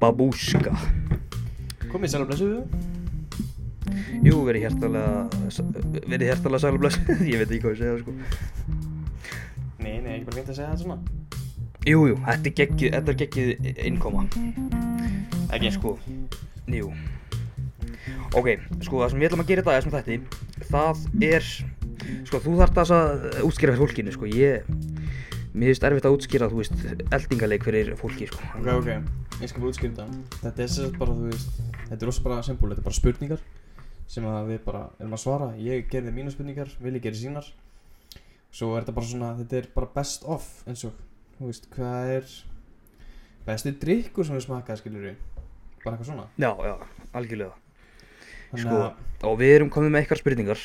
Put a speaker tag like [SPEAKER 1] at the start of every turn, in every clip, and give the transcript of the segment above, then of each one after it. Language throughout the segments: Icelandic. [SPEAKER 1] Babúska
[SPEAKER 2] Komið sæl og blessuðu.
[SPEAKER 1] Jú, verið hjertalega verið hjertalega sæl og bless ég veit ekki hvað ég segja sko
[SPEAKER 2] Nei, nei, ekki bara fint að segja það svona.
[SPEAKER 1] Jú, jú, þetta er geggið, þetta er geggið innkoma
[SPEAKER 2] Ekki, sko.
[SPEAKER 1] sko, jú ok, sko það sem við ætlum að gera í dag þessum þætti, það er sko þú þarft þess að útskýra fyrir fólkinu sko, ég mér finnst erfitt að útskýra, þú veist, eldingaleik fyrir fólki, sko
[SPEAKER 2] Ok, ok. Ég skal bara útskýrta. Þetta er sérst bara, þú veist, þetta er rosa bara sembúl, þetta er bara spurningar sem að við bara erum að svara. Ég gerði mína spurningar, Vili gerði sínar. Svo er þetta bara svona, þetta er bara best of eins og, þú veist, hvað er bestu drikkur sem við smakkaði, skilur við. Bara eitthvað svona.
[SPEAKER 1] já, já, algjörlega
[SPEAKER 2] Þannig
[SPEAKER 1] Sko.
[SPEAKER 2] að,
[SPEAKER 1] og við erum komið með eitthvað spurningar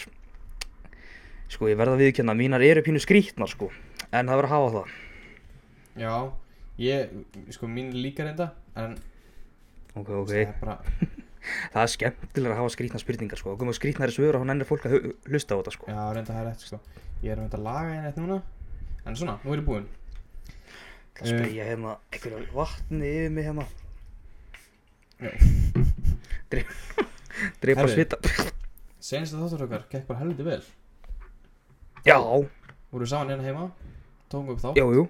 [SPEAKER 1] sko, ég verða að viðkjanna mínar eru pínu skrítnar, sko en það verður að hafa það,
[SPEAKER 2] já, ég, sko, mín er líka reynda, en
[SPEAKER 1] ok, ok
[SPEAKER 2] það er bara,
[SPEAKER 1] það er skemmtilega að hafa skrítnar spurningar, sko og komið skrítnari svör og hann ennir fólk að hu- hlusta á þetta, sko
[SPEAKER 2] já, reynda það er rétt, sko. Ég er að reynda að laga henni eitt núna, en svona, nú er ég búinn.
[SPEAKER 1] það spreyja hérna einhverju vatni yfir mig hérna
[SPEAKER 2] Já.
[SPEAKER 1] Drep- drepa
[SPEAKER 2] Herri.
[SPEAKER 1] svita
[SPEAKER 2] Senast að þáttur okkar gekk bara helviti vel
[SPEAKER 1] já,
[SPEAKER 2] Vorum við saman hérna heima Tókum upp þá
[SPEAKER 1] jú, jú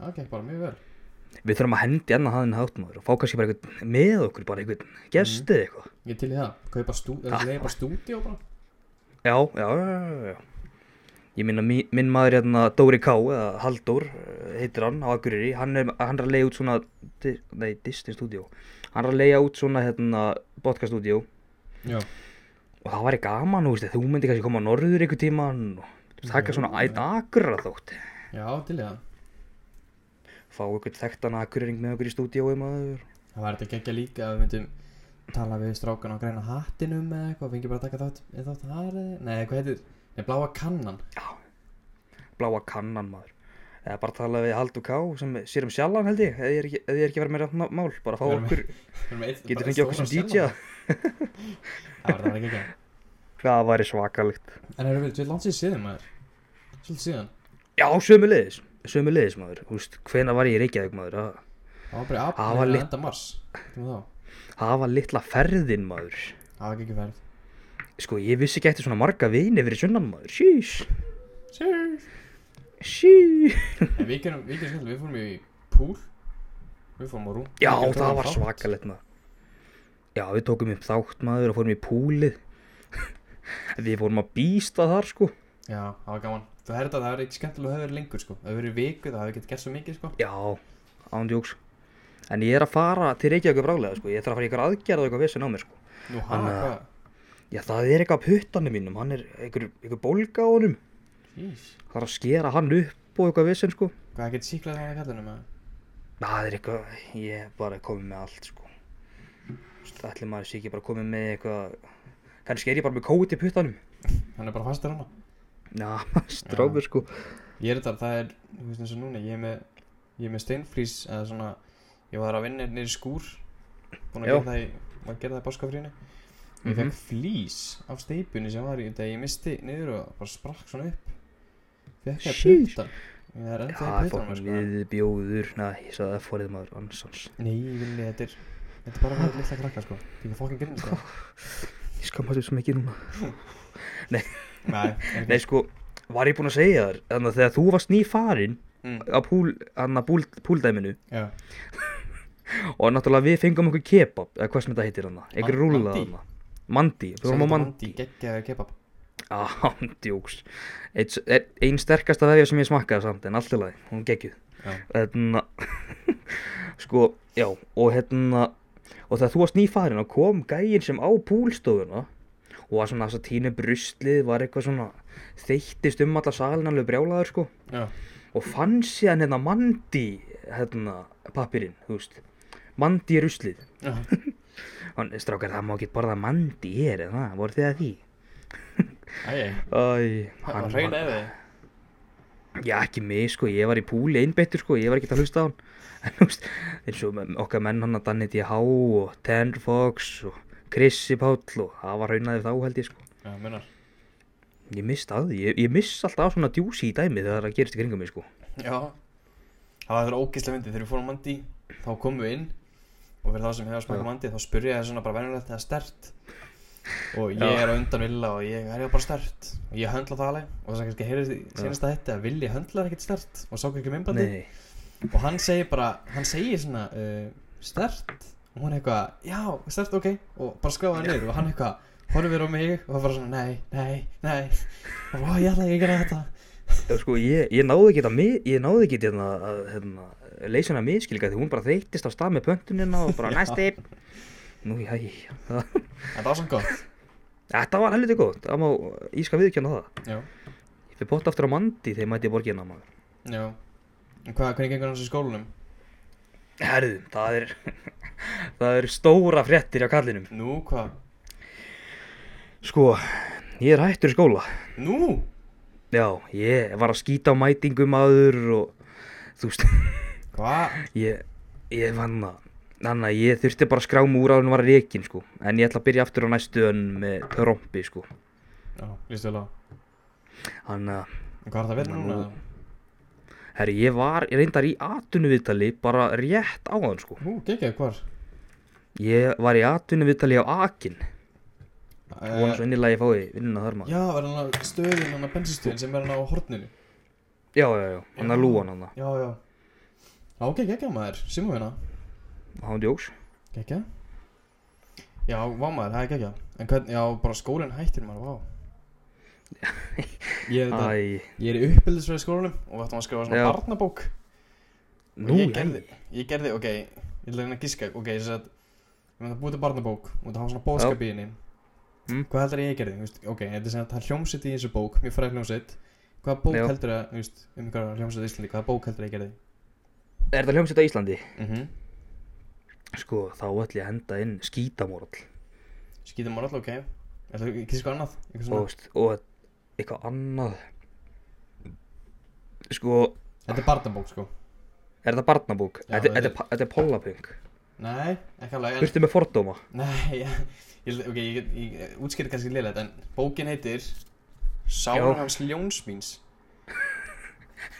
[SPEAKER 2] Það gekk bara mjög vel
[SPEAKER 1] við þurfum að hendi hérna enna hafðin hátmaður og fá kannski bara einhvern með okkur, bara einhvern gestið eitthvað
[SPEAKER 2] Ég er til í það Kaupa stú Eða
[SPEAKER 1] Ha.
[SPEAKER 2] leiði bara stúdíó bara
[SPEAKER 1] já, já, já, já, já ég minna mí- minn maður hérna Dóri K eða Halldór eh, heitir hann á Akureyri, hann er, hann er að leiða út svona di- nei, Disney Studio hann er að leiða út svona hérna podcast studio
[SPEAKER 2] Já
[SPEAKER 1] og það væri gaman, þú veist, þú myndir kannski koma á norður einhver tíman og taka svona einn akra þótt
[SPEAKER 2] Já, til í það
[SPEAKER 1] fá einhvern þekktan akureyring með okkur í stúdíói maður
[SPEAKER 2] Það var þetta gekkja líka að Við myndum tala við strákan og græna hattinum eða eitthvað Fengi bara að taka þátt Eða þátt þar eða Nei, hvað heitir Nei, bláa kannan
[SPEAKER 1] bláa kannan maður eða bara tala við Haldur K sem sér um sjallan held ég, eða ég er ekki, eða ég er ekki verið meira ma- mál bara fá
[SPEAKER 2] Við erum-
[SPEAKER 1] okkur,
[SPEAKER 2] Við erum eitt- bara
[SPEAKER 1] getur
[SPEAKER 2] eitt
[SPEAKER 1] fengið okkur sem
[SPEAKER 2] stóran
[SPEAKER 1] DJ
[SPEAKER 2] stjarnan. Það var þetta gekkja
[SPEAKER 1] það væri svakalegt
[SPEAKER 2] En erum við Við lansið síðan maður Svolítið síðan
[SPEAKER 1] já, sömulegis, sömulegis maður Þú veist, hvena var ég í Reykjavík maður það,
[SPEAKER 2] Það var bara í
[SPEAKER 1] Það var
[SPEAKER 2] apríl eða
[SPEAKER 1] lit-
[SPEAKER 2] enda mars. Þetta var þá.
[SPEAKER 1] það var litla ferðin maður
[SPEAKER 2] Það var gekkjuð ferð.
[SPEAKER 1] sko, ég vissi ekki eftir svona marga vini fyrir sunnan maður, sjís,
[SPEAKER 2] Sure.
[SPEAKER 1] sjís
[SPEAKER 2] En við gerum, við gerum skemmt, við fórum í púl Við fórum á rúm
[SPEAKER 1] Já,
[SPEAKER 2] Við gerum
[SPEAKER 1] það var
[SPEAKER 2] þátt.
[SPEAKER 1] svakalegt maður Já, við tókum upp þátt maður og fórum í púlið Við fórum að býsta þar sko
[SPEAKER 2] Já, það var gaman Þú herði að það var ekki skemmtilega höfður lengur sko Það hefur verið viku, það hefur ekki gert svo mikið sko
[SPEAKER 1] Já, ándjóks En ég er að fara til Reykjavík brálega sko Ég þarf að fara í ykkur aðgerð og eitthvað vissin á mér sko
[SPEAKER 2] Nú, hann,
[SPEAKER 1] Þannig að-
[SPEAKER 2] hvað?
[SPEAKER 1] Já, það er eitthvað á puttanum mínum Hann er einhver, einhver bólga á honum
[SPEAKER 2] Jís
[SPEAKER 1] Það er að skera hann upp og eitthvað vissin sko
[SPEAKER 2] Hvað er ekki síklað það að kallinu með
[SPEAKER 1] Það er eitthvað, ég er bara komið með allt sko Það ætli maður sé ekki bara komið með eitthvað Kannski er ég bara með kóti í puttanum
[SPEAKER 2] Hann er bara fastur hana
[SPEAKER 1] Já, strófur sko
[SPEAKER 2] Ég er þetta, það er, þú veist eins og núna Ég er með, ég er með steinfrís Eða svona, ég var að vinna nýri skúr Búin að
[SPEAKER 1] Já.
[SPEAKER 2] gera það í, var að gera það í báskafrínu Ég mm
[SPEAKER 1] Mhm.
[SPEAKER 2] fekk flís af steipunni sem var í Þegar ég misti niður og bara sprakk svona upp Fekk það
[SPEAKER 1] Sheesh.
[SPEAKER 2] puttan Ég er sko. ennþá
[SPEAKER 1] Það
[SPEAKER 2] í
[SPEAKER 1] er
[SPEAKER 2] puttan
[SPEAKER 1] fokkin viðbjóður, næ, ég sagði það fórið maður ansans.
[SPEAKER 2] Nei, villi, þetta er Þetta er bara að vera litla krakka, sko Ég er fokkin grinn, sko
[SPEAKER 1] Ég skammast þér svo mikið núna.
[SPEAKER 2] Nei, er
[SPEAKER 1] Nei, sko, var ég búinn að segja þér, þannig að þegar þú varst nýfarinn
[SPEAKER 2] mm.
[SPEAKER 1] á púl, hann að púl, púldæminu
[SPEAKER 2] Já,
[SPEAKER 1] og náttúrulega við fengum okkur kebab, eða hvað sem þetta heitir hann, einhver
[SPEAKER 2] Man-
[SPEAKER 1] rúla
[SPEAKER 2] Mandi?
[SPEAKER 1] hann. Mandi, við vorum á Mandi.
[SPEAKER 2] Geggjaður kebab
[SPEAKER 1] Á, Ah, djóks. Eitt- e- Ein sterkasta vefja sem ég smakkaði samt, en allt í lagi, hún geggjuð.
[SPEAKER 2] Já,
[SPEAKER 1] Hérna, sko, já, og hérna, og þegar þú varst nýfarinn og kom gæinn sem á púlstofuna og var svona þess að tína bruslið, var eitthvað svona þeyttist um alla salin alveg brjálaður, sko,
[SPEAKER 2] já,
[SPEAKER 1] og fann síðan hérna mandi, hérna, pappirinn, þú veist, mandi í ruslið.
[SPEAKER 2] já
[SPEAKER 1] Hann, strákar, það má ekki borða mandi hér, eða það, voru þið að því?
[SPEAKER 2] Æi,
[SPEAKER 1] Æ,
[SPEAKER 2] það var hreina eða
[SPEAKER 1] Já, ekki mig, sko, ég var í púli einbeittur, sko, ég var ekki að hlusta á hann. En, þú veist, eins og okkar menn hann að Danny D.H. og Ten Fox og Krissi Páll og það var raunaði þá held ég sko
[SPEAKER 2] Já, munar
[SPEAKER 1] Ég mist að því, ég, ég miss alltaf svona djúsi í dæmi þegar það gerist í kringum mig sko
[SPEAKER 2] Já Það var þetta ógeðslega myndið þegar við fórum á mandi Þá komum við inn Og fyrir það sem hefði að smaka
[SPEAKER 1] Já.
[SPEAKER 2] mandi Þá spurði ég svona bara venjulegt eða stert Og ég
[SPEAKER 1] Já.
[SPEAKER 2] er á undan Villa og ég er ég bara stert Og ég höndla það alveg Og það sem kannski heyrðist í senasta þetta Að Villi höndlar ekkert stert Og sá ekki um einbandi
[SPEAKER 1] Nei,
[SPEAKER 2] Og hann segir bara Hann segir svona uh, Stert Og hún eitthvað Já, stert, ok Og bara skráði hann niður Og hann eitthvað Horfir á mig Og það bara svona Nei, nei, nei Og bara, "Ó, ég ætla ekki að gera þetta
[SPEAKER 1] það, sko ég, ég náði ekki að, mi- ég náði ekki hérna, að hérna, leysa hana miskilika því hún bara þreytist á stað með pöntunina og bara
[SPEAKER 2] Já.
[SPEAKER 1] næsti Nú, já, það,
[SPEAKER 2] En það var svona gott
[SPEAKER 1] þetta var helviti góð, það má, ég skal viðkjanna það
[SPEAKER 2] Já
[SPEAKER 1] Ég fyrir bótt aftur á mandi þegar mæti ég borginna maður
[SPEAKER 2] Já En hvað, hvernig gengur hans í skólanum?
[SPEAKER 1] Herðum, það er, það er stóra fréttir á kallinum
[SPEAKER 2] Nú, hvað?
[SPEAKER 1] Sko, ég er hættur í skóla
[SPEAKER 2] Nú?
[SPEAKER 1] Já, ég var að skýta á mætingum aður og þú veist,
[SPEAKER 2] Hvað?
[SPEAKER 1] ég, ég vann að, þannig að ég þurfti bara að skrá mig úr að hún var að reikin, sko, en ég ætla að byrja aftur á næstu önn með trombi, sko,
[SPEAKER 2] Já, lístu vel á
[SPEAKER 1] þannig að,
[SPEAKER 2] En hvað er það verið
[SPEAKER 1] Nú.
[SPEAKER 2] núna?
[SPEAKER 1] herri, ég var reyndar í atvinnuviðtali bara rétt á hann, sko,
[SPEAKER 2] Nú, geggjaðu hvar?
[SPEAKER 1] ég var í atvinnuviðtali á Akin, vona
[SPEAKER 2] Uh,
[SPEAKER 1] svo innilega ég fái vinnuna þar maður,
[SPEAKER 2] já, verður hann að stöðin, hann að bensinstöðin sem er hann á horninu
[SPEAKER 1] já, já, já, hann
[SPEAKER 2] Já.
[SPEAKER 1] að lúan hann það,
[SPEAKER 2] Já, já Já, ok, geggjað maður, símum hérna
[SPEAKER 1] hann djóks,
[SPEAKER 2] Geggjað Já, vá maður, það er geggjað En hvernig, já, bara skólinn hættir maður, vá Ég, það,
[SPEAKER 1] æ,
[SPEAKER 2] ég er í uppbyldisfræði skólanum og við ættum að skrifa svona
[SPEAKER 1] Já.
[SPEAKER 2] barnabók
[SPEAKER 1] nú,
[SPEAKER 2] ég
[SPEAKER 1] já,
[SPEAKER 2] gerði, ég gerði, ok, ég ætla að reyna að gíska, ok, þess að við erum að búið til barnabók og það hafa svona bóðskap í henni
[SPEAKER 1] Mm.
[SPEAKER 2] hvað heldur að ég gerði, þú veist, ok, þetta er sem að það er hljómsett í þessu bók, mjög fræð hljómsett hvaða bók
[SPEAKER 1] Já.
[SPEAKER 2] heldur að, þú veist, um einhverja hljómsett í Íslandi, hvaða bók heldur að ég gerði
[SPEAKER 1] er það hljómsveit á Íslandi,
[SPEAKER 2] mm -hmm.
[SPEAKER 1] sko, þá ætla ég að henda inn skítamorall,
[SPEAKER 2] skýtum maður alltaf, ok er það ekki sko annað, eitthvað
[SPEAKER 1] og,
[SPEAKER 2] svona
[SPEAKER 1] veist, og eitthvað annað sko,
[SPEAKER 2] þetta er barnabók, sko,
[SPEAKER 1] er þetta barnabók?
[SPEAKER 2] Já,
[SPEAKER 1] Þetta
[SPEAKER 2] þetta
[SPEAKER 1] þetta er, pa- þetta er pollapung
[SPEAKER 2] nei, ekki alveg en,
[SPEAKER 1] Burtu með fordóma
[SPEAKER 2] nei, ég, ég- ok, ég, ég, ég útskýri kannski liðlega en bókin heitir
[SPEAKER 1] Já.
[SPEAKER 2] Sára hans ljóns míns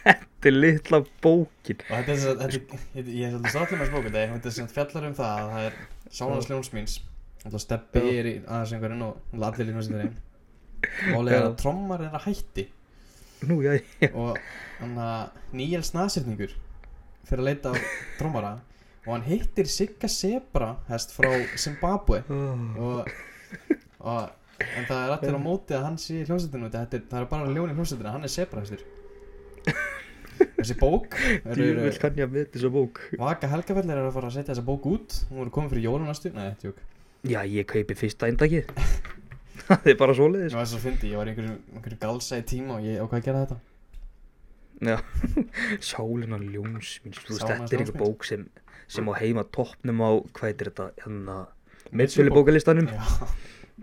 [SPEAKER 1] Þetta er litla bókin
[SPEAKER 2] Og þetta er sem sagt, þetta, þetta, ég er svolítið stráttlega með spókandi, þetta er sem sagt fjallar um það að það er Sánas Ljóns míns, alltaf steppi
[SPEAKER 1] Já.
[SPEAKER 2] er í aðeins einhverjum og allir í hljómsveitinni. Málið er
[SPEAKER 1] Já.
[SPEAKER 2] að trommar er að hætti
[SPEAKER 1] Nú, já, já,
[SPEAKER 2] og hann að Níels Nasirningur fyrir að leita á trommara og hann hittir Sigga Sebra hest frá Zimbabwe
[SPEAKER 1] Ó,
[SPEAKER 2] og, og en það er allir á móti að hann sé í hljómsveitinu þetta er, það er bara ljón í hljómsveitinu, hann er Sebra hestur. Þessi bók eru- eru-
[SPEAKER 1] djúvill kann ég að með þessu bók
[SPEAKER 2] Vaka Helgafellir er að fara að setja þessa bók út Hún verður komin fyrir jólum næstu Nei, tjók
[SPEAKER 1] Já, ég kaupi fyrsta eindakið Það er bara
[SPEAKER 2] Ég
[SPEAKER 1] svoleiðis
[SPEAKER 2] var svo fyndi, ég var í einhverju, einhverju galsa í tíma og ég ákvað að gera þetta
[SPEAKER 1] Já, sálina ljóns mín Þú veist, þetta
[SPEAKER 2] Sálin hans
[SPEAKER 1] er
[SPEAKER 2] Ljóns
[SPEAKER 1] einhver
[SPEAKER 2] míns.
[SPEAKER 1] bók sem sem á heima toppnum á, hvað er þetta, hérna
[SPEAKER 2] Metsölu
[SPEAKER 1] Metsölu bókalistanum
[SPEAKER 2] Já,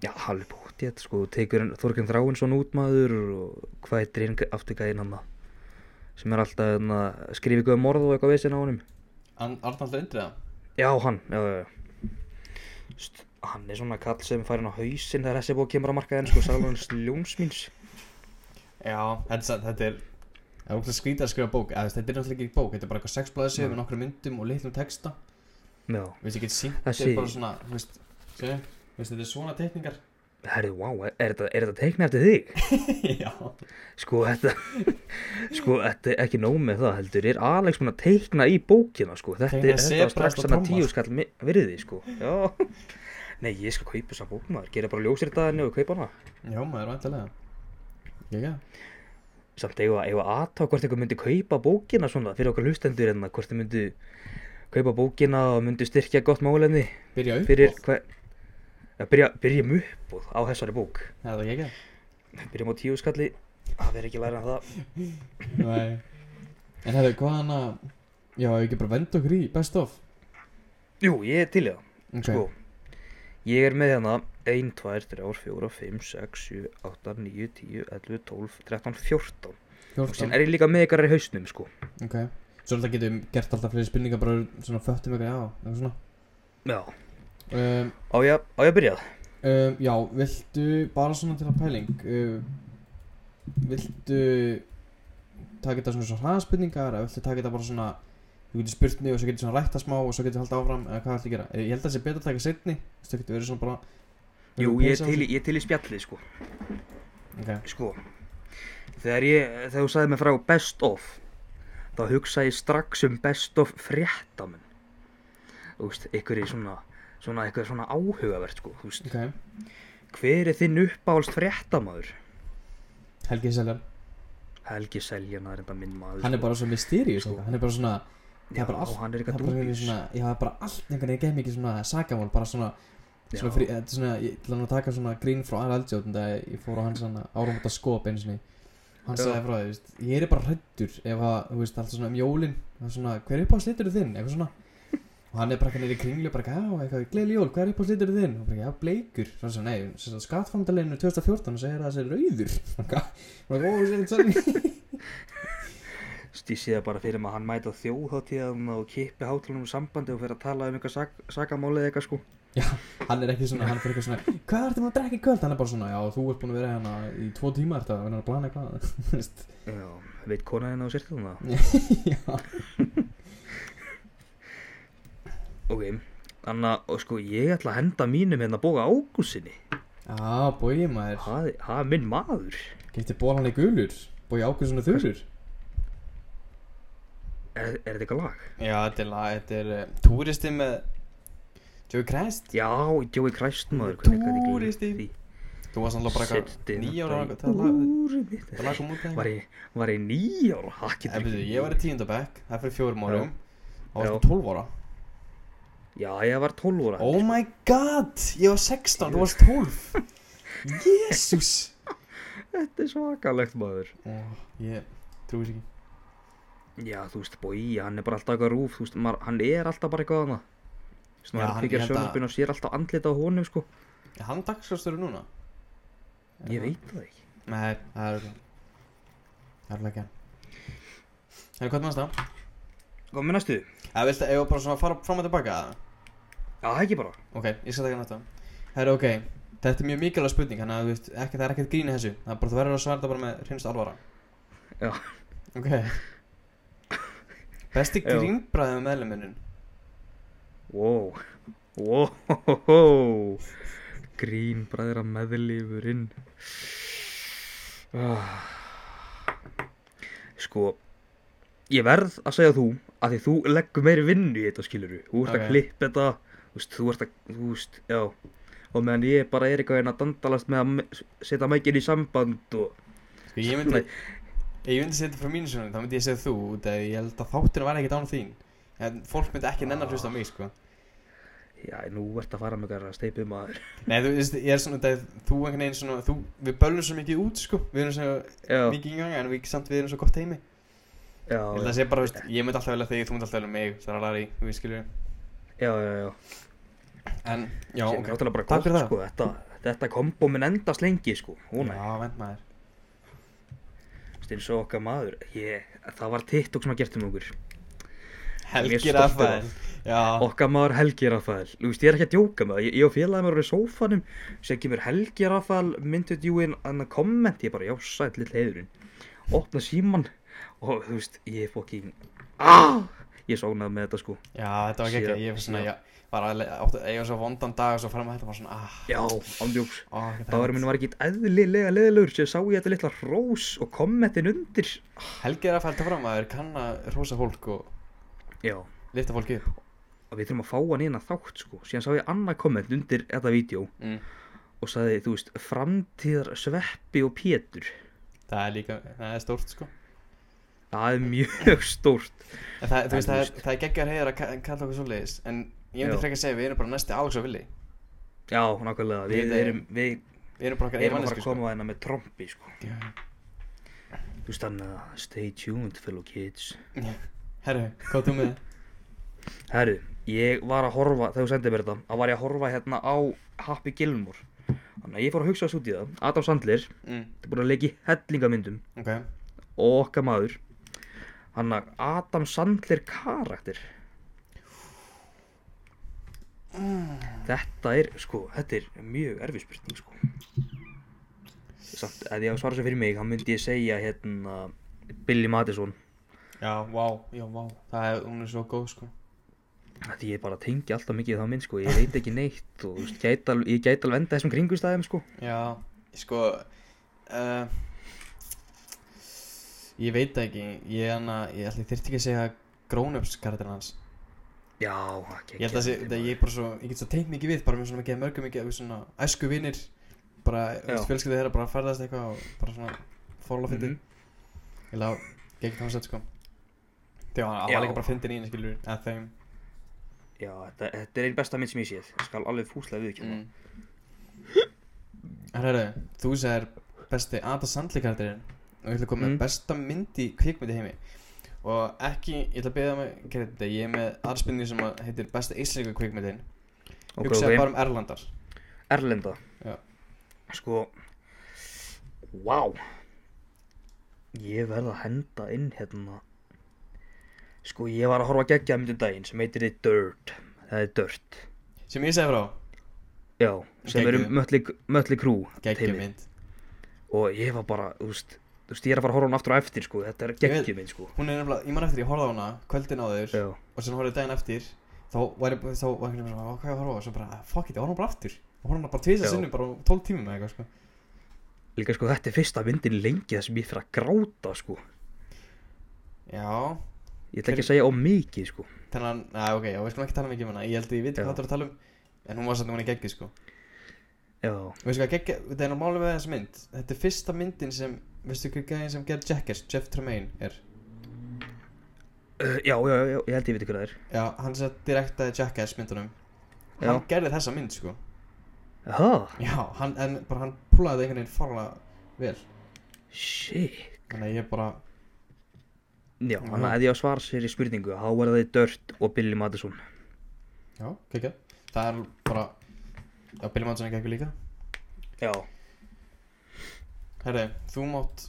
[SPEAKER 1] Já, halveg bótt ég, sko, þú tekur Þorkjum Þráinsson út maður og hvað heitir hinn aftur gæðin hann sem er alltaf hann að skrifa ykkur um morð og eitthvað vesen á honum
[SPEAKER 2] An- Arnaldur Indriða
[SPEAKER 1] Já, hann, já, já, já St- Hann er svona kall sem fær hann á hausinn þegar þessi bók kemur á markaðin, sko, Salvan Sljómsmýns
[SPEAKER 2] Já, þetta, er sa- þetta er Það er ógst að skrýta að skrifa bók eða, þú veist, Þetta er náttúrulega ekki bók, þetta er bara eitthvað sexblæðis
[SPEAKER 1] Mm.
[SPEAKER 2] með nokkru myndum og litlum texta
[SPEAKER 1] Já,
[SPEAKER 2] Þú veist, ég get sínt,
[SPEAKER 1] Það
[SPEAKER 2] þetta er
[SPEAKER 1] sé-
[SPEAKER 2] bara svona Þú veist, sé, þú veist, þetta er svona teikningar
[SPEAKER 1] herrðu, vá, er, er þetta, er þetta teikna eftir þig?
[SPEAKER 2] Já
[SPEAKER 1] Sko, þetta, sko, þetta er ekki nóg með það heldur, er Alex búinn að teikna í bókina, sko, þetta,
[SPEAKER 2] Teikna
[SPEAKER 1] er- þetta var
[SPEAKER 2] sebra
[SPEAKER 1] strax
[SPEAKER 2] og
[SPEAKER 1] hann að
[SPEAKER 2] tromma.
[SPEAKER 1] tíu skall mi- virði, sko, já. Nei, ég skal kaupa þessa bók maður, gera bara ljósir þetta henni og kaupa hana.
[SPEAKER 2] Já, maður, vantilega Jæja
[SPEAKER 1] Samt eiga, eiga aðtá hvort einhver myndi kaupa bókina svona fyrir okkar hlustendur en hvort þið myndi kaupa bókina og myndi styrkja gott málefni
[SPEAKER 2] Byrja upp
[SPEAKER 1] fyrir hvað, að byrja, byrjum uppbóð á þessari bók.
[SPEAKER 2] Það er ekki
[SPEAKER 1] Byrjum á tíu skalli, það verður ekki læra en það.
[SPEAKER 2] Nei En hefðu, hvað hann að Já, ef við ekki bara venda okkur í best of
[SPEAKER 1] Jú, ég er til í það.
[SPEAKER 2] okay.
[SPEAKER 1] Sko, ég er með hérna 1, 2, 3, 4, 5, 6, 7, 8, 9, 10, 11, 12, 13, 14 og
[SPEAKER 2] 14
[SPEAKER 1] síðan er ég líka með ykkar í hausnum sko
[SPEAKER 2] Ok Svo alltaf getum við gert alltaf fleiri spurningar bara svona föttum ykkur Já, eitthvað svona
[SPEAKER 1] Já,
[SPEAKER 2] um,
[SPEAKER 1] Á ég, á ég að byrja það?
[SPEAKER 2] um, Já, viltu bara svona til að pæling um, Viltu taka þetta svona svo hraðspurningar eða viltu taka þetta bara svona þú getur spurt mig og svo getur svona rætta smá og svo getur haldið áfram eða hvað ættu að gera Eh, Ég held að það sé betra að taka setni þú getur verið svona bara
[SPEAKER 1] Jú,
[SPEAKER 2] verið
[SPEAKER 1] ég er
[SPEAKER 2] peysa á
[SPEAKER 1] til,
[SPEAKER 2] þessu.
[SPEAKER 1] í- ég er til í spjallið sko
[SPEAKER 2] Ok,
[SPEAKER 1] Sko, þegar ég, þegar þú sagði mér frá best of, þá hugsa ég strax um best of fréttamenn. Þú veist, ykkur í svona, svona, eitthvað svona áhugavert, sko, þú veist.
[SPEAKER 2] ok,
[SPEAKER 1] Hver er þinn uppáhaldst fréttamaður?
[SPEAKER 2] Helgi Seljar
[SPEAKER 1] Helgi Seljan, það er enda minn maður.
[SPEAKER 2] Hann er bara svo mysterious
[SPEAKER 1] Sko.
[SPEAKER 2] sko. Hann er bara svona
[SPEAKER 1] sko.
[SPEAKER 2] það er bara
[SPEAKER 1] Já,
[SPEAKER 2] allt-
[SPEAKER 1] hann er
[SPEAKER 2] Það
[SPEAKER 1] eitthvað
[SPEAKER 2] er bara einhvern veginn
[SPEAKER 1] dúbis.
[SPEAKER 2] svona, já það er bara allt einhvern veginn geð mikið svona sagamál, bara svona, svona,
[SPEAKER 1] Já.
[SPEAKER 2] frí, þetta er svona ég ætla nú að taka svona grín frá Ari Eldjótt en það ég fór á hans hann áramóta skop einu sinni, hann
[SPEAKER 1] Já.
[SPEAKER 2] sagði frá því, veist, ég er bara hrættur ef að, þú veist, allt svona um jólin, það er svona, hver er upp á slítur þinn, eitthvað svona, og hann er bara eitthvað neyri kringlu, bara eitthvað, já, eitthvað, gleyli jól, hver er upp á slítur þinn, og bara, já, bleikur, svo sem, nei, skattfandaleginu 2014 og segir að þessi er rauður, og bara, ó, þessi er þetta sann,
[SPEAKER 1] Ég sé það bara fyrir maður að hann mæta þjóðháttíðan og kippi hátalunum sambandi og fyrir að tala um eitthvað sak, sakamálið eitthvað, sko.
[SPEAKER 2] hann er ekki svona, hann fyrir eitthvað svona hvað ertu maður að drekka í kvöld, hann er bara svona já, þú ert búin að vera hérna í tvo tíma ertu að vera að plana eitthvað þú veist.
[SPEAKER 1] Já, veit konaðina og sértum það?
[SPEAKER 2] já,
[SPEAKER 1] Ok, þannig að sko ég ætla að henda mínum hérna bóka ágússinni.
[SPEAKER 2] já, bói maður
[SPEAKER 1] Það það er minn maður.
[SPEAKER 2] getur ból hann í gulur, bói ákveð svona þurur
[SPEAKER 1] Er, er þetta eitthvað lag?
[SPEAKER 2] já, þetta er lag, þetta er uh, túristi með Joe Crest
[SPEAKER 1] Já, Joey Christ maður.
[SPEAKER 2] Túristi. þú varst alltaf bara eitthvað
[SPEAKER 1] hérna
[SPEAKER 2] nýjára þetta lag þetta lag
[SPEAKER 1] Túristi.
[SPEAKER 2] kom út
[SPEAKER 1] Var
[SPEAKER 2] þegar
[SPEAKER 1] ég, var ég nýjára? Hakið
[SPEAKER 2] ég, ég var í tíundabæk, það er fyrir fjórum
[SPEAKER 1] Já.
[SPEAKER 2] árum og
[SPEAKER 1] Já.
[SPEAKER 2] varst 12 ára
[SPEAKER 1] Já, ég var 12 ára.
[SPEAKER 2] oh my god, ég var 16, þú varst 12 jésús
[SPEAKER 1] Þetta er svakalegt maður.
[SPEAKER 2] ég trúi sér ekki
[SPEAKER 1] Já, þú veist, bói, hann er bara alltaf eitthvað rúf, þú veist, maður, hann er alltaf bara eitthvað annað. Þú veist,
[SPEAKER 2] Já,
[SPEAKER 1] maður
[SPEAKER 2] hann-
[SPEAKER 1] tekir
[SPEAKER 2] ég held að-
[SPEAKER 1] sjónarbyn og sér alltaf andlit á honum, sko.
[SPEAKER 2] Er hann dagskrafstöru núna? Er
[SPEAKER 1] Ég
[SPEAKER 2] það-
[SPEAKER 1] veit það ekki.
[SPEAKER 2] Nei, það er Það er ekki hann Það er hvað með það?
[SPEAKER 1] Hvað með næstu?
[SPEAKER 2] Það viltu, ef ég bara svona að fara fram og tilbaka eða?
[SPEAKER 1] Já, það ekki bara.
[SPEAKER 2] Ok, ég skal taka næsta Það er ok, þetta er mjög mikilvæg spurning Þannig að þú veist, ekki, það er ekkert grín í þessu Það er bara, þú verður að svara þetta bara með hreinst alvara
[SPEAKER 1] Já.
[SPEAKER 2] Ok Besti
[SPEAKER 1] Já.
[SPEAKER 2] grínbræði meðluminin
[SPEAKER 1] Wow, wow, grín bræðir að meðlifurinn. Ah. Sko, ég verð að segja þú að því þú leggur meiri vinnu í þetta skiluru. Þú ert
[SPEAKER 2] Ok.
[SPEAKER 1] að klippa þetta, þú veist, þú ert að, þú veist, já. Og meðan ég bara er eitthvað en að dandalast með að me- setja mækinn í samband og...
[SPEAKER 2] Sko, ég myndi Ef ég myndi setja frá mínu sjónu, þá myndi ég segja þú út af því Ég held að þátturinn væri ekkert án þín En fólk myndi ekki nennar hlusta á mig, sko
[SPEAKER 1] Já, nú ert að fara með eitthvað steipið maður.
[SPEAKER 2] Nei, þú veist, ég er svona þetta Þú einhvern veginn svona, þú, við bölum svo mikið út, sko Við erum svo
[SPEAKER 1] Já,
[SPEAKER 2] mikið í gangi En við samt við erum svo gott heimi
[SPEAKER 1] já,
[SPEAKER 2] Ég held að
[SPEAKER 1] já,
[SPEAKER 2] segja bara, veist, ég myndi alltaf velja þig Þú myndi alltaf velja mig, það er alari, við skiljum
[SPEAKER 1] já, já, já.
[SPEAKER 2] En, já,
[SPEAKER 1] sem
[SPEAKER 2] ok.
[SPEAKER 1] er náttúrulega bara
[SPEAKER 2] Takk
[SPEAKER 1] gott
[SPEAKER 2] fyrir það.
[SPEAKER 1] sko, þetta, þetta kombo minn endast lengi sko, hún er
[SPEAKER 2] Já, vend maður
[SPEAKER 1] eins og okkar maður ég, það var TikTok sem að gert um okkur
[SPEAKER 2] Helgi
[SPEAKER 1] stoltur af
[SPEAKER 2] Rafael Já,
[SPEAKER 1] okkar maður Helgi Rafael, þú veist ég er ekki að djóka með það ég, ég og félagið mér voru í sófanum sem kemur Helgi Rafael myndið júin að komment, ég bara já sætt lill heiðurinn opna síman og þú veist ég er fokkin ah! ég sónaði með þetta sko
[SPEAKER 2] já, þetta var ekki
[SPEAKER 1] Síðan-
[SPEAKER 2] Ég var svona,
[SPEAKER 1] síðan.
[SPEAKER 2] já, var að átti, Ég var svo vondan dag og svo fram að þetta var svona ah,
[SPEAKER 1] já, ándjóks
[SPEAKER 2] ó, ekki það.
[SPEAKER 1] Dagurinn minn var ekki eðlilega leðilegur sem sá ég þetta litla rós og kommentin undir
[SPEAKER 2] Helgi Rafael til fram að kann að rosa fólk og
[SPEAKER 1] Já,
[SPEAKER 2] lifta fólki upp
[SPEAKER 1] að við þurfum að fá hann inn að þátt sko síðan sá ég annað komment undir þetta vídeo
[SPEAKER 2] mm.
[SPEAKER 1] og sagði, þú veist, framtíðar Sveppi og Pétur
[SPEAKER 2] Það er líka, það er stórt, sko
[SPEAKER 1] það er mjög stórt
[SPEAKER 2] En það, þú
[SPEAKER 1] En
[SPEAKER 2] veist,
[SPEAKER 1] þú
[SPEAKER 2] það er,
[SPEAKER 1] veist-
[SPEAKER 2] það er geggar heiðar að ka- kalla okkur svoleiðis En ég myndi
[SPEAKER 1] Já.
[SPEAKER 2] frekar að segja, við erum bara næsti Alex og Willi
[SPEAKER 1] já, nákvæmlega, við
[SPEAKER 2] Við erum-
[SPEAKER 1] erum við
[SPEAKER 2] Við erum bara
[SPEAKER 1] erum
[SPEAKER 2] okkar
[SPEAKER 1] að fara
[SPEAKER 2] einmanniski
[SPEAKER 1] að koma að hérna með trompi sko þú veist, þannig að stay tuned fellow kids
[SPEAKER 2] Herru, hvað þú með?
[SPEAKER 1] herru, ég var að horfa, þegar þú sendið mér þetta þá var ég að horfa hérna á Happy Gilmore þannig að ég fór að hugsa þessu út í það Adam Sandler,
[SPEAKER 2] mm,
[SPEAKER 1] það er búin að leiki hellingamyndum
[SPEAKER 2] Ok,
[SPEAKER 1] og okkar maður hann að Adam Sandler karakter Þetta er, sko, þetta er mjög erfið spurning, sko. Samt, ef ég á að svara sér fyrir mig, þá myndi ég segja, hérna, Billy Madison.
[SPEAKER 2] Já, vá, já, vá Það er, hún er svo góð, sko
[SPEAKER 1] Af Því ég bara tengi alltaf mikið þá minn, sko. Ég veit ekki neitt og, þú veist, gæti al- ég gæti alveg enda þessum kringustæðum, sko.
[SPEAKER 2] Já, sko uh, Ég veit það ekki Ég, hana, ég ætli þyrfti ekki að segja Grown-ups karakterinn hans
[SPEAKER 1] Já, ekki,
[SPEAKER 2] Ég held að, sé, það, ég, er bara svo, ég get svo tengt mikið við Bara með svona ekki mörgum mikið við Svona æsku vinnir Bara
[SPEAKER 1] Já.
[SPEAKER 2] fjölskyldið þeirra bara að ferðast eitthvað Og bara svona fórla fyndi
[SPEAKER 1] Mhm.
[SPEAKER 2] Ég held að gegn það hans sko Þegar hann hann
[SPEAKER 1] Já.
[SPEAKER 2] var líka bara fyndin í henni skilur Að þeim
[SPEAKER 1] Já, þetta, þetta er einn besta mynd sem ég séð. Ég skal alveg fúslega viðkjöna.
[SPEAKER 2] mm. Herru, þú segir besti Ada Sandler karakterinn og ég ætla að koma
[SPEAKER 1] Mm.
[SPEAKER 2] með besta mynd í kvikmyndi heimi og ekki, ég ætla að beða mig gerði þetta, ég er með aðspilni sem að heitir besta íslenska kvikmyndin
[SPEAKER 1] Ok,
[SPEAKER 2] hugsa
[SPEAKER 1] ok.
[SPEAKER 2] bara um Erlandar
[SPEAKER 1] Erlenda
[SPEAKER 2] Já.
[SPEAKER 1] Sko Vá Ég verð að henda inn hérna Sko ég var að horfa geggja um daginn sem heitir þið Dirt Það er Dirt
[SPEAKER 2] sem ég segi frá,
[SPEAKER 1] Já, sem um eru
[SPEAKER 2] Geggjuð.
[SPEAKER 1] Mötli, mötli Krú
[SPEAKER 2] geggjum mynd
[SPEAKER 1] Og ég var bara, þú veist Þú veist, ég er að fara að horfa hún aftur á eftir sko Þetta er
[SPEAKER 2] Ég veit.
[SPEAKER 1] geggjum minn sko
[SPEAKER 2] hún er nefnilega, ég man eftir, ég horfði á hana kvöldin á þeir
[SPEAKER 1] Já,
[SPEAKER 2] og sem horfði daginn eftir þá var ég, þá var ég svona, "Ó, hvað ég að horfa á?" og svo bara, "Ah, fuck it, ég horfði á hana bara aftur og horfði á hana bara
[SPEAKER 1] Já.
[SPEAKER 2] tvisa sinnum, bara á 12 tímum eða eitthvað sko.
[SPEAKER 1] líka sko þetta er fyrsta myndin lengi Það sem ég fyrir að gráta sko
[SPEAKER 2] já,
[SPEAKER 1] Ég ætla ekki að segja á mikið sko
[SPEAKER 2] Þannig að, að ok, já, við skulum ekki tala mikið um hana Ég held að ég veit
[SPEAKER 1] Já.
[SPEAKER 2] hvað það er að tala um En hún var samt hún er geggið, sko
[SPEAKER 1] Já,
[SPEAKER 2] Og veistu hvað, geggið, þetta er normálið með þessa mynd Þetta er fyrsta myndin sem, veistu hvað gæðin sem gerð Jackass, Jeff Tremaine er
[SPEAKER 1] uh, já, já, já, ég held ég veit hvað það er
[SPEAKER 2] Já, hann sem direktaði Jackass myndunum
[SPEAKER 1] Já.
[SPEAKER 2] Hann gerði þessa mynd, sko
[SPEAKER 1] Aha,
[SPEAKER 2] Já, hann, en bara hann púlaði þetta einhvern veginn farlega vel
[SPEAKER 1] shit
[SPEAKER 2] Þannig að ég bara,
[SPEAKER 1] Já,
[SPEAKER 2] Já.
[SPEAKER 1] þannig að ef ég á svar sér í spurningu þá verða þið Dirt og Billy Madison
[SPEAKER 2] já, geggið Það er bara, já, Billy Manson er geggið líka
[SPEAKER 1] Já
[SPEAKER 2] Herri, þú mátt,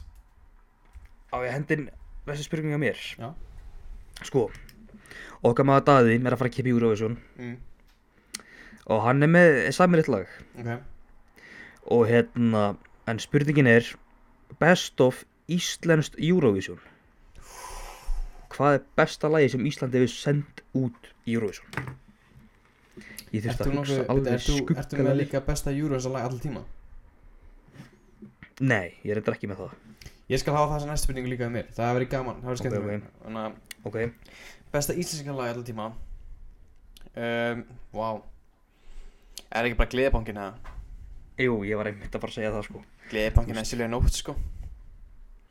[SPEAKER 1] Á ég hendin þessi spurningu að mér
[SPEAKER 2] Já.
[SPEAKER 1] Sko Okkar maður Daði er að fara að kippa í Eurovision
[SPEAKER 2] mm,
[SPEAKER 1] og hann er með samiritt lag
[SPEAKER 2] ok
[SPEAKER 1] og hérna en spurningin er Best of Íslenskt Eurovision Hvað er besta lagi sem Íslandi hefur sendt út í Eurovision? Ég þurfti
[SPEAKER 2] Ertu
[SPEAKER 1] að
[SPEAKER 2] nokkuð,
[SPEAKER 1] hugsa
[SPEAKER 2] bíddu,
[SPEAKER 1] alveg
[SPEAKER 2] ertu, ertu með
[SPEAKER 1] skuggalega
[SPEAKER 2] líka besta Eurovision lag alltaf tíma?
[SPEAKER 1] Nei, ég er eitthvað ekki með það
[SPEAKER 2] Ég skal hafa þessa næstu spurningu líka við mér Það hefur verið gaman, það hefur
[SPEAKER 1] Ok,
[SPEAKER 2] skemmt okay, Þannig að
[SPEAKER 1] Ok,
[SPEAKER 2] besta íslenska lag alltaf tíma um, Wow Er ekki bara gleðibankin eða?
[SPEAKER 1] jú, ég var einmitt að fara að segja það sko
[SPEAKER 2] Gleðibankin er silvið nótt sko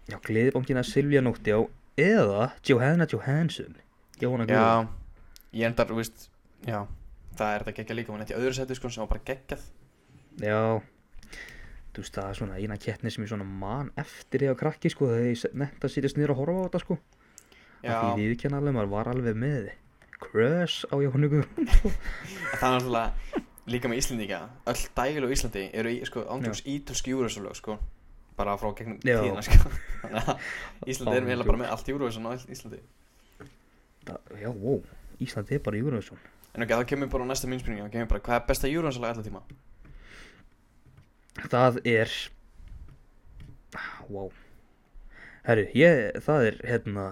[SPEAKER 1] Já, gleðibangina Silvja Nótti á eða Johanna Johansson Jóhanna Guðrún
[SPEAKER 2] Já, ég endar, þú veist Já, það er þetta geggja líka Hún er í öðru setu sko sem var bara geggjað
[SPEAKER 1] Já. Þú veist, það er svona eina kettni sem ég svona man eftir ég á krakki sko þegar ég netta sýtist niður að horfa á þetta sko Já. Því
[SPEAKER 2] Já,
[SPEAKER 1] við kenna alveg, maður var alveg með Crush á Jóhanna Guðrún sko.
[SPEAKER 2] það er náttúrulega Líka með Íslendinga, öll dægileg á Íslandi eru í, sko, ándjóks ítölsk Eurovision lög sko bara frá gegnum
[SPEAKER 1] Já.
[SPEAKER 2] tíðina sko þannig að Íslandi erum eiginlega bara með allt Eurovision á Íslandi
[SPEAKER 1] Það- Já, wow, Íslandi er bara Júruðsson
[SPEAKER 2] En ok, þá kemur bara á næsta minnspurningi, þá kemur bara hvað er besta júruhansalag allar tíma?
[SPEAKER 1] Það er Wow Herru, ég, það er hérna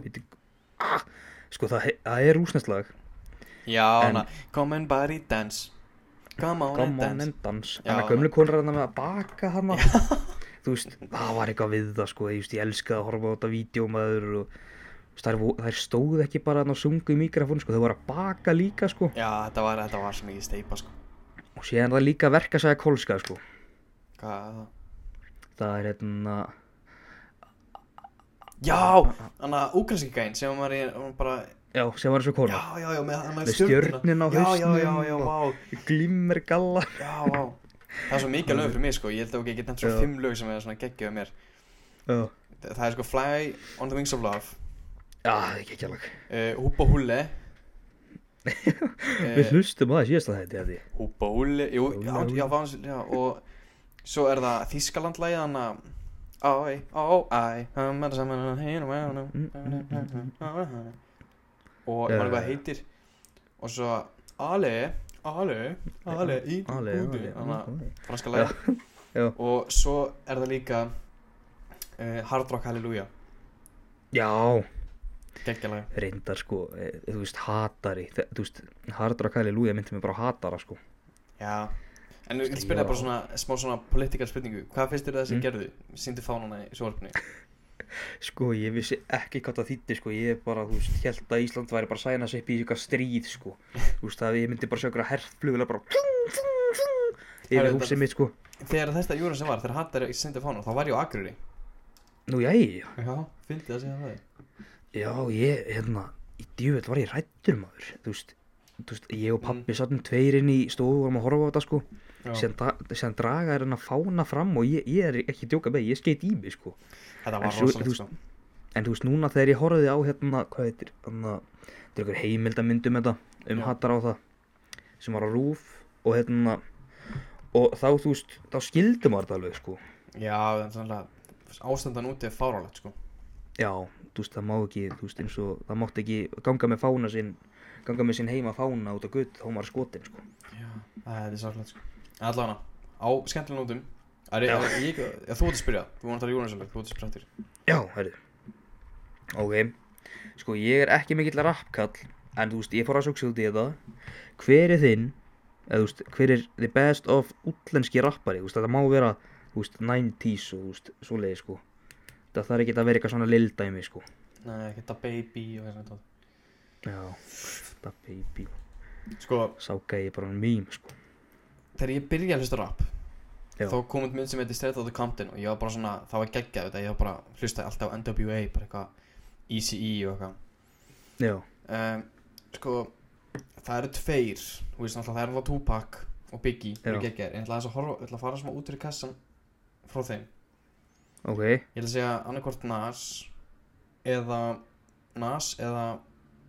[SPEAKER 1] Víti, ah, Sko, það, það er rúsneslag
[SPEAKER 2] Já,
[SPEAKER 1] En-
[SPEAKER 2] hana, come and body dance, come on and
[SPEAKER 1] Come on
[SPEAKER 2] dance.
[SPEAKER 1] and dance
[SPEAKER 2] Já,
[SPEAKER 1] En að gömlu konur hann með að baka hann Þú veist, það var eitthvað við það sko Ég, veist, ég elskaði að horfa á þetta vídjómaður og þú veist, þær, vo- þær stóðu ekki bara þarna og sungu í mikrofón sko, þau voru að baka líka sko
[SPEAKER 2] Já, þetta var, þetta var svo mikið steipa sko,
[SPEAKER 1] og síðan það líka verka sæða kólska sko
[SPEAKER 2] hvað er það?
[SPEAKER 1] það er hérna Ah,
[SPEAKER 2] Já, hana, ukrainski gæn sem var í, hún bara,
[SPEAKER 1] já, sem var þessu
[SPEAKER 2] já,
[SPEAKER 1] kona
[SPEAKER 2] já, já, með hana
[SPEAKER 1] Með stjörnuna á
[SPEAKER 2] Já, já,
[SPEAKER 1] hausnum
[SPEAKER 2] já, já,
[SPEAKER 1] og-
[SPEAKER 2] vá,
[SPEAKER 1] glimmer galla
[SPEAKER 2] já, vá Það er svo mikið lög fyrir mig sko, ég held að ok, ég get nefnt svo
[SPEAKER 1] Já.
[SPEAKER 2] fimm lög sem er svona geggjöð mér
[SPEAKER 1] já,
[SPEAKER 2] Þa- Það er sko Fly on the Wings of Love,
[SPEAKER 1] það er ekki ekki alveg
[SPEAKER 2] uh, Húpa Húlle Eh.
[SPEAKER 1] við hlustum á það síðast að þetta held ég
[SPEAKER 2] Húpa Húli, jú,
[SPEAKER 1] Húlli,
[SPEAKER 2] já,
[SPEAKER 1] húlli.
[SPEAKER 2] já, vans, já, og svo er það Þískalandlæði hann að Æ, ó, æ, hann er saman að hinn og hann og ég maður hvað það heitir og svo Ali, Ale, ale, í
[SPEAKER 1] Ale, ale,
[SPEAKER 2] búti Þannig að
[SPEAKER 1] ale.
[SPEAKER 2] franska lagi
[SPEAKER 1] Já.
[SPEAKER 2] Og svo er það líka uh, Hard Rock Hallelujah
[SPEAKER 1] Já,
[SPEAKER 2] Geggjalagi
[SPEAKER 1] reyndar sko, eh, þú veist, hatari Þe- Þú veist, hardra kæli lúja myndi mig bara á hatara sko
[SPEAKER 2] Já En ég vil
[SPEAKER 1] Skrifa
[SPEAKER 2] spyrja
[SPEAKER 1] á.
[SPEAKER 2] bara svona, smá svona politikal spurningu Hvað finnst þér það sem
[SPEAKER 1] Mm.
[SPEAKER 2] gerðu? Sýndu fánana í sjónvarpinu
[SPEAKER 1] Sko, ég vissi ekki hvað það þýtti sko Ég bara, þú veist, held að Ísland væri bara að sæna sig upp í eitthvað stríð sko Þú veist, að ég myndi bara sjá ykkur að herflugulega bara tling, tling, tling,
[SPEAKER 2] Herra,
[SPEAKER 1] Yfir
[SPEAKER 2] þetta-
[SPEAKER 1] húsið mitt sko
[SPEAKER 2] Þegar þetta júra sem var, þegar hattar sýndu fánana Þá var ég á Akureyri
[SPEAKER 1] Nú, jæja,
[SPEAKER 2] Já, fyndi það sem það var
[SPEAKER 1] já, ég, hérna Í djúvel var ég rættur maður Þú veist, þú veist ég og
[SPEAKER 2] Mm.
[SPEAKER 1] pappi mm. sattum tveirinn í stofu og varum að horfa á þetta sko
[SPEAKER 2] Já.
[SPEAKER 1] sem, dra sem draga er hann að fána fram og ég, ég er ekki að djóka með, ég skeit í mig sko
[SPEAKER 2] Þetta
[SPEAKER 1] En
[SPEAKER 2] var
[SPEAKER 1] svo- þú
[SPEAKER 2] rosalegt
[SPEAKER 1] veist-
[SPEAKER 2] sko
[SPEAKER 1] En þú veist, núna þegar ég horfði á hérna, hvað heitir, hérna, þetta er einhver heimildamynd um þetta, um
[SPEAKER 2] Já.
[SPEAKER 1] hattar á það, sem var á rúf og hérna, og þá, þú veist, þá skildi maður þetta alveg, sko.
[SPEAKER 2] Já, en sannlega ástandan úti er fáránlegt sko
[SPEAKER 1] Já, þú veist, það má ekki, þú veist, eins og, það mátti ekki ganga með fána sinn, ganga með sinn heima fána út á gutt, þá maður skotin, sko.
[SPEAKER 2] Já, það er sorglegt sko Allána, á skemmtilega nótum er,
[SPEAKER 1] Já.
[SPEAKER 2] er, ég, ég, Þú ert að spyrja, þú voru að tala Jónarsalveg, þú ert að spyrja aftur
[SPEAKER 1] Já, herri. Ok, sko, ég er ekki mikill rappkall, en þú veist, ég fór að sjóksa út í þetta. Hver er þinn, eða þú veist, hver er the best of útlenski rappari, þú veist, þetta má vera, þú veist, 90s og þú veist, svoleiði, sko. Það þarf ekki að vera eitthvað svona lildæmi, sko.
[SPEAKER 2] Nei, ekki þetta baby og þess að þetta
[SPEAKER 1] Já, það baby,
[SPEAKER 2] Sko,
[SPEAKER 1] sáka ég bara mým, sko.
[SPEAKER 2] þegar ég byrja að hlusta rap
[SPEAKER 1] Já.
[SPEAKER 2] Þá kom út mynd sem heitir Straight Outta Compton Og ég var bara svona, það var geggjað þetta Ég var bara, hlustaði alltaf á NWA, bara eitthvað ECE og eitthvað
[SPEAKER 1] Já,
[SPEAKER 2] um, Sko, það eru tveir Þú veist, náttúrulega það eru það Tupac og Biggie Það eru
[SPEAKER 1] Já.
[SPEAKER 2] geggjaðir, en ég ætla aðeins að horfa- ég ætla að fara smá út fyrir kassan Frá þeim
[SPEAKER 1] ok,
[SPEAKER 2] Ég ætla að segja annarkvort Nas eða Nas eða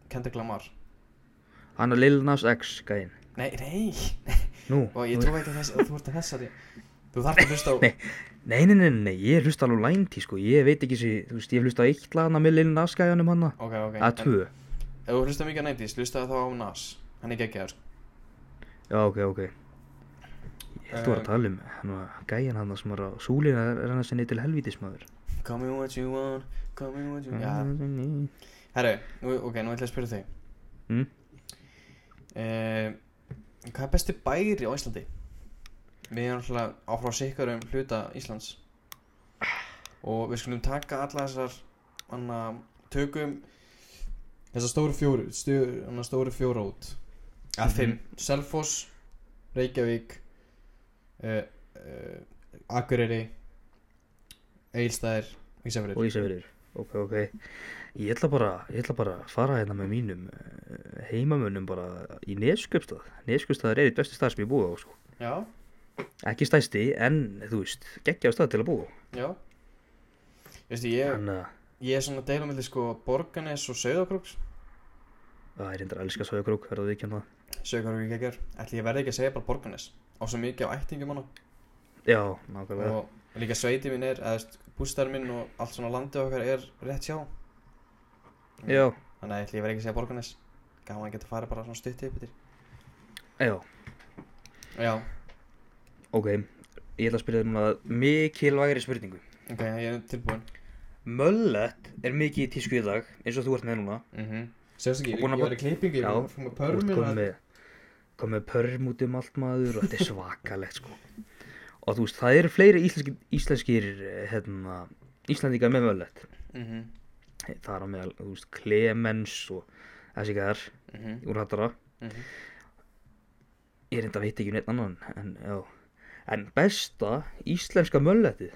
[SPEAKER 2] Kendrick Lamar
[SPEAKER 1] hann er Lil Nas X, gæinn.
[SPEAKER 2] Nei, nei,
[SPEAKER 1] Nú,
[SPEAKER 2] og ég
[SPEAKER 1] nú-
[SPEAKER 2] trúi ekki að, þess, að þú ert að þessari Þú þarf að hlusta á
[SPEAKER 1] Nei. Nei, nei, nei, nei, nei, ég hlusta alveg lænti, sko, ég veit ekki þessi, þú veist, ég hlusta á eitt lagana með Lil Nas gæjanum hana,
[SPEAKER 2] Ok, ok
[SPEAKER 1] að tvö.
[SPEAKER 2] En Ef þú hlusta mikið á 90s, hlusta þá á Nas Hann er geggjaður sko
[SPEAKER 1] Já, ok, ok. Ég held að vera
[SPEAKER 2] Eh,
[SPEAKER 1] að tala um hana, gæjan hann sem var á súlina er er hann að sinni til helvítis maður.
[SPEAKER 2] Call me what you want, call me what you want Já, herru, nú, ok, nú ætla ég að spyrja þig
[SPEAKER 1] Mm?
[SPEAKER 2] uh, Hvað er besti bæri á Íslandi? Við erum alltaf áfrá sikkur um hluta Íslands Og við skulum taka alla þessar Anna, tökum Þessar stóru fjóru stjö, Anna, stóru fjóra út Að
[SPEAKER 1] Mhm.
[SPEAKER 2] fimm, Selfoss Reykjavík uh, uh, Akureyri Egilstæðir Ísafjörður
[SPEAKER 1] Og Ísafjörður. Ok, ok. Ég ætla bara, ég ætla bara að fara hérna með mínum eh, heimamönnum bara í Neskjöpstað. Neskjöpstaðar er eitt besti stað sem ég búið á, sko.
[SPEAKER 2] Já,
[SPEAKER 1] Ekki stæsti, en þú veist, geggjaðu stað til að búa á. eh,
[SPEAKER 2] já Veistu, ég,
[SPEAKER 1] Þannig að
[SPEAKER 2] ég er svona að deila mellir sko Borganes og Sauðakróks
[SPEAKER 1] það er reyndar að elska Söðakrók, verður við ekki hann það.
[SPEAKER 2] Sögarvík ekkert Ætli ég verði ekki að segja bara Borganes Á svo mikið á ættingum hana
[SPEAKER 1] Já, nákvæmlega.
[SPEAKER 2] Og líka sveiti minn er eða, Bústar minn og allt svona landið okkar er rétt hjá
[SPEAKER 1] Já,
[SPEAKER 2] Þannig að ætli ég verði ekki að segja Borganes Gaman að geta farið bara svona stutti upp yfir
[SPEAKER 1] já,
[SPEAKER 2] Já,
[SPEAKER 1] ok. Ég ætla að spyrja þér núna mikilvægri spurningu.
[SPEAKER 2] ok, ég er tilbúin
[SPEAKER 1] Möllett er mikið í tísku í dag eins og þú ert með núna
[SPEAKER 2] mm -hmm. Sjást ekki,
[SPEAKER 1] Og búin að
[SPEAKER 2] ég var í klippingu Ég
[SPEAKER 1] Já,
[SPEAKER 2] var með hérna.
[SPEAKER 1] Þú ert
[SPEAKER 2] pörmin
[SPEAKER 1] komið með, komið með pörm út um allt maður og þetta er svakalegt sko og þú veist það eru fleiri íslenski, íslenskir eh, hérna, íslendingar með möllett
[SPEAKER 2] mm -hmm.
[SPEAKER 1] það er á meðal þú veist Clemens og þessi gæðar
[SPEAKER 2] Mm -hmm.
[SPEAKER 1] úr hattara
[SPEAKER 2] Mm -hmm.
[SPEAKER 1] ég reynda veit ekki um neitt annan en, já. en besta íslenska möllettið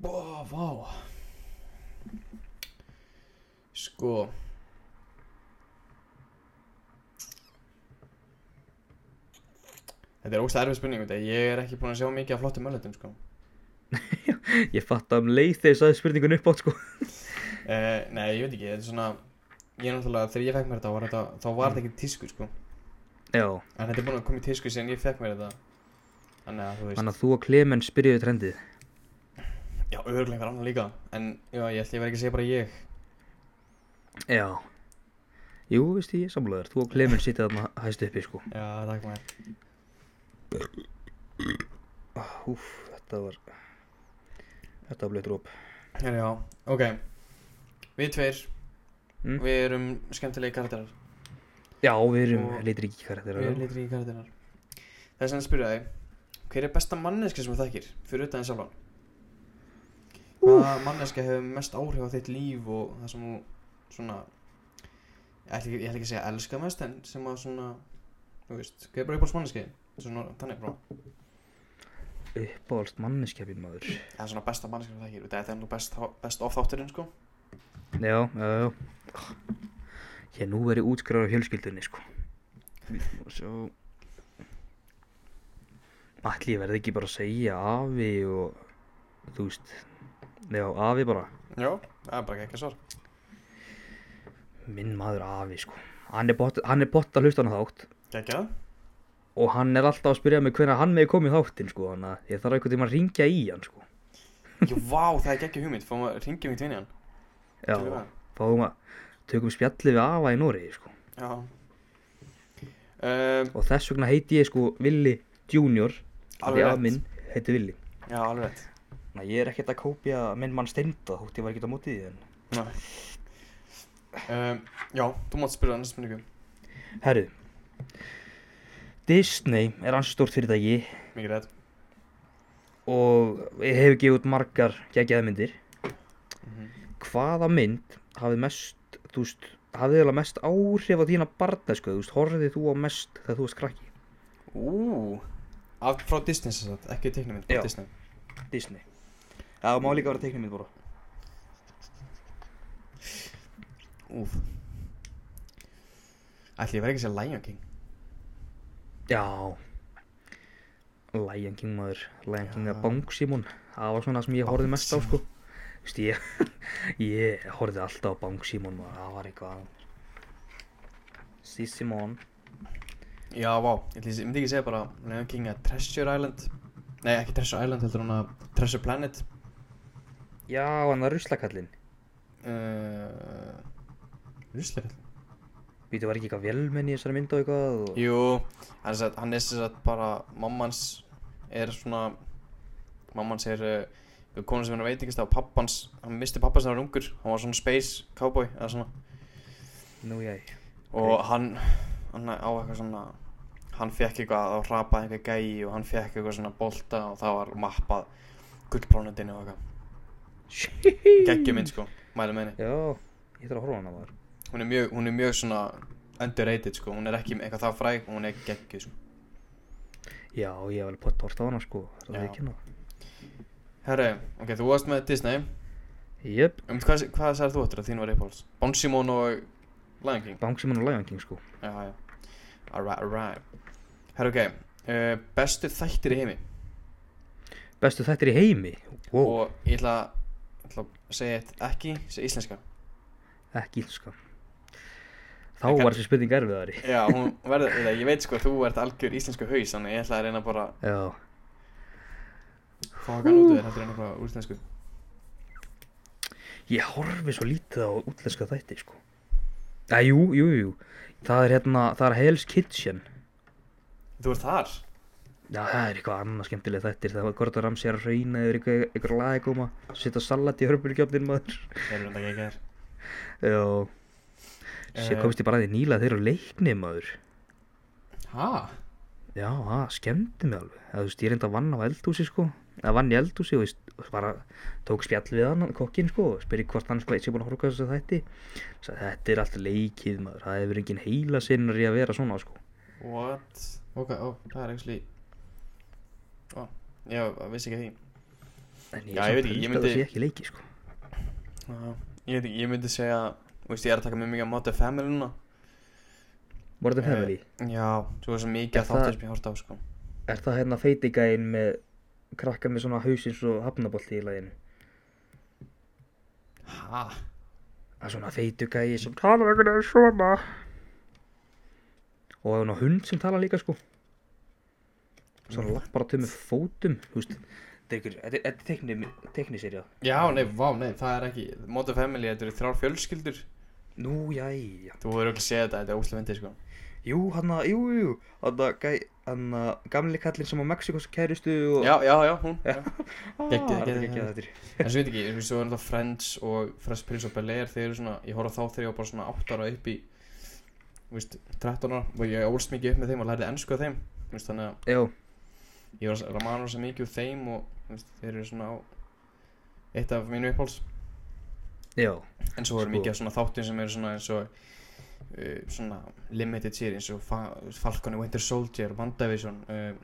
[SPEAKER 2] Bó, vá Sko Þetta er ógst erfið spurning út af því að Ég er ekki búin að sjá mikið af flottum mölletum sko.
[SPEAKER 1] ég fatt að um leið þegar ég sagði spurningun upp átt sko
[SPEAKER 2] uh, Nei, ég veit ekki Þetta er svona Ég er náttúrulega Þegar ég fekk mér þetta, var þetta Þá var þetta ekki í tísku sko.
[SPEAKER 1] já
[SPEAKER 2] En þetta er búin að koma í tísku Síðan ég fekk mér þetta Þannig að þú veist
[SPEAKER 1] þannig að þú og Clemens byrjuðu trendið
[SPEAKER 2] Já, öðruglega einhver annar líka En já, ég ætla ég verið ekki að segja bara ég
[SPEAKER 1] já Jú, veist ég, samlega þér, þú og Clemens sitja þarna hæst uppi, sko.
[SPEAKER 2] Já, takk maður
[SPEAKER 1] Ah, Úf, þetta var, þetta var blöð dróp.
[SPEAKER 2] Herra, Já, ok Við tveir
[SPEAKER 1] Mm.
[SPEAKER 2] Við erum skemmtilegi karakterar
[SPEAKER 1] Já, við erum
[SPEAKER 2] Og-
[SPEAKER 1] litríki karakterar.
[SPEAKER 2] Við erum litri í karakterar Það er sem að spyrja þig Hver er besta manneska sem þú þekkir? Fyrir utan þess alvan Hvaða manneska hefur mest áhrif á þitt líf og það sem þú svona Ég ætla ekki, ég ætla ekki að segja elska mest en sem að svona Þú veist, hver er bara uppáhalds manneski? Svona, þannig bara
[SPEAKER 1] Uppáhaldst manneskjafin maður.
[SPEAKER 2] Það er svona besta manneska sem þú þekkir Þetta er nú best, best of þátturinn sko
[SPEAKER 1] Já, já, já. Ég nú verið útskráður á fjölskyldunni, sko. Svo... Ætli ég verði ekki bara að segja afi og, þú veist, já, afi bara.
[SPEAKER 2] Já, það er bara ekki svar
[SPEAKER 1] Minn maður afi, sko. Hann er bott, hann er bott að hlusta hann þátt
[SPEAKER 2] Gekka
[SPEAKER 1] og hann er alltaf að spyrja mig hvernig hann megi komið þáttinn, sko. Þannig að ég þarf einhvern tíma að ringja í hann, sko.
[SPEAKER 2] Já, vá, það er ekki hugmynd, fáum að um ringja mig til hann
[SPEAKER 1] Já, fáum að tökum spjallið við afa í Noregi, sko.
[SPEAKER 2] Já um,
[SPEAKER 1] Og þess vegna heiti ég, sko, Willi Junior. Því
[SPEAKER 2] Alveg
[SPEAKER 1] að
[SPEAKER 2] rétt
[SPEAKER 1] minn heiti Willi.
[SPEAKER 2] Já, alveg rétt
[SPEAKER 1] Næ, ég er ekkert að kópja minn mann steinda, þótt ég var ekkert á móti því en...
[SPEAKER 2] um, Já, þú mátt spyrja næsta spurningu
[SPEAKER 1] Herru, Disney er ansi stórt fyrirtæki
[SPEAKER 2] Mikið rétt
[SPEAKER 1] og ég hef gefið út margar geggjaða myndir.
[SPEAKER 2] mm
[SPEAKER 1] Mhm. Hvaða mynd hafið mest, þú veist, hafið eiginlega mest áhrif á þína barnesku, þú veist, horfið þú á mest þegar þú varst krakki?
[SPEAKER 2] Ú Af, Frá Disney sem sagt, ekki teiknumynd,
[SPEAKER 1] Já.
[SPEAKER 2] frá Disney
[SPEAKER 1] Disney. Já, það má líka vera teiknumynd bara.
[SPEAKER 2] Úf Ætli, ég verð ekki að segja Lion King
[SPEAKER 1] Já. Lion King maður, Lion King
[SPEAKER 2] Já.
[SPEAKER 1] að bang Simon, það var svona það sem ég horfið mest á sko. Þú veist ég, ég horfið alltaf á bang Simon maður, það var eitthvað. Sí Simon,
[SPEAKER 2] Já, vá, ég ætli- ég myndi ekki segja bara Lion King að Treasure Island Nei, ekki Treasure Island, heldur hún að Treasure Planet
[SPEAKER 1] já hann var ruslakallinn,
[SPEAKER 2] uh, Ruslega
[SPEAKER 1] við þú var ekki eitthvað velmenni í þessari mynd og eitthvað og...
[SPEAKER 2] Jú, hann, sagt, hann er sér að bara mammans er svona mammans er uh, konu sem hann veit ekki stað pappans, hann misti pappans hann var ungur, hann var svona space cowboy eða svona
[SPEAKER 1] Nú ég,
[SPEAKER 2] og
[SPEAKER 1] Ok.
[SPEAKER 2] hann, hann á eitthvað svona hann fekk eitthvað að rapa einhver gæi og hann fekk eitthvað svona bolta og það var mappað gullplánundinu og eitthvað geggjum minn sko, mælu meini
[SPEAKER 1] já, ég þarf að horfa á hana maður.
[SPEAKER 2] hún er mjög, hún er mjög svona underrated sko, hún er ekki eitthvað það fræg og hún er geggjuð sko
[SPEAKER 1] Já, ég hef alveg pott hort á hana sko, það er
[SPEAKER 2] Já.
[SPEAKER 1] ekki hana.
[SPEAKER 2] Herre, ok, þú varst með Disney
[SPEAKER 1] Jöp,
[SPEAKER 2] Um, hvað, hvað sagði þú eftir að þín var uppáhalds? Bon Simon og Lion King?
[SPEAKER 1] bang Simon og Lion King sko.
[SPEAKER 2] Já, já. Alright, alright. Herra, ok. Uh, bestu þættir í heimi.
[SPEAKER 1] Bestu þættir í heimi, wow,
[SPEAKER 2] Og ég ætla, ég ætla að segja eitt ekki, segja íslenska.
[SPEAKER 1] ekki ílska. Þá
[SPEAKER 2] Ég kann-
[SPEAKER 1] var þessi spurning erfiðari.
[SPEAKER 2] Já, hún verður, eða ég veit sko að þú ert algjör íslensku haus, þannig ég ætla að reyna bara
[SPEAKER 1] Já,
[SPEAKER 2] að fá hann út af þér, heldur en eitthvað úr íslensku.
[SPEAKER 1] ég horfi svo lítið á útlenska þætti sko Já, jú, jú, jú Það er hérna, það er Hell's Kitchen
[SPEAKER 2] Þú ert þar?
[SPEAKER 1] Já, það er eitthvað annað skemmtileg þættir Það var Gordon Ramsay er að hrauna yfir eitthvað, eitthvað lagi koma Sitta salat í hörbulgjöfnin maður
[SPEAKER 2] Ég er reynda ekki þér.
[SPEAKER 1] Já Sér
[SPEAKER 2] Eh.
[SPEAKER 1] komst ég bara að því nýla að þeir eru leikni maður
[SPEAKER 2] Hæ?
[SPEAKER 1] Já, það skemmti mig alveg Það, þú veist, ég reyndi að vann á eldhúsi sko Það vann í eldhúsi og ég st- var að tók spjall við hann, kokkin sko og spyrir hvort hann sko sé búin að horfa þess að þætti Sæ, Þetta er allt leikið maður Það hefur engin heila sinnur í að vera svona sko
[SPEAKER 2] What? Ok, ó, það er actually... Ó, ég vissi ekki af því.
[SPEAKER 1] En
[SPEAKER 2] Já, ég veit ekki, ég
[SPEAKER 1] að
[SPEAKER 2] myndi-
[SPEAKER 1] það sé ekki leiki sko
[SPEAKER 2] Já, ég veit ekki, ég myndi segja Þú veist, ég er að taka mjög mikið á móti family núna
[SPEAKER 1] Modern
[SPEAKER 2] Eh,
[SPEAKER 1] Family,
[SPEAKER 2] Já, svo er svo
[SPEAKER 1] Er
[SPEAKER 2] mikið að þáttir
[SPEAKER 1] það-
[SPEAKER 2] sem ég horta á, sko
[SPEAKER 1] er það hérna feitigæinn með krakka með svona hausins og hafnabolti í laginu?
[SPEAKER 2] Hæ?
[SPEAKER 1] Það er svona feitugæi sem tala einhvern veginn svona Og það er svona hund sem tala líka sko Svona lappar að tömu fótum, þú veist Þetta er ykkur- þetta- þetta er tekni- tekniserja
[SPEAKER 2] Já, nei, vá, nei, það er ekki Móti family, þetta eru þrjár fjölskyldur
[SPEAKER 1] Nú, jæja
[SPEAKER 2] Þú hefur ekki séð þetta, þetta er úslega vendið sko
[SPEAKER 1] Jú, hann að, jú, jú Hann að, gæ, hann að, gamli kallinn sem á Mexikos kæristu og Ah,
[SPEAKER 2] Já, já, já, hún já.
[SPEAKER 1] geggjað,
[SPEAKER 2] geggjað,
[SPEAKER 1] geggjað,
[SPEAKER 2] geggjað.
[SPEAKER 1] geggjað þetta
[SPEAKER 2] En svo veit ekki, eins og svo er náttúrulega Friends og Fresh Prince of Bel-Air Þeir eru svona, ég horfði á þá þegar ég var bara svona 8 ára upp í Þú veist, 13 ára Og ég ólst mikið upp með þeim og lærði ennsku af þeim Þú veist, þannig að
[SPEAKER 1] Já,
[SPEAKER 2] ég var að ramana rosa mikið úr þeim Og þú veist, þeir eru svona á Eitt af mínu uppháls
[SPEAKER 1] já,
[SPEAKER 2] En svo eru
[SPEAKER 1] Sko.
[SPEAKER 2] mikið af svona þáttum sem eru svona eins og uh, Svona limited series Eins og Fa Falcon and Winter Soldier, WandaVision uh,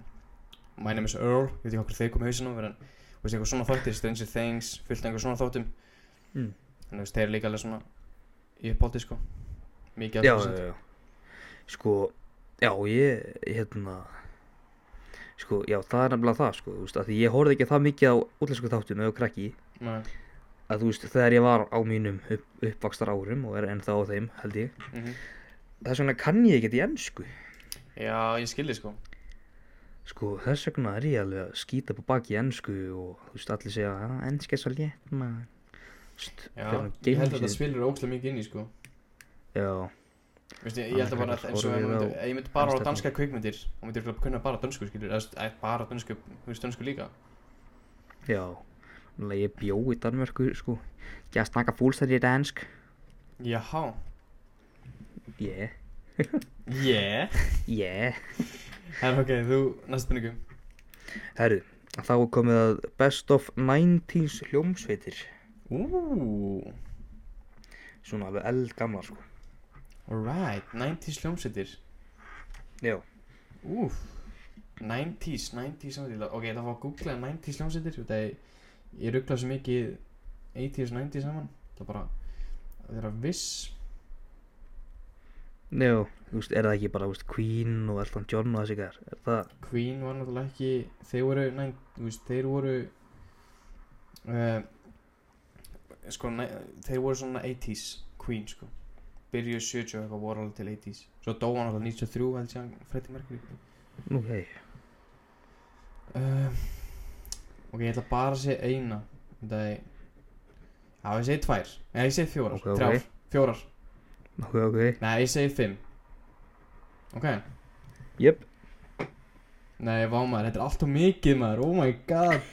[SPEAKER 2] My Name is Earl Ég veit ekki okkur þeir komið hausinn á mér en Þú veist, eitthvað svona þáttir, Stranger Things, fullt af einhver svona þáttum
[SPEAKER 1] mm.
[SPEAKER 2] Þannig að þeir eru líka alveg svona í uppáldi sko Mikið
[SPEAKER 1] já,
[SPEAKER 2] þessu.
[SPEAKER 1] já, já Sko, já, ég, hérna Sko, já, það er nefnilega það, sko, þú veist, að því ég horfði ekki það mikið á útlensku þáttum eða krakki
[SPEAKER 2] Nei,
[SPEAKER 1] að þú veist, þegar ég var á mínum upp, uppvakstar árum og er ennþá á þeim, held ég
[SPEAKER 2] mhm.
[SPEAKER 1] þess vegna kann ég ekkert í ennsku
[SPEAKER 2] Já, ég skildi sko
[SPEAKER 1] sko, þess vegna er ég alveg að skýta upp á baki í ennsku og þú veist, allir segja að ennska er svo létt maður." Þú veist,
[SPEAKER 2] Já,
[SPEAKER 1] fer hann að
[SPEAKER 2] ég
[SPEAKER 1] geyma
[SPEAKER 2] held að
[SPEAKER 1] sig.
[SPEAKER 2] þetta spilur ókslega mikið inn í sko
[SPEAKER 1] já,
[SPEAKER 2] Veistu, ég,
[SPEAKER 1] Hann
[SPEAKER 2] ég held að bara
[SPEAKER 1] kallar
[SPEAKER 2] að eins og ef
[SPEAKER 1] horfið
[SPEAKER 2] maður myndi,
[SPEAKER 1] á
[SPEAKER 2] ef ég myndi bara á
[SPEAKER 1] Amsterdam.
[SPEAKER 2] danska kvikmyndir og myndi örugglega kunna bara dansku skilur eða þú veist, eða bara dansku, þú veist, dansku líka
[SPEAKER 1] já Náttúrulega ég bjó í Danmörku, sko ekki að snakka fólstæði í dansk
[SPEAKER 2] Jaha
[SPEAKER 1] yeah,
[SPEAKER 2] Yeah
[SPEAKER 1] yeah
[SPEAKER 2] En ok, þú, næst spurningu
[SPEAKER 1] herru, þá er komið að best of 90s hljómsveitir
[SPEAKER 2] Úúúú
[SPEAKER 1] svona alveg eldgamlar, sko
[SPEAKER 2] Alright, 90s hljómsveitir
[SPEAKER 1] já,
[SPEAKER 2] Úf 90s, 90s hljómsveitir Ok, það var að googla 90s hljómsveitir Þetta er, ég ruggla svo mikið 80s og 90s saman Það er bara, það er að viss
[SPEAKER 1] já, þú veist, er það ekki bara, þú veist, Queen og Elton John og þessi gær, er það
[SPEAKER 2] Queen var náttúrulega ekki Þeir voru, næ, þú veist, þeir voru uh, Sko, næ, þeir voru svona 80s Queen, sko Byrjuð 70 og eitthvað voru alveg til 80s Svo dó hann alltaf 93, held ég hann Freddy Mercury
[SPEAKER 1] nú, hei
[SPEAKER 2] uh, Ok, ég ætla bara að segja eina Þetta er Já, ég segi tvær Nei, ég segi fjórar
[SPEAKER 1] Ok, ok.
[SPEAKER 2] Þrjár, fjórar
[SPEAKER 1] Ok, ok.
[SPEAKER 2] Nei, ég segi fimm Ok
[SPEAKER 1] Jöp.
[SPEAKER 2] Nei, vá maður, þetta er allt og mikið maður Oh my god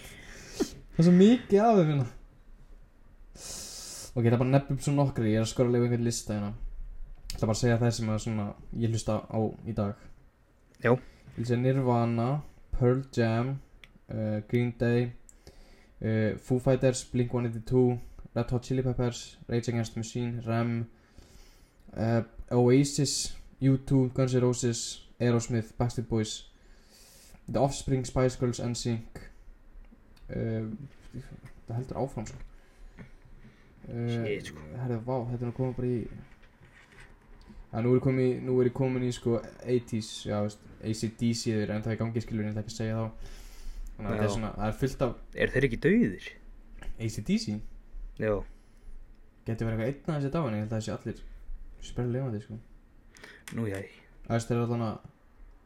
[SPEAKER 2] Það er svo mikið af þeim hérna Ok, það er bara nefnum svo nokkri Ég er að skora að leifa einhvern lista hérna Það er bara að segja það sem að svona Ég hlusta á í dag
[SPEAKER 1] Já.
[SPEAKER 2] Ég vil segja Nirvana, Pearl Jam uh, Green Day uh, Foo Fighters, Blink-182 Red Hot Chili Peppers Rage Against the Machine, Rem uh, Oasis U2, Guns N' Roses Aerosmith, Backstreet Boys The Offspring, Spice Girls, NSYNC uh, Það heldur áfram sko uh,
[SPEAKER 1] Shit, sko.
[SPEAKER 2] Herðu, vá, þetta er nú komið bara í Já, nú er ég komin í, nú er ég komin í sko 80s, já, veist, ACDC þau eru ennþá í gangi skilur, ég ætla ekki að segja þá Þannig að þetta er
[SPEAKER 1] Já.
[SPEAKER 2] svona, það er fullt af
[SPEAKER 1] Er þeir ekki dauðir?
[SPEAKER 2] ACDC
[SPEAKER 1] Já.
[SPEAKER 2] Geti verið eitthvað einn að þessi dag, en ég held að þessi allir Sperri lefandi, sko
[SPEAKER 1] Nú, jæ.
[SPEAKER 2] Það veist, þeir eru allan að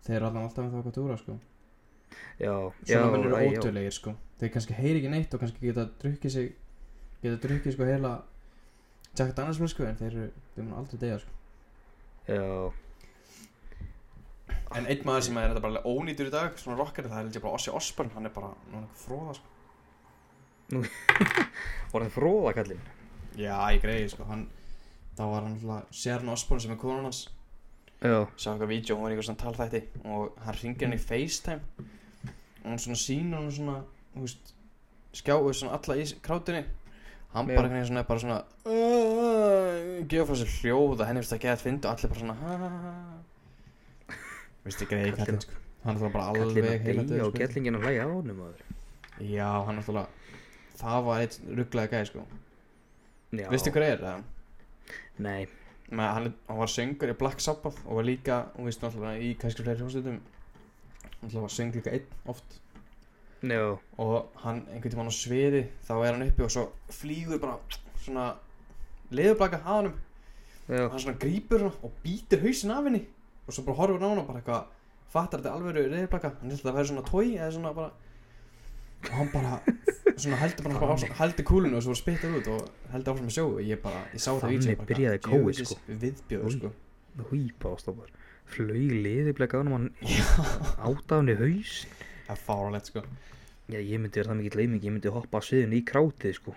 [SPEAKER 2] Þeir eru allan alltaf með það okkur túra, sko
[SPEAKER 1] Já. já,
[SPEAKER 2] svona mennur
[SPEAKER 1] æ, já.
[SPEAKER 2] ódöðlegir sko þeir kannski heyri ekki neitt og kannski geta drukkið sig geta drukkið sko heila Jack Daniels með sko en þeir eru þeir mun aldrei degja sko
[SPEAKER 1] Já.
[SPEAKER 2] en einn maður sem er þetta bara ónýtur í dag svona rockari það er held ég bara Ossi Osborn hann er bara núna fróða sko
[SPEAKER 1] Var það fróða kallinn?
[SPEAKER 2] já ég greiði sko hann þá var hann alltaf Sharon Osborn sem er konan hans
[SPEAKER 1] Já.
[SPEAKER 2] sá eitthvað vídeo hún var í eitthvað svona talþætti og hann ringir henni í FaceTime og hún svona sýnir hann svona þú veist skjáuð svona alla í s- krátinni hann
[SPEAKER 1] Já.
[SPEAKER 2] bara henni svona er bara svona "Æ, æ, æ", gefur frá sér hljóð og henni finnst það ekki að finna og allir bara svona "Ha, ha, ha." veist ekki reyði kallinn sko hann er það bara
[SPEAKER 1] Kallinn
[SPEAKER 2] alveg
[SPEAKER 1] að
[SPEAKER 2] heila
[SPEAKER 1] deyja
[SPEAKER 2] döð
[SPEAKER 1] og
[SPEAKER 2] sko.
[SPEAKER 1] gellingin að hlæja á honum aður.
[SPEAKER 2] já hann er það það var eitt rugglega gæði sko
[SPEAKER 1] Já.
[SPEAKER 2] veistu hver er það?
[SPEAKER 1] Nei.
[SPEAKER 2] Með, hann, hann var söngur í Black Sabbath og var líka, hún veist náttúrulega, í kannski fleiri hljómsveitum náttúrulega var söng líka einn oft
[SPEAKER 1] Já.
[SPEAKER 2] og hann einhvern tímann á sviði þá er hann uppi og svo flýgur bara svona leðurblaka að honum
[SPEAKER 1] Já.
[SPEAKER 2] og hann svona grípur hana og býtir hausinn af henni og svo bara horfir hann á hana og bara eitthvað fattar þetta alveg leðurblaka hann held að það væri svona tói eða svona bara og hann bara svona heldur bara áfram- heldur kúlinu og svo spittar út og heldur áfram að sjóu ég bara, ég sá það
[SPEAKER 1] Þannig byrjaði kóið, sko.
[SPEAKER 2] viðbjóður
[SPEAKER 1] Oj.
[SPEAKER 2] sko
[SPEAKER 1] hýpa ástofar flög liðiblega gánum hann áta hann í haus
[SPEAKER 2] það er fáralegt sko
[SPEAKER 1] já, ég myndi vera það mikill leiming, ég myndi hoppa að sviðinu í krátið sko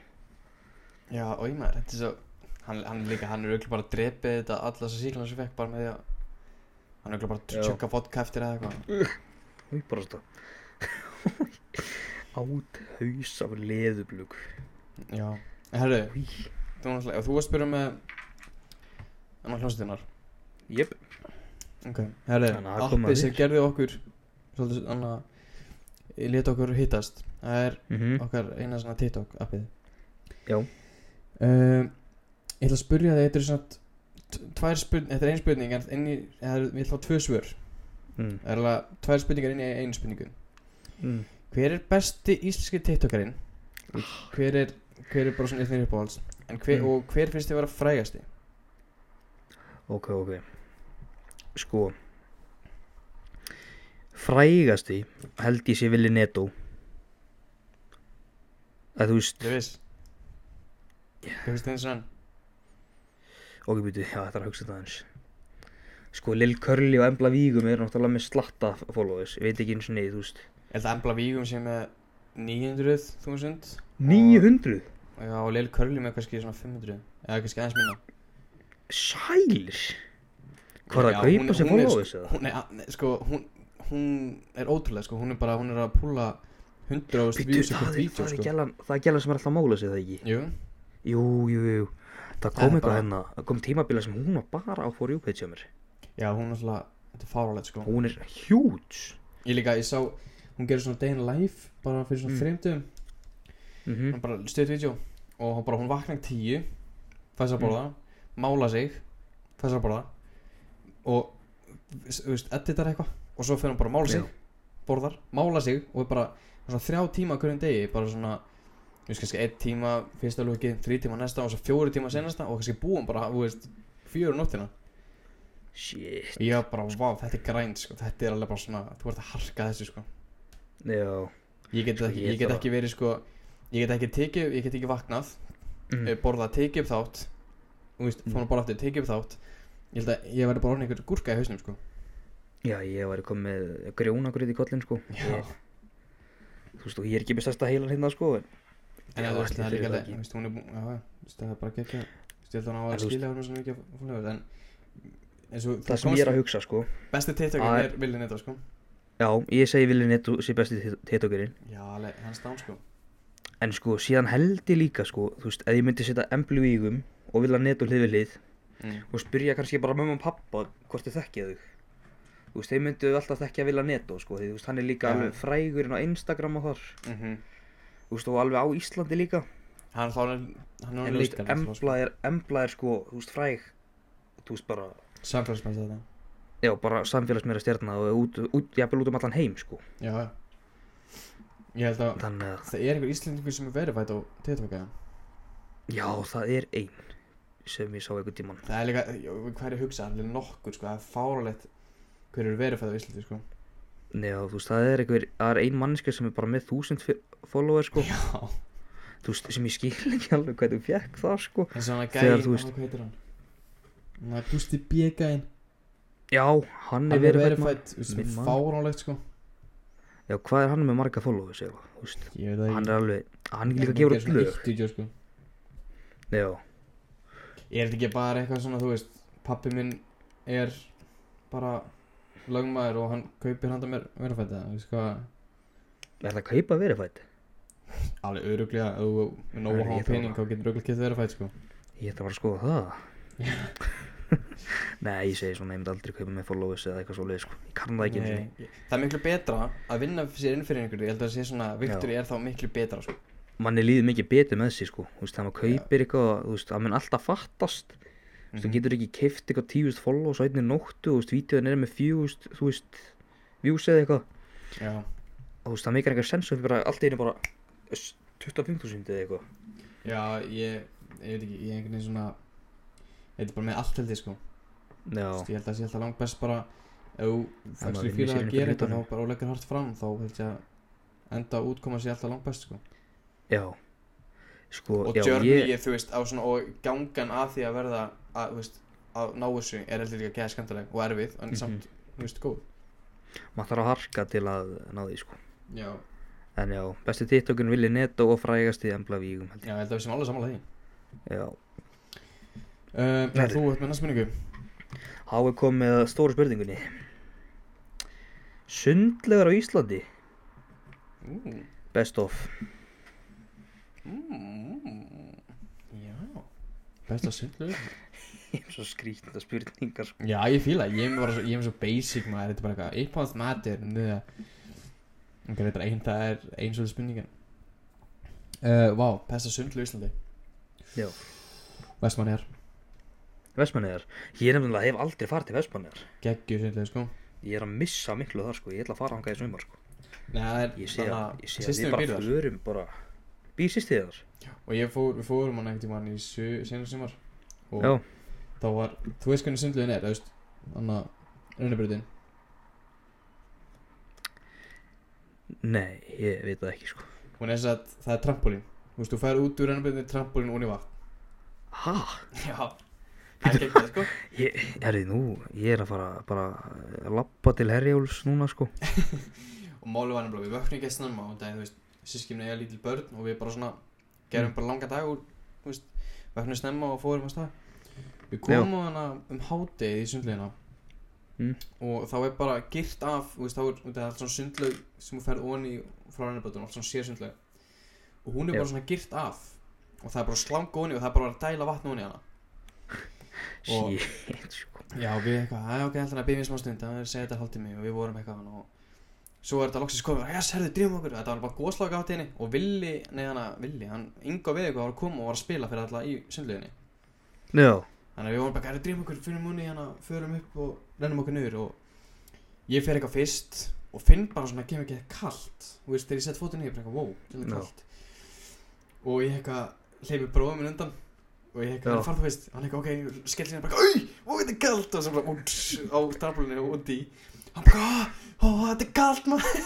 [SPEAKER 2] já, og ég maður, þetta er svo hann, hann líka, hann er auðvitað bara að drepa þetta alla þessar síklarna sem fekk bara með því að hann er auðvitað bara
[SPEAKER 1] Já.
[SPEAKER 2] að tjökka vodka eftir eða eitthvað
[SPEAKER 1] hýpa ástofar át haus af liðublug
[SPEAKER 2] já, en herru, þú var náttúrulega og þú varst að spyrja um, eh, með hann hljómsveitinnar
[SPEAKER 1] jöp,
[SPEAKER 2] ok, herru,
[SPEAKER 1] Þannig að það kom að
[SPEAKER 2] appið sem
[SPEAKER 1] þér.
[SPEAKER 2] gerði okkur svolítið, hann að leta okkur hittast það er
[SPEAKER 1] mhm,
[SPEAKER 2] okkar eina svona TikTok appið
[SPEAKER 1] Já.
[SPEAKER 2] um, Ég ætla að spyrja þig, þetta er svona t- tvær spurning, þetta er ein spurning en inn í, það er, ég ætla að fá tvö svör
[SPEAKER 1] mm,
[SPEAKER 2] það er alveg tvær spurningar inn í einu spurningu
[SPEAKER 1] mm.
[SPEAKER 2] Hver er besti íslenski TikTokarinn? Hver er, hver er bara svona eitthvað uppáhalds? En hver,
[SPEAKER 1] Mm.
[SPEAKER 2] og hver finnst þið vera frægasti?
[SPEAKER 1] Ok, ok Sko Frægasti held ég sé villi netó að þú veist
[SPEAKER 2] Ég veist Hvað finnst þið eins og hann?
[SPEAKER 1] ok, býtu, já, þetta er að hugsa þetta aðeins sko, Lil Curly og Embla Vígum er náttúrulega með slatta followers ég veit ekki eins og neði, þú veist
[SPEAKER 2] Ég ætla að Embla Vígum sem er með 900.000
[SPEAKER 1] 900?
[SPEAKER 2] og, já, og Lil Curly með kannski svona 500 eða kannski aðeins minna
[SPEAKER 1] Sælir Hvað er það
[SPEAKER 2] Já,
[SPEAKER 1] að
[SPEAKER 2] hún-
[SPEAKER 1] kaupa sér
[SPEAKER 2] hún er
[SPEAKER 1] followers eða?
[SPEAKER 2] hún er, að- nei, sko, hún, hún er ótrúlega, sko, hún er bara, hún er að púla 100.000
[SPEAKER 1] Býtu,
[SPEAKER 2] views í
[SPEAKER 1] það
[SPEAKER 2] hvert
[SPEAKER 1] er,
[SPEAKER 2] vídeo,
[SPEAKER 1] það er
[SPEAKER 2] sko.
[SPEAKER 1] gælan það er gælan sem er alltaf að mála sig það ekki
[SPEAKER 2] Jú,
[SPEAKER 1] Jú, jú, jú Það
[SPEAKER 2] Það
[SPEAKER 1] kom
[SPEAKER 2] er
[SPEAKER 1] eitthvað
[SPEAKER 2] bara-
[SPEAKER 1] hennar, það kom tímabila sem hún var bara á for you page hjá mér
[SPEAKER 2] já, hún er alltaf, þetta er fáralegt, sko.
[SPEAKER 1] Hún er huge
[SPEAKER 2] Ég líka, ég sá, hún gerir svona day in life, bara fyrir svona
[SPEAKER 1] Mm.
[SPEAKER 2] mm. þreymdum,
[SPEAKER 1] Mhm.
[SPEAKER 2] hún bara stuðt vídeo og hún bara, hún vaknar tíu, fæ sér að borða, mála sig, fæ sér að borða og, þú veist, editar eitthvað og svo fyrir hún bara að mála sig, borðar, mála sig og er bara svona þrjá tíma á hverjum degi bara svona, þú veist kannski einn tíma fyrsta lóki, þrý tíma næsta og svo fjóri tíma senasta og kannski búum bara, þú veist fjöru nóttina
[SPEAKER 1] Shit,
[SPEAKER 2] og ég var bara, vá, þetta er grænt sko, þetta er alveg bara svona, þú ert að harka þessu sko
[SPEAKER 1] já
[SPEAKER 2] ég get,
[SPEAKER 1] Sko,
[SPEAKER 2] ekki,
[SPEAKER 1] ég
[SPEAKER 2] ég get
[SPEAKER 1] þarf að-
[SPEAKER 2] ekki verið sko ég get ekki tekið, ég get ekki vaknað
[SPEAKER 1] mm.
[SPEAKER 2] mm. borðað, tekið upp þátt og þú veist,
[SPEAKER 1] Mm.
[SPEAKER 2] fór að borða aftur, tekið upp þátt ég held að ég verði bara orðin einhver gúrka í hausnum sko
[SPEAKER 1] Já, ég væri komið með grjónagrið í kollin sko
[SPEAKER 2] Já.
[SPEAKER 1] Þú veist, og ég er ekki með stærsta heilan hérna sko En,
[SPEAKER 2] En
[SPEAKER 1] Já,
[SPEAKER 2] það er
[SPEAKER 1] ætli
[SPEAKER 2] það
[SPEAKER 1] þeir
[SPEAKER 2] líka
[SPEAKER 1] það
[SPEAKER 2] leið,
[SPEAKER 1] ekki.
[SPEAKER 2] þú veist, hún er búin, já, já, þú veist, það er bara gekkja, þú veist, ég held að hún á
[SPEAKER 1] En
[SPEAKER 2] að
[SPEAKER 1] þú veist-
[SPEAKER 2] skilja hún svona mikið fólögur, en eins og
[SPEAKER 1] það sem ég er að hugsa sko
[SPEAKER 2] besti
[SPEAKER 1] að-
[SPEAKER 2] TikTokin er Vili Neto, sko.
[SPEAKER 1] Já, ég segi Vili Netto sé besti tétokurinn
[SPEAKER 2] Já, alveg, hans dán, sko.
[SPEAKER 1] En sko, síðan held ég líka sko Þú veist, ef ég myndi setja emblu í ígum Og vilja Netto hlið við hlið
[SPEAKER 2] Mm.
[SPEAKER 1] Og spyrja kannski bara mömmu og pappa hvort þau þekkja þau Þú veist, þeir myndu alltaf þekkja Vila Netto sko Því þú veist, hann er líka
[SPEAKER 2] Já.
[SPEAKER 1] alveg frægurinn á Instagram og þar
[SPEAKER 2] Mm
[SPEAKER 1] Þú veist, og alveg á Íslandi líka
[SPEAKER 2] Hann þá, hann hann
[SPEAKER 1] En
[SPEAKER 2] er
[SPEAKER 1] þú veist,
[SPEAKER 2] líka,
[SPEAKER 1] embla er, embla er sko, þú veist, fræg Þú veist, bara
[SPEAKER 2] samfélagsmæst þetta.
[SPEAKER 1] Já, bara samfélagsmiðra stjarna og er út, út, jafnvel út um allan heim, sko.
[SPEAKER 2] Já, já. Ég held að
[SPEAKER 1] Þannig að,
[SPEAKER 2] það er einhver íslendingur sem er verified á TikTokin.
[SPEAKER 1] já, það er ein sem ég sá einhvern tímann.
[SPEAKER 2] Það er líka, hver er hugsað, það er nokkur, sko, það er fáralegt hver eru verified á Íslandi, sko.
[SPEAKER 1] Nei, já, þú veist, það er einhver, það er ein manneska sem er bara með þúsund follower, sko.
[SPEAKER 2] Já.
[SPEAKER 1] Þú veist, sem ég skil ekki alveg hvað þú fekk það, sko.
[SPEAKER 2] Eins og hann að
[SPEAKER 1] Þegar
[SPEAKER 2] gæði,
[SPEAKER 1] þú veist-
[SPEAKER 2] hvað heitir hann? Hann að Gusti B. gæðin.
[SPEAKER 1] Já, hann er
[SPEAKER 2] Hann er
[SPEAKER 1] verið
[SPEAKER 2] verið
[SPEAKER 1] fætt maður.
[SPEAKER 2] fætt, þú veist,
[SPEAKER 1] Minn maður.
[SPEAKER 2] fáránlegt sko
[SPEAKER 1] Já, hvað er hann með marga follower, segja það, þú veist.
[SPEAKER 2] Ég veit það
[SPEAKER 1] Hann er alveg, hann er líka að
[SPEAKER 2] gerir
[SPEAKER 1] gefa upp
[SPEAKER 2] svona
[SPEAKER 1] lög.
[SPEAKER 2] eitt vídeo, sko.
[SPEAKER 1] Nei, já,
[SPEAKER 2] Er þetta ekki bara eitthvað svona, þú veist Pappi minn er bara lögmaður og hann kaupir handa mér verðfætt eða, þú veist hvað
[SPEAKER 1] er það að kaupa verið fætt?
[SPEAKER 2] Alveg öruglega, ef þú er
[SPEAKER 1] Herri,
[SPEAKER 2] nógu
[SPEAKER 1] ég
[SPEAKER 2] háan
[SPEAKER 1] þarf
[SPEAKER 2] pening þá getur öruglega getið verðfætt sko
[SPEAKER 1] Ég ætla bara að skoða það. Nei, ég segi svona, ég myndi aldrei kaupa með followers eða eitthvað svo sko. Ég kann það ekki eins og
[SPEAKER 2] Nei, ég- Það er miklu betra að vinna sér inn fyrir einhverju Ég held að það sé svona, Viktor er þá miklu betra sko
[SPEAKER 1] manni líður mikið betur með sér sko þú veist, það maður kaupir eitthvað, þú veist, það mun alltaf fattast þú veist, þú
[SPEAKER 2] Mhm.
[SPEAKER 1] getur ekki keift eitthvað tíust follows á einni nóttu, þú veist, vítjóðin er með fjúst, þú veist, views eða eitthvað
[SPEAKER 2] Já,
[SPEAKER 1] þú veist, það meikar eitthvað sens og við bara, allt í einu bara s- 25.000 eða eitthvað
[SPEAKER 2] já, ég, ég veit ekki, ég er einhvern veginn svona Þetta er bara með allt held ég sko
[SPEAKER 1] já,
[SPEAKER 2] Þú veist, ég held að það sé alltaf langt best bara ef þú
[SPEAKER 1] maður
[SPEAKER 2] fækst í
[SPEAKER 1] vinnur
[SPEAKER 2] fíla
[SPEAKER 1] sér
[SPEAKER 2] að
[SPEAKER 1] einhvern
[SPEAKER 2] gera eitthvað
[SPEAKER 1] hlutanum.
[SPEAKER 2] þá bara og leggur hart fram þá held ég að enda útkoma sér alltaf langbæst sko.
[SPEAKER 1] já sko,
[SPEAKER 2] og
[SPEAKER 1] já,
[SPEAKER 2] journey,
[SPEAKER 1] ég,
[SPEAKER 2] þú veist, á svona og gangan að því að verða að, þú veist, að ná þessu er alltaf líka geða skandaleg og erfið en
[SPEAKER 1] Mhm.
[SPEAKER 2] samt, þú veist, góð
[SPEAKER 1] maður þarf að harka til að ná því sko
[SPEAKER 2] já,
[SPEAKER 1] en já, besti tiktokun villi netto og frægast í embla vígum held
[SPEAKER 2] já, ég held að við sem alveg samanlega því
[SPEAKER 1] ég já,
[SPEAKER 2] uh,
[SPEAKER 1] Nei.
[SPEAKER 2] þú ert með næst minningu
[SPEAKER 1] þá er komið að stóru spurningunni sundlegar á Íslandi
[SPEAKER 2] mm.
[SPEAKER 1] best of
[SPEAKER 2] Mm. já besta sundlu
[SPEAKER 1] svo skrítna spurningar sko.
[SPEAKER 2] já, ég fíla, ég er bara svo, ég er svo basic maður, þetta er bara eitthvað, uppáhalds matur ok, þetta er ein það er eins og það spurningin uh, vá, besta sundlu í Íslandi
[SPEAKER 1] já,
[SPEAKER 2] vestmannjar,
[SPEAKER 1] Vestmannegar ég nefnilega hef aldrei farið til Vestmannegar
[SPEAKER 2] geggju sundlu, sko
[SPEAKER 1] ég er að missa miklu þar sko, ég ætla að fara hangað í sumar sko
[SPEAKER 2] Nei, það er
[SPEAKER 1] ég sé að, ég sé að við
[SPEAKER 2] systir við
[SPEAKER 1] bara
[SPEAKER 2] byrðar
[SPEAKER 1] förum bara býr sýstið þar
[SPEAKER 2] Og ég fór, við fórum hann ekkert í mann í senu sumar Og
[SPEAKER 1] já,
[SPEAKER 2] þá var, þú veist hvernig sundluðin er, þú veist Þannig að raunabröðin
[SPEAKER 1] nei, ég veit það ekki sko
[SPEAKER 2] Hún er þess að það er trampolín Þú veist, þú fær út úr raunabröðin trampolín og hún í vatn
[SPEAKER 1] ha,
[SPEAKER 2] Já, það er gegn það sko
[SPEAKER 1] ég, herri nú ég er að fara bara að lappa til Herjáls núna sko
[SPEAKER 2] Og málið var nefnilega, við vöknum ekki snemma Og það er, þú veist, sískimni eiga lítil börn Og við bara svona,
[SPEAKER 1] Mm.
[SPEAKER 2] gerum bara langa dag Og, þú veist, vöknum snemma og fórum að stað Við komum á hana um hádegið í sundluðina
[SPEAKER 1] mm.
[SPEAKER 2] og þá er bara girt af þú veist, þá er, út af það er allt svona sundlaug sem hún ferð onni frá rannabötunum, allt svona sér sundlaug og hún er
[SPEAKER 1] Já.
[SPEAKER 2] bara svona girt af og það er bara slang onni og það er bara að dæla vatn onni hana Og-
[SPEAKER 1] shit sko
[SPEAKER 2] já, við eitthvað, það er ok, alltaf að byrja smá stund það er að segja þetta haldið mig og við vorum eitthvað hana og svo er þetta loksins komið, yes, herðu, drifum okkur þetta var bara góðslag átt henni og Villi, nei hana, Villi, hann ynga við eitthvað var að koma og var að spila fyrir alla í sundlauginni
[SPEAKER 1] já,
[SPEAKER 2] Þannig að við vorum bara að drýma okkur, finnum munni hérna, förum upp og rennum okkur niður og ég fer eitthvað fyrst og finn bara svona að kemur ekki kallt og veist, þegar ég sett fótinn niður, bara eitthvað, wow, þetta er
[SPEAKER 1] Já.
[SPEAKER 2] kallt og ég eitthvað hleypi bróðum minn undan og ég
[SPEAKER 1] Já.
[SPEAKER 2] eitthvað, hann farðu fyrst, hann eitthvað, ok, skellir hérna bara, auð, ó, þetta er kallt og svo bara, út, á traflunni og út í hann bara, ó, ó, þetta er kallt maður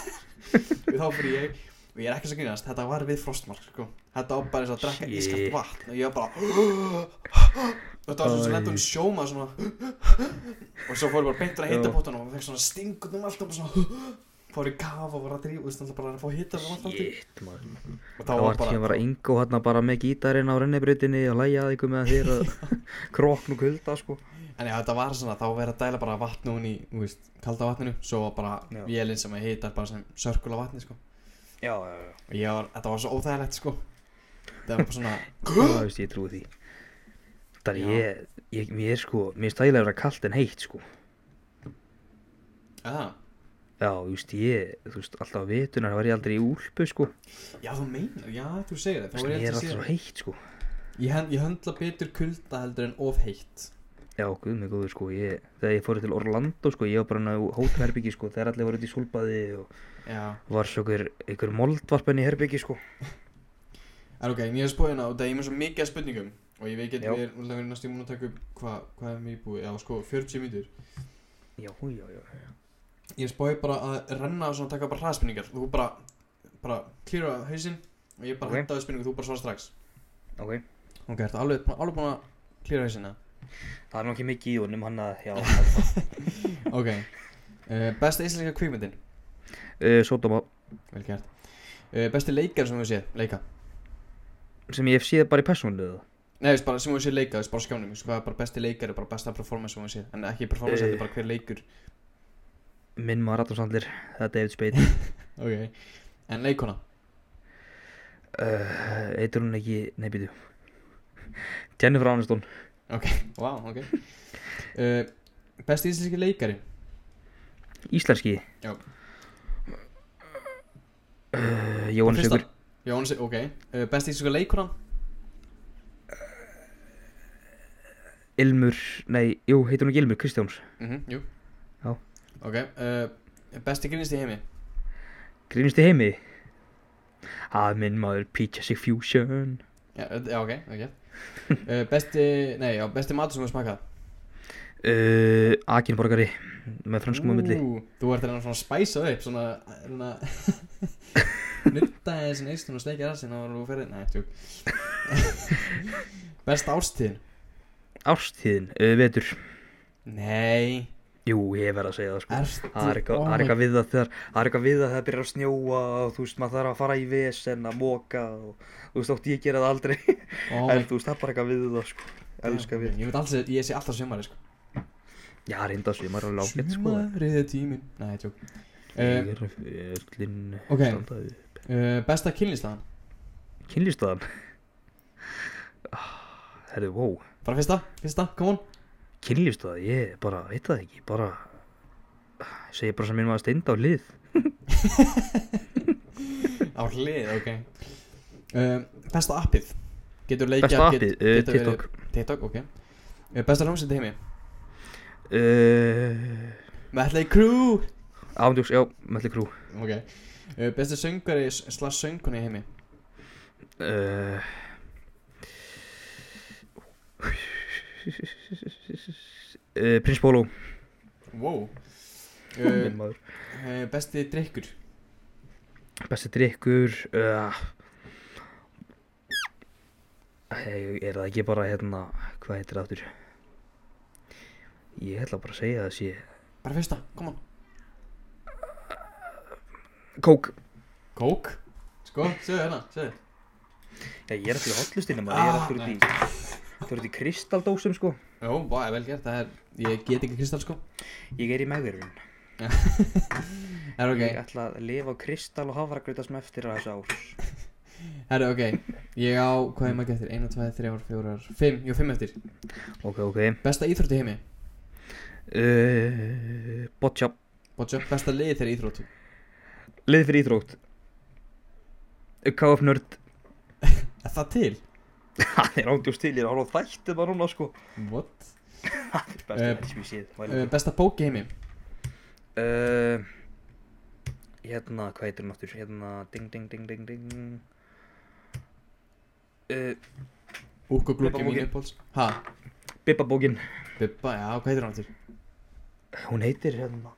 [SPEAKER 2] og þá fyrir ég og ég er ekki svo grínast, þetta var við frostmark sko. þetta var bara eins og að drekka
[SPEAKER 1] Shit.
[SPEAKER 2] ískalt vatn og ég var bara þetta var svona sem
[SPEAKER 1] Æ.
[SPEAKER 2] lenda hún sjóma svona og svo fór ég bara beintur að hitta bóttan og fekk svona stingun um allt og bara svona fór í kaf og var að drífa og stundið bara að fá hitta um allt alltaf
[SPEAKER 1] shit maður
[SPEAKER 2] og
[SPEAKER 1] þá
[SPEAKER 2] þá
[SPEAKER 1] var
[SPEAKER 2] var
[SPEAKER 1] tíma bara
[SPEAKER 2] bara
[SPEAKER 1] Ingo hann bara með gítarinn á rennibrutinni og læja að ykkur með þér að krokn og kulda sko
[SPEAKER 2] en já þetta var svona þá verið að dæla bara vatn hún í þú veist, kalda vatninu svo var
[SPEAKER 1] Já.
[SPEAKER 2] bara vélinn sem ég hitar bara sem sörkula vatni sko
[SPEAKER 1] já, já, já
[SPEAKER 2] og ég var þetta var svo óþægilegt sko það var bara
[SPEAKER 1] það
[SPEAKER 2] svona
[SPEAKER 1] veist ég trúi því þar
[SPEAKER 2] Já.
[SPEAKER 1] ég, ég, mér sko mér stæla að vera kalt en heitt sko
[SPEAKER 2] Eða,
[SPEAKER 1] já, þú veist, ég, þú veist, alltaf á vetunar var ég aldrei í úlpu sko
[SPEAKER 2] já þú meinar, já þú segir
[SPEAKER 1] Þú
[SPEAKER 2] það þá
[SPEAKER 1] veist, ég er
[SPEAKER 2] er ég alltaf
[SPEAKER 1] alltaf svo
[SPEAKER 2] síðan
[SPEAKER 1] heitt sko
[SPEAKER 2] ég, hen- ég höndla betur kulda heldur en of heitt
[SPEAKER 1] já, guð mig góður sko, ég, þegar ég fór til Orlando sko, ég var bara inn á hótelherbyggi sko þegar allir voru út í súlbaði og
[SPEAKER 2] já
[SPEAKER 1] var svo ykkur, ykkur moldvarpenn í herbyggi sko
[SPEAKER 2] En ok, en ég hef spóið hérna og það er mér svo mikið af spurningum og ég veit ekki
[SPEAKER 1] Já.
[SPEAKER 2] að við erum náttúrulega næstum búin að taka upp hvað hva er mér búið, já sko 40 mínútur
[SPEAKER 1] já, já, já, já.
[SPEAKER 2] Ég spóið bara að renna og svona taka bara hraðspurningar þú bara, bara klýra hausinn og ég bara
[SPEAKER 1] Ok.
[SPEAKER 2] okay. hendaði spurningu, þú bara svara strax
[SPEAKER 1] ok,
[SPEAKER 2] Ok, ertu alveg, alveg búin að klýra hausinn eða?
[SPEAKER 1] það er nú ekki mikið í honum hann að, já, alltaf
[SPEAKER 2] Ok, uh, besta íslenska kvikmyndin,
[SPEAKER 1] uh, Sódóma,
[SPEAKER 2] vel gert uh, Besti leikar sem við séð, leika
[SPEAKER 1] sem ég hef séð bara í persónulega
[SPEAKER 2] Nei, veist bara sem við séð leika, veist bara á skjánum, veist hvað er bara besti leikar er bara besta performance sem við séð En ekki performance,
[SPEAKER 1] Eh.
[SPEAKER 2] þetta er bara hver leikur
[SPEAKER 1] minn maður Ratarsandlir, það er David Spade
[SPEAKER 2] Ok En leikona,
[SPEAKER 1] uh, eitur hún ekki, nei, býtu Jennifer Aniston
[SPEAKER 2] Vá, ok uh, Besti íslenski leikari
[SPEAKER 1] Íslenski
[SPEAKER 2] Já.
[SPEAKER 1] uh, Jóhannes
[SPEAKER 2] Fyrsta.
[SPEAKER 1] Haugur
[SPEAKER 2] Jóhannes, ok uh, Besti íslenski leikona
[SPEAKER 1] Ilmur, nei, jú, heitir hún ekki Ilmur, Kristjáns
[SPEAKER 2] mm Jú
[SPEAKER 1] Já.
[SPEAKER 2] Ok uh, Besti grínist í heimi
[SPEAKER 1] Grínust í heimi Að minn maður Peaches Fusion
[SPEAKER 2] Já, uh, já ok, ok uh, Besti, nei, já, besti matur sem þú smakað
[SPEAKER 1] uh, Akinborgari með franskum á milli
[SPEAKER 2] Ú, Þú ert að reyna svona að spæsa upp Svona, svona nutta eða þessin eistun og steikja rassin og þú ferði, nei, tjók besta ástíðin
[SPEAKER 1] Árstíðin, uh, vetur
[SPEAKER 2] nei,
[SPEAKER 1] Jú, ég verð að segja það sko
[SPEAKER 2] ertu
[SPEAKER 1] Það er eitthvað
[SPEAKER 2] oh
[SPEAKER 1] það er
[SPEAKER 2] my-
[SPEAKER 1] eitthvað við það þegar Það er eitthvað við það þegar byrjar að snjóa og þú veist, maður þarf að fara í vesen að móka og þú veist, ótt ég gera það aldrei
[SPEAKER 2] oh my
[SPEAKER 1] En þú veist, það er bara eitthvað við það sko Elskar við
[SPEAKER 2] ég veit alls að ég sé alltaf sumari sko.
[SPEAKER 1] Já, reynda sumar og lágett sko
[SPEAKER 2] sumarið er tímin nei, tjók
[SPEAKER 1] Ég
[SPEAKER 2] uh,
[SPEAKER 1] er öllin
[SPEAKER 2] ok.
[SPEAKER 1] standaði
[SPEAKER 2] uh, besta kynlýstaðan
[SPEAKER 1] Kynlýstaðan Ah, Herðu, wow
[SPEAKER 2] bara fyrsta, fyrsta, come on
[SPEAKER 1] Kynlýstaða, ég bara, veit það ekki Bara, ég segi bara sem minn maður steind á hlið
[SPEAKER 2] á hlið, ok uh, besta appið getur leikja
[SPEAKER 1] Besta appið, uh, TikTok
[SPEAKER 2] TikTok, ok uh, besta hljómsveit í heimi
[SPEAKER 1] uh,
[SPEAKER 2] Metley Crew
[SPEAKER 1] Ándjóks, já, Mötli Krú
[SPEAKER 2] ok uh, besta söngari slags söngunni í heimi
[SPEAKER 1] uh, uh, Prins Pólo
[SPEAKER 2] wow
[SPEAKER 1] Minn
[SPEAKER 2] uh,
[SPEAKER 1] maður
[SPEAKER 2] uh, besti drikkur
[SPEAKER 1] Besti drikkur uh, hey, Er það ekki bara hérna Hvað heitir það aftur Ég ætla bara að segja það sé
[SPEAKER 2] bara fyrsta, come on
[SPEAKER 1] Kók
[SPEAKER 2] kók sko, segðu hérna, segðu
[SPEAKER 1] Ég er eftir hotlustinum
[SPEAKER 2] maður, ég er Ah, aftur út í-
[SPEAKER 1] í Þú ert í kristaldósum sko
[SPEAKER 2] Jó, bá, vel gert, það er, ég get ekki kristall sko
[SPEAKER 1] Ég er í meðverfin
[SPEAKER 2] Það er ok,
[SPEAKER 1] Ég ætla að lifa á kristal og hafragrauta sem eftir er að þessu árs
[SPEAKER 2] það er ok Ég á, hvað er maður eftir, 1, 2, 3, 4, 5, jú, 5 eftir
[SPEAKER 1] Ok, ok
[SPEAKER 2] Besta íþrótt í heimi,
[SPEAKER 1] uh, Boccia
[SPEAKER 2] Botja, besta liði þeirra íþróttu
[SPEAKER 1] Lið fyrir íþrótt KF Nörd
[SPEAKER 2] Er það til?
[SPEAKER 1] Það er ándjúst til, ég er að horfa á þættið bara núna sko
[SPEAKER 2] What?
[SPEAKER 1] Það er best
[SPEAKER 2] Eh,
[SPEAKER 1] að sem ég séð
[SPEAKER 2] Uh,
[SPEAKER 1] væli.
[SPEAKER 2] besta bók í heimi
[SPEAKER 1] uh, Hérna, hvað heitir hún aftur? Hérna, ding, ding, ding, ding, ding uh,
[SPEAKER 2] Úk og glúk
[SPEAKER 1] Bubba
[SPEAKER 2] í mínu
[SPEAKER 1] bókin.
[SPEAKER 2] uppáhalds Ha,
[SPEAKER 1] Bibbabókin
[SPEAKER 2] Bubba, já, hvað heitir hann til?
[SPEAKER 1] Hún heitir hérna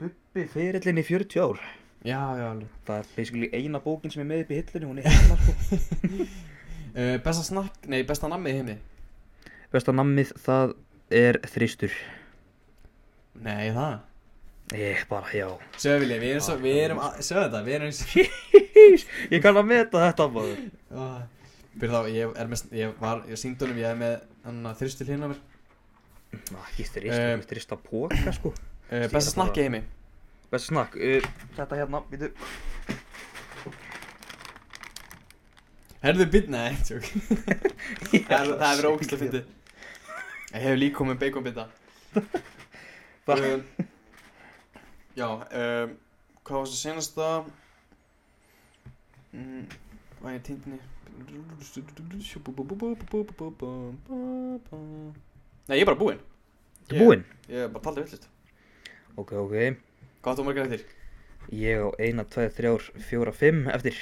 [SPEAKER 1] Bubbi fyrirlinn í 40 ár
[SPEAKER 2] Já, já, alveg
[SPEAKER 1] Það er basically eina bókin sem er með upp í hillunni Hún er hérna sko
[SPEAKER 2] uh, Besta snakk, nei, besta nammi í heimi
[SPEAKER 1] Besta nammið, það er þristur
[SPEAKER 2] Nei, það
[SPEAKER 1] Ég Eh, bara, já
[SPEAKER 2] Sjöðu vilja, við erum svo, við erum, að- sjöðu þetta, við erum eins
[SPEAKER 1] Ég kann að meta þetta maður
[SPEAKER 2] Ah, Fyrir þá, ég er með, ég var, ég síndi honum, ég er með hann að þristil hérna mér
[SPEAKER 1] Ná, ekki
[SPEAKER 2] Eh,
[SPEAKER 1] þrista, þrista póka sko
[SPEAKER 2] uh, Besta snakk í heimi
[SPEAKER 1] Best snakk, uh, þetta hérna, býtu
[SPEAKER 2] Herðu bit, nei, tjók Það er- það er verið ógæslega fyndið Ég hef líka komið beikonbita
[SPEAKER 1] Það-
[SPEAKER 2] um, Já, um, hvað var þessi senasta mm, Hvað er tindinni? Nei, ég er bara búinn
[SPEAKER 1] Þú er búinn?
[SPEAKER 2] Ég er bara taldi villist
[SPEAKER 1] Ok, ok
[SPEAKER 2] Hvað áttu margar eftir?
[SPEAKER 1] Ég á eina, tveið, þrjár, fjóra, fimm eftir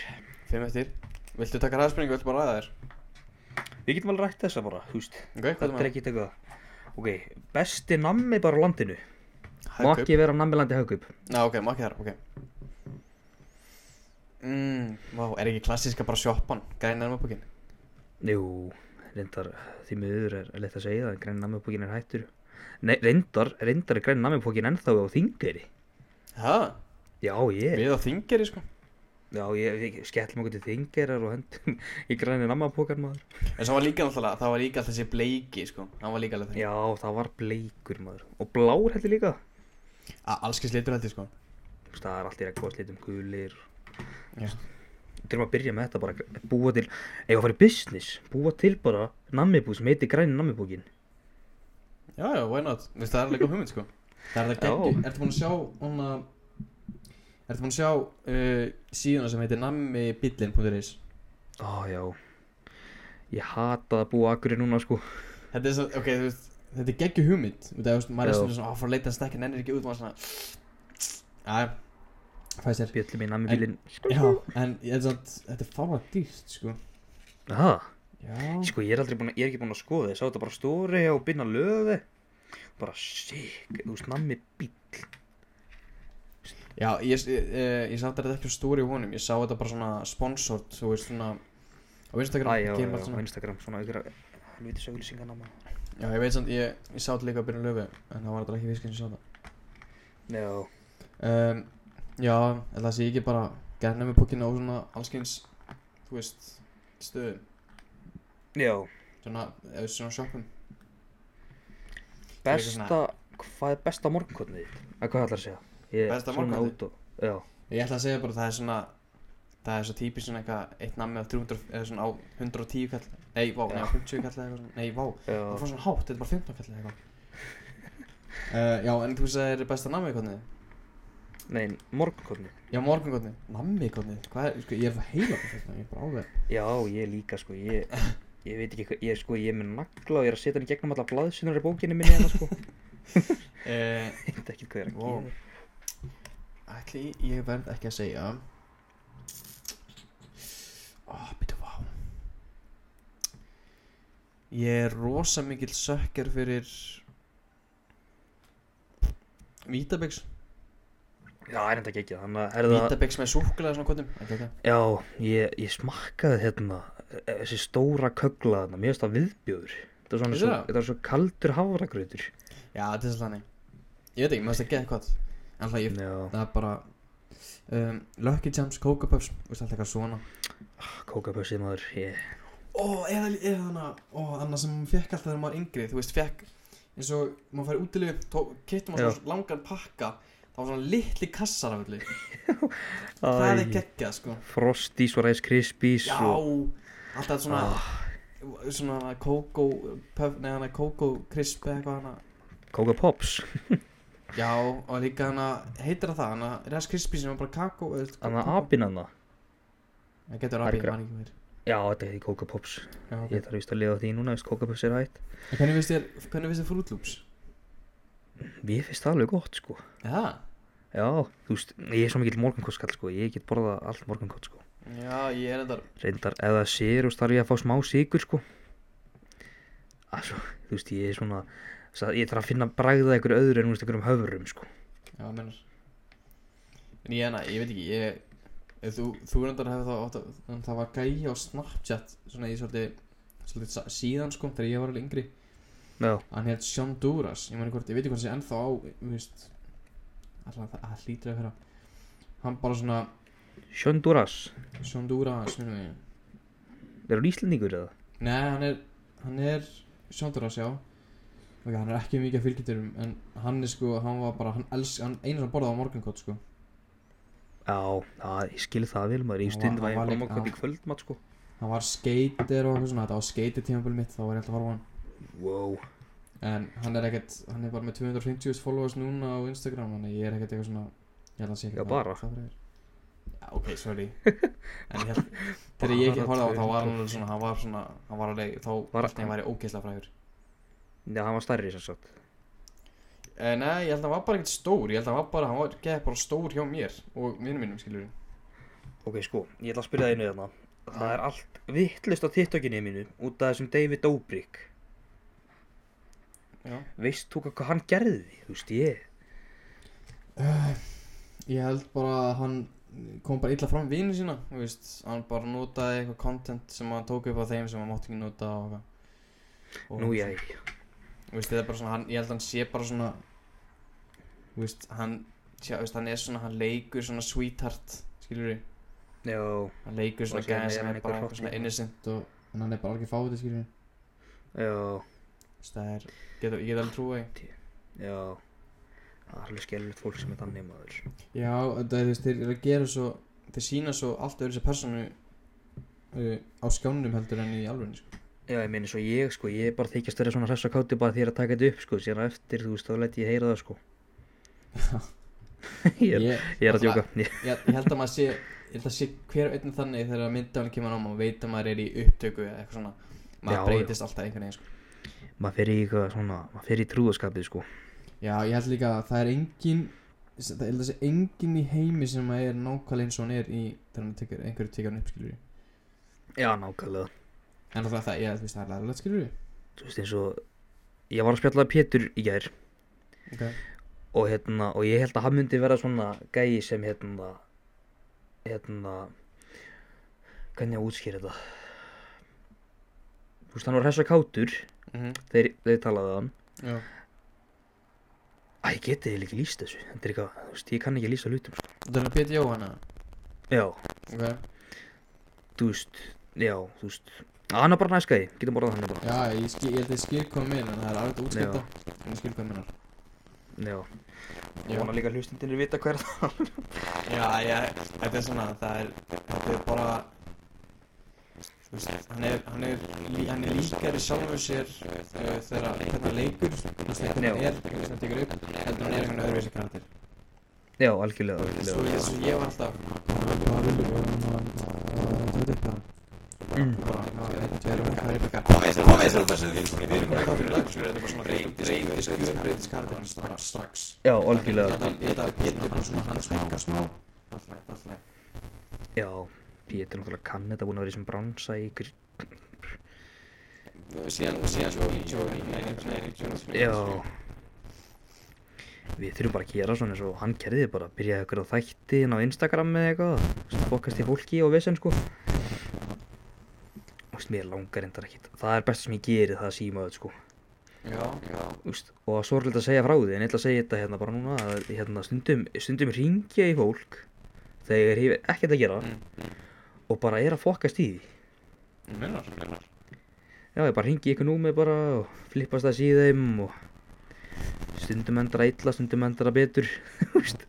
[SPEAKER 2] Fimm eftir Viltu taka ræðspurningu, viltu bara ræða þér?
[SPEAKER 1] Við getum alveg rætt þessa bara, húst
[SPEAKER 2] Ok, hvað
[SPEAKER 1] Þetta er
[SPEAKER 2] er
[SPEAKER 1] ekki tekað Ok, besti nammi bara á landinu Má
[SPEAKER 2] maður?
[SPEAKER 1] ekki vera nammilandi haugkaup
[SPEAKER 2] Já, ok, makki þar, ok Mm, vá, er ekki klassíska bara sjoppan, græn ermabókin
[SPEAKER 1] Jú, reyndar, því miður er leitt að segja það en Græn nammipókin er hættur Nei, reyndar, reyndar er græn nammipókin ennþá á þingari
[SPEAKER 2] Ha?
[SPEAKER 1] Já, ég
[SPEAKER 2] Við á þingeri, sko
[SPEAKER 1] Já, ég, ég skellum okkur til þingarar og hendum í græni nammapókan maður
[SPEAKER 2] En svo var líka náttúrulega, það var líka alltaf þessi bleiki, sko Hann var líka alveg
[SPEAKER 1] Já, það var bleikur maður Og blár heldur líka
[SPEAKER 2] það Allskis litur heldur, sko
[SPEAKER 1] Þú veist, Það er allt í rekkvað slítum gulir
[SPEAKER 2] Já.
[SPEAKER 1] Þurfum að byrja með þetta bara Búa til, ef að fara í business Búa til bara nammibúk sem heitir græni nammibúkin
[SPEAKER 2] Já, já, why not? Vist, það er alveg góð hugmynd, sko Það er það
[SPEAKER 1] Já.
[SPEAKER 2] gegn, ertu búin að sjá hún að Ertu búin að sjá uh, síðuna sem heitir nammibillin.is
[SPEAKER 1] Ó já Ég hata að búa akkurinn núna sko
[SPEAKER 2] Þetta er svo, ok, þú veist Þetta er geggju hugmynd Þú veist, þú veist, maður er
[SPEAKER 1] Já.
[SPEAKER 2] svona svona að fara að leita að stekka Nennir ekki út, maður er svona Æ, fæði sér
[SPEAKER 1] Bjöllum í nammibílinn
[SPEAKER 2] Já, en ég held samt, þetta er fála dýrt, sko
[SPEAKER 1] Það,
[SPEAKER 2] Já
[SPEAKER 1] sko ég er aldrei búin að, ég er ekki búin að skoða þið Sá þetta bara stóri og byrna löði Bara sík, þú veist nammibíl
[SPEAKER 2] Já, ég, ég, eh, ég, ég sá þetta ekki á stóri á honum, ég sá þetta bara svona sponsored, þú veist svona á Instagram,
[SPEAKER 1] Æ, já, já,
[SPEAKER 2] kemur
[SPEAKER 1] já,
[SPEAKER 2] allt
[SPEAKER 1] á
[SPEAKER 2] svona.
[SPEAKER 1] Instagram, svona ykkur helvitis auglýsingarna maður.
[SPEAKER 2] Já, ég veit samt, ég, ég sá þetta líka að byrja löfu, en það var þetta ekki fiskinn sem sá þetta.
[SPEAKER 1] Já,
[SPEAKER 2] Um, já, en það sé ekki bara gerna með bókina á svona allskyns, þú veist, stöðum,
[SPEAKER 1] já,
[SPEAKER 2] svona, eða svona shoppum.
[SPEAKER 1] besta, hvað er besta morgunkotnið þitt? Að hvað ætlar að segja? Ég,
[SPEAKER 2] Besta
[SPEAKER 1] svona
[SPEAKER 2] morgunkotnið?
[SPEAKER 1] út og- Já,
[SPEAKER 2] Ég ætla að segja bara að það er svona, það er svo típist svona eitthvað, eitt nammi á 300, eða svona á 110 kall, nei, vá, nei, á 50 kall eða eitthvað, svona, nei, vá,
[SPEAKER 1] já,
[SPEAKER 2] Það fór svona hátt, þetta er bara 15 kallið eitthvað uh, Já, en þú veist að það er besta nammiðkotnið?
[SPEAKER 1] nei, morgunkotnið.
[SPEAKER 2] Já, morgunkotnið Nammiðkotnið? Hvað er, sko, ég er það heila með þetta, ég er bara á þeir
[SPEAKER 1] Já, ég líka, sko, ég, ég veit ekki, hvað- ég, sko, ég er með nagla og ég er að setja hann í gegnum alla blaðsynur í bókinni minni hérna, sko.
[SPEAKER 2] uh,
[SPEAKER 1] Ég veit ekki hvað ég er að
[SPEAKER 2] Vá.
[SPEAKER 1] gera.
[SPEAKER 2] Ætli, ég verð ekki að segja Ó, oh, býttu, vá Ég er rosa mikill sökkar fyrir Vítabix
[SPEAKER 1] Já, er þetta ekki, þannig að er það...
[SPEAKER 2] Vítabix með súkulega svona kotnum Ekki ekki
[SPEAKER 1] Já, ég, ég smakkaði hérna e- e- þessi stóra kögla þarna, mér finnst það viðbjóður. Þetta er svona
[SPEAKER 2] Finnst
[SPEAKER 1] svo,
[SPEAKER 2] þér það?
[SPEAKER 1] þetta er svo kaldur hafragrautur.
[SPEAKER 2] Já, þetta er svolítið þannig Ég veit ekki, maður veist að geða hvað En alltaf ég,
[SPEAKER 1] Já,
[SPEAKER 2] það er bara um, Lucky Jams, Coca Puffs, þú veist alltaf eitthvað svona
[SPEAKER 1] kókabössið maður, ég,
[SPEAKER 2] Ó, eða, eða hana, ó, hana sem hún fekk alltaf þegar maður var yngri Þú veist, fekk eins og maður fær útilegu Kittum
[SPEAKER 1] Já.
[SPEAKER 2] maður svona langan pakka Það var svona litli kassar af öllu Það er geggjað, sko
[SPEAKER 1] Frostís og Rice Krispies
[SPEAKER 2] Já,
[SPEAKER 1] og...
[SPEAKER 2] alltaf svona Svona hana Coco Puff, nei hana Coco Crisp eða eitthvað hana
[SPEAKER 1] Kóka Pops,
[SPEAKER 2] Já, og líka hana, heitir það það, hana Rice Krispie sem var bara kakó eða-
[SPEAKER 1] þannig
[SPEAKER 2] kakó.
[SPEAKER 1] að apinn hann það.
[SPEAKER 2] Það getur
[SPEAKER 1] Það er
[SPEAKER 2] rapið,
[SPEAKER 1] gra-
[SPEAKER 2] mann ekki meir
[SPEAKER 1] Já, þetta heiti Kóka Pops.
[SPEAKER 2] Já, ok.
[SPEAKER 1] Ég þarf vist að lifa á því núna, veist kókaböss er hætt.
[SPEAKER 2] En Hvernig finnst þér, hvernig finnst þér Fruit Loops?
[SPEAKER 1] Mér finnst það alveg gott, sko.
[SPEAKER 2] Já
[SPEAKER 1] Já, þú veist, ég er svo mikill morgunkottskall, sko. Ég get borðað allt morgunkott, sko.
[SPEAKER 2] Já, ég er þetta
[SPEAKER 1] reyndar ef það sér og starf ég að fá smá sigur sko Alsvo, þú veist ég er svona sa- ég þarf að finna bragða ykkur öðru en þú veist ykkur um höfrum sko
[SPEAKER 2] Já, mennur En ég, hana, ég veit ekki, ég ef Þú, þú reyndar hefur það átt að en Það var gæja á Snapchat Svona í svolítið, svolítið sa- síðan sko Þegar ég var alveg yngri
[SPEAKER 1] já,
[SPEAKER 2] Hann hétt Sean Duras Ég meni hvort, ég veit ekki hvort það sé ennþá á Þú veist Alltaf það það hlýtur að vera Hann bara svona
[SPEAKER 1] Sjönduras,
[SPEAKER 2] Sean Duras minnum ég
[SPEAKER 1] er hún íslendingur eða?
[SPEAKER 2] Nei, hann er, hann er Sjónduras, já Ok, hann er ekki mikið að fylgjuturum En hann er sko, hann var bara, hann elsk Hann einu sem borðaði á morgunkot, sko
[SPEAKER 1] Já, það, ég skil það vel maður, ég
[SPEAKER 2] Hann var-
[SPEAKER 1] stund var
[SPEAKER 2] hann
[SPEAKER 1] ég
[SPEAKER 2] var
[SPEAKER 1] bara
[SPEAKER 2] líka-
[SPEAKER 1] mokkvæmt í
[SPEAKER 2] já.
[SPEAKER 1] kvöldmatt sko
[SPEAKER 2] Hann var skeitir og eitthvað svona Þetta var skeitir tímabili mitt, þá var ég alltaf að horfa á hann
[SPEAKER 1] Wow,
[SPEAKER 2] En hann er ekkert, hann er bara með 250 followers núna á Instagram Þannig að ég er ekkert eitthvað svona Ég held að sé
[SPEAKER 1] Já,
[SPEAKER 2] ekkert
[SPEAKER 1] bara.
[SPEAKER 2] það fyrir Já, ok, sorry En ég held, þegar ég ekki
[SPEAKER 1] Bara
[SPEAKER 2] horfði á hann, þá var
[SPEAKER 1] 200.
[SPEAKER 2] hann alveg svona Hann var svona, hann var alveg, þá
[SPEAKER 1] Var-
[SPEAKER 2] Alltaf hann væri ógeðslega frægur
[SPEAKER 1] já, hann var stærri sem sagt
[SPEAKER 2] Eh, Nei, ég held að hann var bara ekkert stór Ég held að hann var bara, hann var geðið bara stór hjá mér Og vinnum mínum, skilur
[SPEAKER 1] Ok, sko, ég ætla að spyrja það einu þarna Það er allt vittlist á tittökinni mínu út af þessum David Dobrik
[SPEAKER 2] Já
[SPEAKER 1] Veist þú hvað hann gerði? Þú veist ég
[SPEAKER 2] Ég held bara að hann kom bara illa fram vinnu sína, þú veist, hann bara notaði eitthvað content sem hann tók upp á þeim sem hann mátti ekki nota og eitthvað. Og,
[SPEAKER 1] Nú ég,
[SPEAKER 2] Þú veist, þetta er bara svona, hann, ég held að hann sé bara svona, þú veist, hann, tjá, þú veist, hann er svona, hann leikur svona sweetheart, skilur við,
[SPEAKER 1] já,
[SPEAKER 2] hann leikur
[SPEAKER 1] Og
[SPEAKER 2] svona
[SPEAKER 1] síðan
[SPEAKER 2] gæði
[SPEAKER 1] er
[SPEAKER 2] sem
[SPEAKER 1] hann
[SPEAKER 2] er
[SPEAKER 1] einhver
[SPEAKER 2] bara eitthvað svona
[SPEAKER 1] hrottlíka.
[SPEAKER 2] innocent og, en hann er bara alveg fáið, skilur við,
[SPEAKER 1] já
[SPEAKER 2] þú veist, það er, getur, ég get alveg trúið,
[SPEAKER 1] Já, það er alveg skelvilegt fólk sem er þannig maður.
[SPEAKER 2] Já, þetta er þú veist, þeir eru að gera svo þeir sína svo allt öðru sér personu uh, á skjánum heldur en í alvegni sko.
[SPEAKER 1] Já, ég meina eins og ég, sko, ég er bara þykjast verið svona hressa káti bara því ég er að taka þetta upp, sko, síðan á eftir, þú veist, þá læt ég heyra það, sko. ég, er,
[SPEAKER 2] ég,
[SPEAKER 1] ég er að djóka. Ég,
[SPEAKER 2] ég, ég held að maður sé ég held að sé hver og einn þannig þegar myndafalinn kemur á maður veit að maður er í upptöku eða eitthvað svona
[SPEAKER 1] Já,
[SPEAKER 2] maður breytist alltaf einhvern veginn sko.
[SPEAKER 1] maður fer í eitthvað svona, maður fer í trúðaskapið, sko.
[SPEAKER 2] Já, ég held líka að það er engin það ég held að sé engin í heimi sem maður er nákvæmlega eins og hann er í þegar maður tekur einhverju tekur hann upp skilur
[SPEAKER 1] Já, nákvæmlega.
[SPEAKER 2] en alltaf það, ég, þú veist, það er lærlega skilur
[SPEAKER 1] Þú veist, eins og, ég var að spjalla við Pétur í gær
[SPEAKER 2] okay.
[SPEAKER 1] og hérna, og ég held að hann myndi vera svona gæi sem hérna hérna hvernig á að útskýra þetta þú veist, hann var hressa kátur
[SPEAKER 2] Mhm.
[SPEAKER 1] þeir, þeir talaði hann
[SPEAKER 2] Já.
[SPEAKER 1] Æ, ég geti eiginlega ekki lýst þessu þetta er eitthvað, þú veist, ég kann ekki lýsa hlutum sko.
[SPEAKER 2] Þetta er Pétur Jóhanna
[SPEAKER 1] já,
[SPEAKER 2] Ok
[SPEAKER 1] þú veist, já, þú veist að hann er bara næst gæi, getum borðað hann bara
[SPEAKER 2] Já, ég, skil, ég held að ég skil hvað minn En það er alveg útskipta En ég skil hvað minnar
[SPEAKER 1] já,
[SPEAKER 2] Já.
[SPEAKER 1] ég vona líka hlustindir að vita hver það
[SPEAKER 2] Já, já, þetta er svona Það er, þetta er bara Þú veist, hann er, hann er, lí, hann er líkari sjálfur sér uh, þegar að- hvernig hann leikur Þú veist, hvernig hann
[SPEAKER 1] Já.
[SPEAKER 2] er, hvernig hann tekur upp Heldur hann er einhvern öðruvísi karakter
[SPEAKER 1] já, algjörlega,
[SPEAKER 2] Svo
[SPEAKER 1] algjörlega.
[SPEAKER 2] ég, svo ég var alltaf Hvað viljum við um að Hvað er þetta?
[SPEAKER 1] Mm.
[SPEAKER 2] Bara, hvað er þetta? Hvað er þetta? Hvað er þetta? Hvað er þetta? Hvað er þetta? Þetta er bara svona reyndis Reyndis Reyndis Reyndis karakter hans bara strax
[SPEAKER 1] já, algjörlega
[SPEAKER 2] Þetta þetta- þetta er bara svona hans hækka smá Alltaf, alltaf
[SPEAKER 1] já, Pétur náttúrulega kann þetta búin að vera í sem bransa í ykkur
[SPEAKER 2] Síðan, síðan svo í Jóni Nei, Jóni
[SPEAKER 1] Já Við þurfum bara að gera svona eins og hann kerði bara Byrjaði okkur á þætti inn á Instagram eða eitthvað þú veist, Fokast í fólki og vesen sko Þú veist, mér langar endar ekkit Það er besta sem ég geri það að síma öll sko
[SPEAKER 2] Já, já
[SPEAKER 1] Þú veist, Og sorglega að segja frá því En ég ætla að segja þetta hérna bara núna að, hérna, Stundum, stundum ringja í fólk Þegar ég hef ekkert að gera Og bara er að fokast í því
[SPEAKER 2] Minnar, minnar
[SPEAKER 1] Já, ég bara ringi ykkur númi bara og flippast það síðum og stundum endar að illa, stundum endar að betur, þú veist,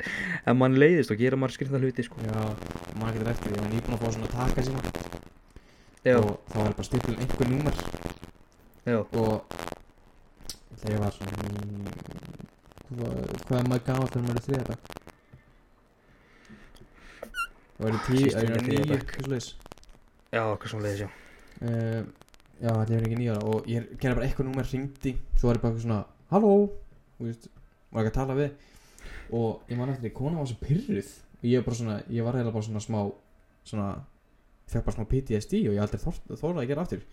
[SPEAKER 1] en mann leiðist og gera maður skrýnda hluti, sko.
[SPEAKER 2] Já, maður getur eftir því Ég var nýbúin að fá svona taka sína
[SPEAKER 1] Já,
[SPEAKER 2] Og þá var ég bara stilt um einhver númer
[SPEAKER 1] já,
[SPEAKER 2] og þegar ég var svona í- hvað, hvað er maður gamall þegar maður er þriða dag það var í tíu,
[SPEAKER 1] Sýstir
[SPEAKER 2] það var
[SPEAKER 1] mín er
[SPEAKER 2] í
[SPEAKER 1] þriðja
[SPEAKER 2] níu
[SPEAKER 1] bekk.
[SPEAKER 2] eitthvað leis
[SPEAKER 1] já, hvað svona leiðist, já.
[SPEAKER 2] uh, já þetta er ekki nýja ára og ég gerði bara eitthvað númer hringdi svo var ég bara eitthvað svona halló og þú veist var ekki að tala við og ég man eftir því kona var svo pyrruð og ég var bara svona ég var eiginlega bara svona smá svona fekk bara smá PTSD og ég aldrei þor- þorði að gera aftur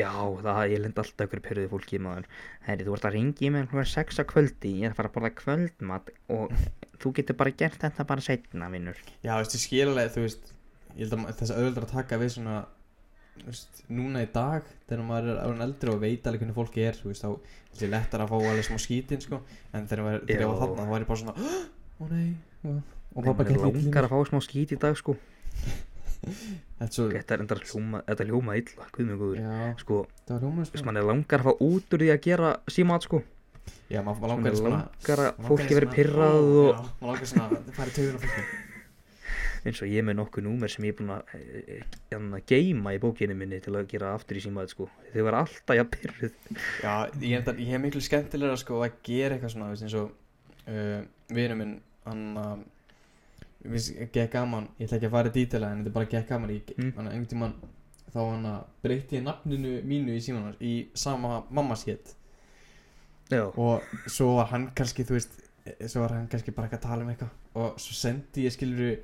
[SPEAKER 1] Já, það, ég lend alltaf ykkur pyrruði fólki í maður. Herri, þú ert að ringi í mig hljóðan sex á kvöldi, ég er að fara að borða kvöldmat og þú getur bara gert þetta bara setna, vinnur.
[SPEAKER 2] Já, veist, ég skil alveg, þú veist Ég held að ma- þess að auðvitað að taka við svona þú veist, Núna í dag Þegar maður er orðin eldri og veit alveg hvernig fólki er Þú veist, þá er ég lettar að fá alveg smá skítin sko. En þegar maður- þegar ég var
[SPEAKER 1] Já.
[SPEAKER 2] þarna Þá var ég bara svona "Hah, Ó nei og- Og pappa
[SPEAKER 1] Mér
[SPEAKER 2] gett í
[SPEAKER 1] langar að fá smá skít í dag, sko.
[SPEAKER 2] Þetta er svo
[SPEAKER 1] Þetta er endar hljóma, þetta hljóma illa, guð mig góður.
[SPEAKER 2] Já,
[SPEAKER 1] Sko,
[SPEAKER 2] það var
[SPEAKER 1] þú
[SPEAKER 2] hljómað
[SPEAKER 1] veist,
[SPEAKER 2] sko.
[SPEAKER 1] mann er langar að fá út úr því að gera símat, sko.
[SPEAKER 2] Já, maður maður
[SPEAKER 1] Langar,
[SPEAKER 2] langar í svona
[SPEAKER 1] langar að
[SPEAKER 2] maður
[SPEAKER 1] fólki
[SPEAKER 2] langar í
[SPEAKER 1] verið
[SPEAKER 2] svona-
[SPEAKER 1] pyrrað
[SPEAKER 2] Ó,
[SPEAKER 1] og
[SPEAKER 2] Já, maður langar svona að fara í töður á fólki
[SPEAKER 1] eins og ég með nokkuð númer sem ég er búinn að eh, eh, hérna, geyma í bókinu minni til að gera aftur í símaðið sko. Þau verða alltaf jafn pyrruð.
[SPEAKER 2] Já, ég er, þetta- ég er miklu skemmtilega sko, að gera eitthvað svona, veist, eins og uh, vinur minn, hann uh, gekk gaman, ég ætla ekki að fara í dítela en þetta er bara gekk gaman, ég,
[SPEAKER 1] Mm.
[SPEAKER 2] mm. hann einhvern tímann þá hann að breytti ég nafninu mínu í símanar í sama mammas hétt
[SPEAKER 1] Já,
[SPEAKER 2] og svo var hann kannski, þú veist, eh, svo var hann kannski bara eitthvað að tala um eitthvað og svo sendi ég skilur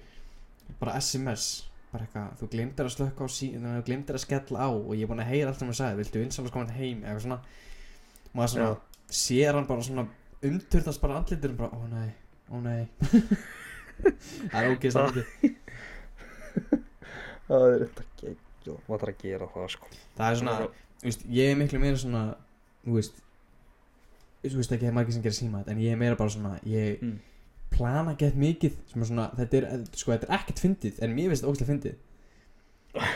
[SPEAKER 2] bara SMS bara eitthvað, þú glemdir að slökka á síðan þú glemdir að skella á og ég er búin að heyra allt sem hann sagði, viltu vinsamlega koma heim eða eitthvað svona, maður svona
[SPEAKER 1] já,
[SPEAKER 2] sér hann bara svona umturðast bara andlitur bara, ó nei, ó nei það er ógeðst
[SPEAKER 1] Ah.
[SPEAKER 2] andlit
[SPEAKER 1] það er þetta geggjó. Hvað þarf að gera það sko?
[SPEAKER 2] það er svona, þú veist, ég er miklu meira svona þú veist þú veist ekki að það er margir sem gerir síma þetta en ég er meira bara svona, ég
[SPEAKER 1] Mm.
[SPEAKER 2] plana gett mikið, sem er svona, þetta er sko, þetta er ekkert fyndið, en mér finnst þetta ógeðslega fyndið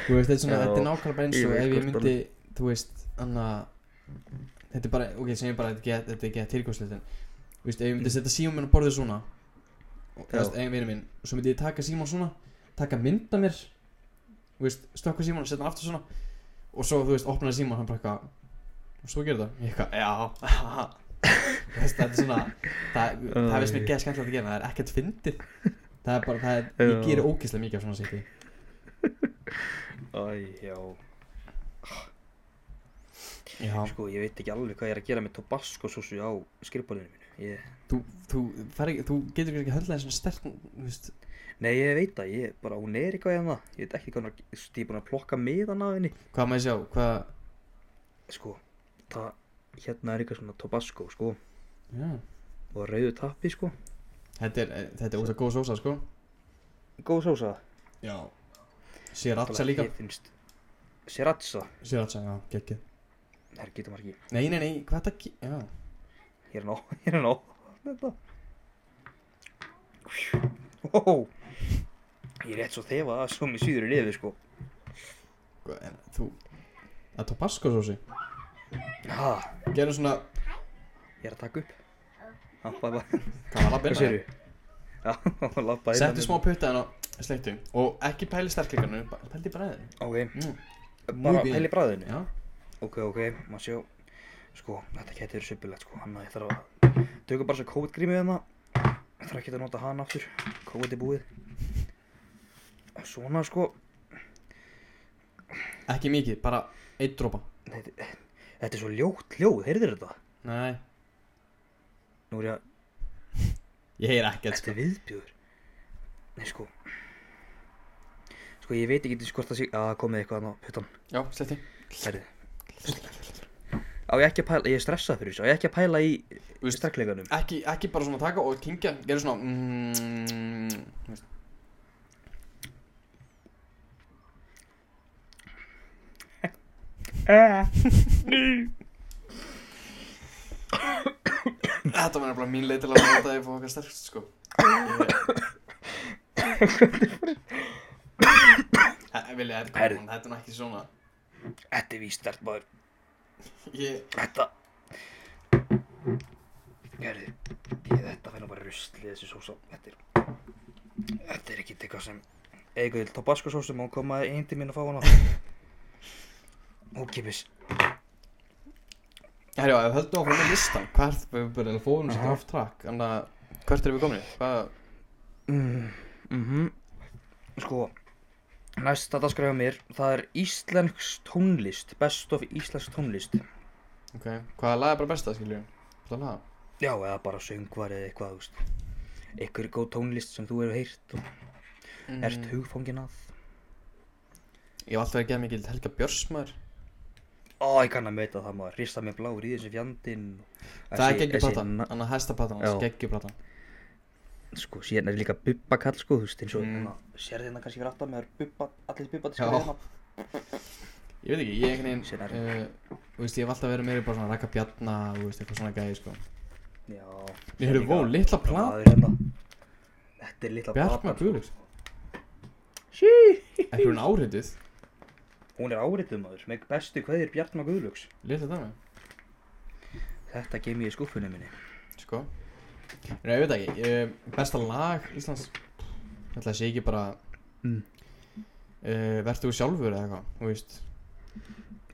[SPEAKER 2] þú veist, þetta er svona,
[SPEAKER 1] Já,
[SPEAKER 2] þetta er nákvæmlega bara eins
[SPEAKER 1] ég
[SPEAKER 2] og
[SPEAKER 1] veit
[SPEAKER 2] ef ég
[SPEAKER 1] hvort
[SPEAKER 2] myndi, þú veist, annað þetta er bara, ok, sem ég bara þetta er ekki- þetta er ekki að tilgjóðslegt en þú veist, ef ég myndi
[SPEAKER 1] Mm.
[SPEAKER 2] setja síma minn á borðið svona og
[SPEAKER 1] Já.
[SPEAKER 2] þú veist, eigin vinur minn og svo myndi ég taka síma svona, taka mynda mér þú veist, stökka síma og setja hann aftur svona og svo, þú veist, opnaði síma hann bara eitthvað og svo gerir það, ég eitthvað, já Þú veist, þetta er svona það, það er veist mér geða skemmtilegt að gera það er ekkert fyndið það er bara, það er, ég
[SPEAKER 1] Já.
[SPEAKER 2] gerir ógeðslega mikið af svona sýtti
[SPEAKER 1] Æ, já.
[SPEAKER 2] já,
[SPEAKER 1] Sko, ég veit ekki alveg hvað ég er að gera með tobaskosósu á skrifbólinu mínu. Ég...
[SPEAKER 2] þú, þú, fer ekki, þú getur ekki höndlaði svona stert þú veist,
[SPEAKER 1] Nei, ég veit það, ég bara, hún er eitthvað hérna. Ég veit ekki hvað hann er, að- ég er búinn að plokka miðan af henni.
[SPEAKER 2] hvað maður sjá, hvað
[SPEAKER 1] Sko, það, hérna er eitthvað svona tobasco, sko.
[SPEAKER 2] já,
[SPEAKER 1] og rauðu tappi sko
[SPEAKER 2] Þetta er, þetta er út af góð sósa sko
[SPEAKER 1] góð sósa
[SPEAKER 2] Já Sriracha líka
[SPEAKER 1] Ég finnst Sriracha
[SPEAKER 2] Sriracha, já, geggja
[SPEAKER 1] Herri, getur maður ekki
[SPEAKER 2] Nei, nei, nei, hvað þetta ge- Já,
[SPEAKER 1] Ég er að ná, ég er að ná Þetta Ó Ég er rétt svo þefa að svo mér síður í liðu sko
[SPEAKER 2] Hvað, en þú Það er tabasco sósi
[SPEAKER 1] Ha,
[SPEAKER 2] Gerðu svona
[SPEAKER 1] ég er að taka upp Já, bæ bæ
[SPEAKER 2] Hvað var að
[SPEAKER 1] Hvað
[SPEAKER 2] byrna
[SPEAKER 1] séru? Já, lappa
[SPEAKER 2] Settu smá putta en á sleiktu Og ekki pæli sterkleikarnu Pæli bræðinu
[SPEAKER 1] Ok,
[SPEAKER 2] mm.
[SPEAKER 1] bara
[SPEAKER 2] bien.
[SPEAKER 1] pæli bræðinu
[SPEAKER 2] Já
[SPEAKER 1] Ok, ok, maður sjá Sko, þetta getur verið söpulegt sko Hanna, ég þarf að Tökum bara svo COVID-grímið hérna Ég þarf ekki að nota hana aftur COVID er búið Og svona sko
[SPEAKER 2] Ekki mikið, bara Eitt dropa
[SPEAKER 1] Þetta, þetta er svo ljótt hljóð, heyrðir þetta?
[SPEAKER 2] Nei
[SPEAKER 1] Nú er ég að,
[SPEAKER 2] Ég heyr ekkert
[SPEAKER 1] þetta
[SPEAKER 2] sko
[SPEAKER 1] er viðbjöður Nei sko Sko, ég veit ekki hvort það sé að komið eitthvað annað puttan
[SPEAKER 2] Já, sleiktu
[SPEAKER 1] Herði Á ég ekki að pæla, ég er stressað fyrir þessu Á ég ekki að pæla í
[SPEAKER 2] Þú veist,
[SPEAKER 1] strekkleikanum
[SPEAKER 2] ekki, ekki bara svona taka og kingja Gerðu svona mm, þú veist. Þetta var nefnilega mín leið til að láta því að fá okkar sterkst sko Ég- Eh, Vilja, þetta er
[SPEAKER 1] Herðu.
[SPEAKER 2] gaman, þetta er nú ekki svona
[SPEAKER 1] Þetta er víst stert maður
[SPEAKER 2] Ég,
[SPEAKER 1] Þetta Herði, ég, þetta fæna bara rusli þessi sósa Þetta er, þetta er ekki eitthvað sem Eikul, tabasco sósa má koma einn til mín að fá hana Ókipis
[SPEAKER 2] herjá, ef við höldum áfram með listan Hvert, við byrjum að fórum sér
[SPEAKER 1] Aha.
[SPEAKER 2] off track Þannig að, hvert erum við komin í? Hvað,
[SPEAKER 1] mm, mm
[SPEAKER 2] Mhm.
[SPEAKER 1] Sko Næsta dagskræða mér Það er íslensk tónlist Best of íslensk tónlist
[SPEAKER 2] ok, hvaða lag er bara besta, skiljum? Hvaða lag?
[SPEAKER 1] Já, eða bara söngvar eða eitthvað þú veist. Einhver góð tónlist sem þú hefur heyrt og
[SPEAKER 2] Mm,
[SPEAKER 1] ert hugfóngin að
[SPEAKER 2] Ég hef alltaf verið að geða mikið Helga Björnsmaður
[SPEAKER 1] Ó, ég kann að meita það maður Rista mér blár í þessu fjandinn
[SPEAKER 2] Það er
[SPEAKER 1] Þessi- þessi
[SPEAKER 2] geggjuplatan,
[SPEAKER 1] na-
[SPEAKER 2] hann að hæsta platan
[SPEAKER 1] Já.
[SPEAKER 2] hans, geggjuplatan
[SPEAKER 1] Sko, síðan er líka bubba kall sko, þú veist, eins og
[SPEAKER 2] Mm.
[SPEAKER 1] mm. Sérði hérna kannski fyrir aftan með bubba, allir bubba hérna.
[SPEAKER 2] Já. Ég veit ekki, ég er einhvern
[SPEAKER 1] Sér er-
[SPEAKER 2] veginn, uh, þú veist, ég hef alltaf verið meira bara svona Raka Bjarna, þú veist, eitthvað svona gæði, sko
[SPEAKER 1] Já
[SPEAKER 2] Ég heyrði, vó, litla platan,
[SPEAKER 1] Maður hérna. Þetta er litla sko.
[SPEAKER 2] Bjarma
[SPEAKER 1] platan
[SPEAKER 2] Guðlíks Ekki hún áhrindið,
[SPEAKER 1] Hún er árituð maður, með bestu kveðir Bjartma Guðlöks
[SPEAKER 2] litla dæmi,
[SPEAKER 1] Þetta gem ég í skúffunni minni
[SPEAKER 2] sko Nei, ég veit ekki, uh, besta lag Íslands, ég ætla að sé ekki bara
[SPEAKER 1] Mm.
[SPEAKER 2] uh, Vertu sjálfur eða eitthvað, þú veist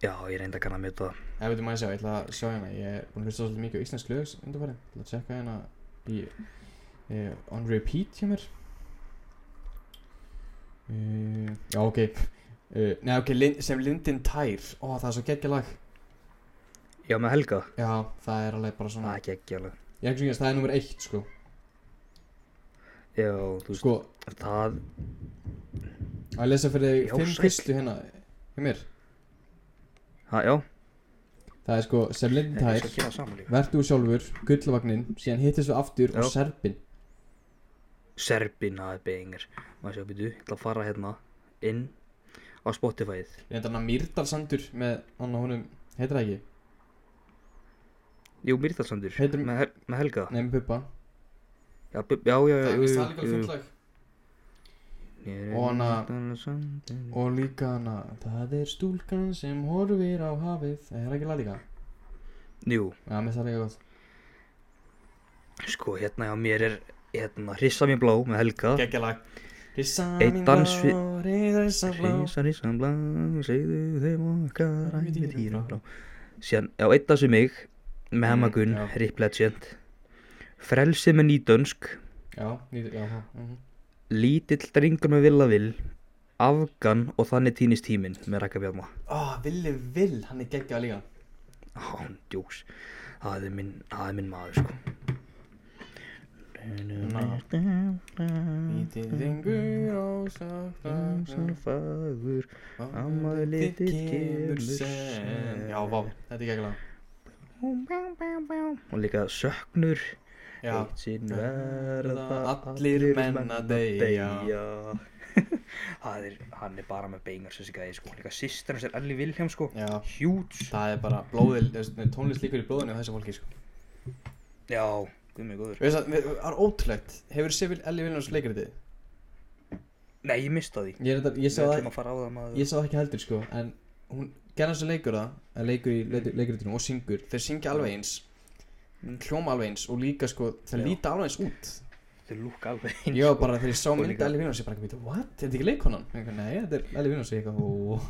[SPEAKER 1] Já, ég reynda kann að meta það
[SPEAKER 2] Ef veitum maður að sjá, ég ætla að sjá hérna, ég er búin að hlusta svolítið mikið á íslensk lög undanfæri, ég ætla að tjekka hérna í, eh, on repeat hjá mér. Uh, já, ok, uh, nei, ok, Lin, sem Lindin Tær, ó, það er svo geggja lag,
[SPEAKER 1] Já, með Helga
[SPEAKER 2] já, það er alveg bara
[SPEAKER 1] Það
[SPEAKER 2] svona,
[SPEAKER 1] er ekki ekki alveg
[SPEAKER 2] ég er ekki svona, það er nummer eitt, sko,
[SPEAKER 1] Já, þú veist,
[SPEAKER 2] sko,
[SPEAKER 1] það
[SPEAKER 2] að lesa fyrir
[SPEAKER 1] Já,
[SPEAKER 2] þig fimm
[SPEAKER 1] sæll.
[SPEAKER 2] fyrstu hérna, hjá mér,
[SPEAKER 1] ha, Já,
[SPEAKER 2] það er sko, sem Lindin
[SPEAKER 1] þetta er
[SPEAKER 2] Tær,
[SPEAKER 1] svo að gera saman líka
[SPEAKER 2] verðu sjálfur, gullavagninn, síðan hittist við aftur og
[SPEAKER 1] Já.
[SPEAKER 2] serpin,
[SPEAKER 1] Serbina er beinir Maður sjá, býtu, ég ætla að fara hérna inn á Spotify-ið
[SPEAKER 2] reynda hann að Myrdalsandur með, hann og honum, heitir það ekki?
[SPEAKER 1] Jú, Myrdalsandur,
[SPEAKER 2] Heitir-
[SPEAKER 1] með, Hel- með Helga
[SPEAKER 2] Nei, með Bubba
[SPEAKER 1] Já, bu- já, já, já jú,
[SPEAKER 2] Það veist
[SPEAKER 1] jú,
[SPEAKER 2] það er líka alveg
[SPEAKER 1] jú.
[SPEAKER 2] fullt lag
[SPEAKER 1] Ég er
[SPEAKER 2] Og hana-
[SPEAKER 1] Myrdalsandur.
[SPEAKER 2] Og líka hana Það er stúlkan sem horfir á hafið Það er ekki lag líka
[SPEAKER 1] Jú,
[SPEAKER 2] Já, með það líka gott
[SPEAKER 1] sko, hérna hjá mér er hérna, Hrissa mér blá með Helga
[SPEAKER 2] Gekkja lag Rissa
[SPEAKER 1] Eitt
[SPEAKER 2] mín
[SPEAKER 1] dans við-
[SPEAKER 2] blá, risa blá
[SPEAKER 1] Hrissa, hrissa blá, segðu þeim okkar
[SPEAKER 2] Æ,
[SPEAKER 1] æmi
[SPEAKER 2] við
[SPEAKER 1] dýra
[SPEAKER 2] dýrum
[SPEAKER 1] blá Síðan, já, eitt af sem mig með
[SPEAKER 2] Mm,
[SPEAKER 1] Hemmagun,
[SPEAKER 2] já.
[SPEAKER 1] Rip Legend Frelsið með nýdönsk
[SPEAKER 2] Já, nýtt, já, já mhm.
[SPEAKER 1] Lítill drengur með vilja vil Afgan og þannig týnist tíminn með Rækka Bjarma
[SPEAKER 2] Ó, Villi Vill, hann er gekkja líka
[SPEAKER 1] Án djóks Það er minn, það er minn maður sko
[SPEAKER 2] Lítið ringur á sakna
[SPEAKER 1] Fagur
[SPEAKER 2] Mhm.
[SPEAKER 1] Amma litið kemur sem.
[SPEAKER 2] Já, vá, þetta er gekkja lag
[SPEAKER 1] Og líka söknur
[SPEAKER 2] Já.
[SPEAKER 1] Eitt sinn verða
[SPEAKER 2] allir menn að deyja.
[SPEAKER 1] deyja. Það er, hann er bara með beinar sem sig sko. Líka sýstir hans er Elli Vilhelm sko.
[SPEAKER 2] Já.
[SPEAKER 1] Hjúts.
[SPEAKER 2] Það er bara blóðið, þú veist, nei, tónlist líkur í blóðinu á þessu fólki, sko.
[SPEAKER 1] Já, guð mig góður.
[SPEAKER 2] Við veist að, við- það er ótrúlegt. Hefur séð vil Ellie Viljáns leikritið?
[SPEAKER 1] Nei, ég mista því.
[SPEAKER 2] Ég, er þetta- ég sá
[SPEAKER 1] Við
[SPEAKER 2] það,
[SPEAKER 1] ætlum að fara á það maður.
[SPEAKER 2] ég sá það ekki heldur, sko, en hún gerða þessu leikur það, en leikur í leik- leikritinu og syngur. Þeir syngja alveg eins,
[SPEAKER 1] Mm.
[SPEAKER 2] hljóma alveg eins og líka, sko, þeir
[SPEAKER 1] Já.
[SPEAKER 2] líta alveg eins út.
[SPEAKER 1] Þau lúka alveg
[SPEAKER 2] Ég var bara, þegar ég sá
[SPEAKER 1] Og
[SPEAKER 2] myndi
[SPEAKER 1] líka-
[SPEAKER 2] Ellie Viljáns, ég bara ekki veit, what? Er þetta ekki leikonan? Ég eitthvað, Nei, þetta er Ellie Viljáns, ég eitthvað, ó,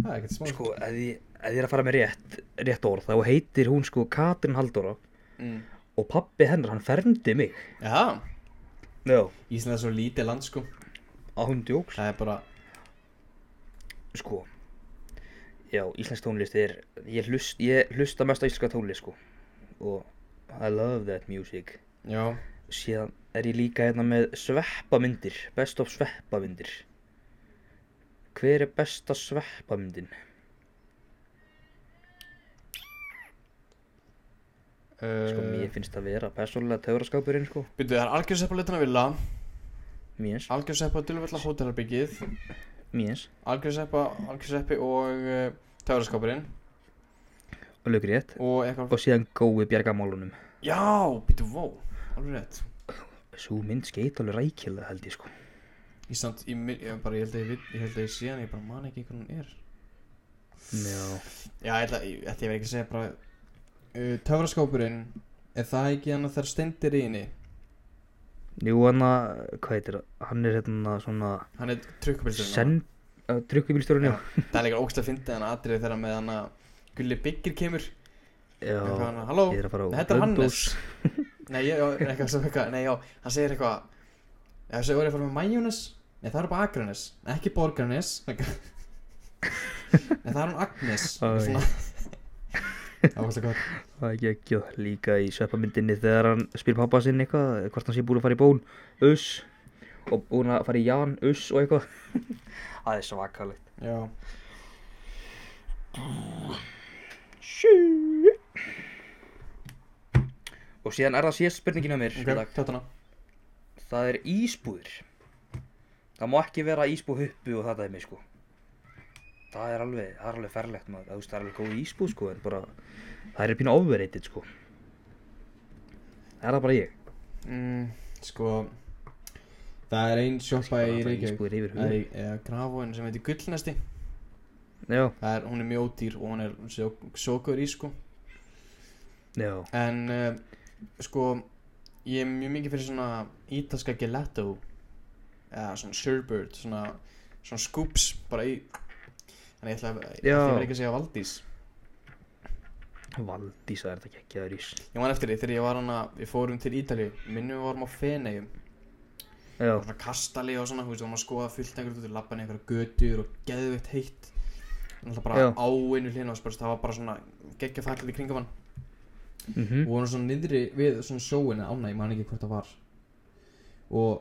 [SPEAKER 2] það er ekkert smá.
[SPEAKER 1] Sko, ef ég, ef ég er að fara með rétt, rétt orð, þá heitir hún sko Katrin Halldóra
[SPEAKER 2] Mm.
[SPEAKER 1] og pappi hennar, hann fermdi mig.
[SPEAKER 2] Já,
[SPEAKER 1] Já.
[SPEAKER 2] Ísland er svo lítið land, sko.
[SPEAKER 1] Á hún djóks.
[SPEAKER 2] Það er bara,
[SPEAKER 1] Sko, já, íslensk tónlist er, ég, hlust, ég hlusta mest á íslenska tónlist sko. Og I love that music.
[SPEAKER 2] já,
[SPEAKER 1] Síðan er ég líka hérna með sveppamyndir, best of sveppamyndir. Hver er besta sveppamyndin? Sko, mér finnst það vera persónulega töfraskápurinn sko.
[SPEAKER 2] Býtu, eh, það er algjörðseppa leitana villa,
[SPEAKER 1] Mér,
[SPEAKER 2] algjörðseppa dulvölda hótelherbyggið,
[SPEAKER 1] mér,
[SPEAKER 2] algjörðseppa, algjörðseppi og uh, töfraskápurinn
[SPEAKER 1] og lögur rétt.
[SPEAKER 2] og eitthvað...
[SPEAKER 1] og síðan gói bjargamálunum
[SPEAKER 2] Já, býtu, vó, alveg rétt.
[SPEAKER 1] svo mynd skeit alveg rækilega held ég sko
[SPEAKER 2] Ísland, ég, mi- ég, bara, ég held að ég, vit- ég held að ég sé hann, ég bara man ekki hvernig hún er.
[SPEAKER 1] já,
[SPEAKER 2] Já, ég held að, ég, ætli ég veit ekki að segja bara, uh, töfraskápurinn, er það ekki hann að það er stendir í henni?
[SPEAKER 1] jú hann að hvað heitir það, hann er hérna svona
[SPEAKER 2] Hann er trukkubilsturinn.
[SPEAKER 1] send, uh, tryggubílstjórn já,
[SPEAKER 2] Það er líka ógstlega fyndið hann atrið þegar með hann að Gulli Byggir kemur.
[SPEAKER 1] já,
[SPEAKER 2] Eitthvað hann að, halló,
[SPEAKER 1] ég er að fara á
[SPEAKER 2] Þetta er Hannes
[SPEAKER 1] Blönduós."
[SPEAKER 2] Nei, ég, já, eitthvað sem eitthvað Nei, já, hann segir eitthvað Já, þessu voru að fara með Majónes Nei, það er bara Akranes Ekki Borgarnes eitthvað. Nei, það er hún Agnes
[SPEAKER 1] Æ.
[SPEAKER 2] Svona Það var alltaf gott
[SPEAKER 1] það er ekki ekki líka í sveppamyndinni þegar hann spyr pappa sinn eitthvað hvort hann sé búin að fara í bón, uss og búin að fara í Jan, uss og eitthvað það er svakalegt
[SPEAKER 2] Já
[SPEAKER 1] og síðan er það síðast spurningin á mér í dag.
[SPEAKER 2] Ok, tjóttana
[SPEAKER 1] það er ísbúðir það má ekki vera ísbúð huppu og það dæmi sko það er alveg, það er alveg ferlegt maður það, það er alveg góð ísbúð sko en bara það er pínu overrated sko það er það bara ég
[SPEAKER 2] mm, Sko Það er ein sjoppa
[SPEAKER 1] Bara
[SPEAKER 2] í
[SPEAKER 1] það
[SPEAKER 2] Reykjavík
[SPEAKER 1] ísbúðir yfir
[SPEAKER 2] Það
[SPEAKER 1] höfuð
[SPEAKER 2] er grafóin sem heitir Gullnesti
[SPEAKER 1] já,
[SPEAKER 2] Það er, hún er mjög ódýr og hún er sjókur í sko
[SPEAKER 1] já,
[SPEAKER 2] En uh, sko Ég er mjög mikið fyrir svona ítalska gelato Eða svona sherbert Svona, svona scoops Bara í En ég ætla að Ég
[SPEAKER 1] Já.
[SPEAKER 2] ætla ekki að segja Valdís
[SPEAKER 1] Valdís það er þetta ekki að ís
[SPEAKER 2] Ég man eftir því þegar ég var hana Við fórum til Ítalíu Minnum við vorum á Feneyjum
[SPEAKER 1] já,
[SPEAKER 2] Svona kastali og svona Þú veist, við vorum að skoða fullt einhverjum Þú veist, labbaði einhverja götur og geðveitt heitt Það var bara
[SPEAKER 1] Já.
[SPEAKER 2] áinu hlina Það var bara svona geggja fallið í kringum hann
[SPEAKER 1] mhm
[SPEAKER 2] og vorum svona niðri við svona sjóin eða ána, ég man ekki hvort það var og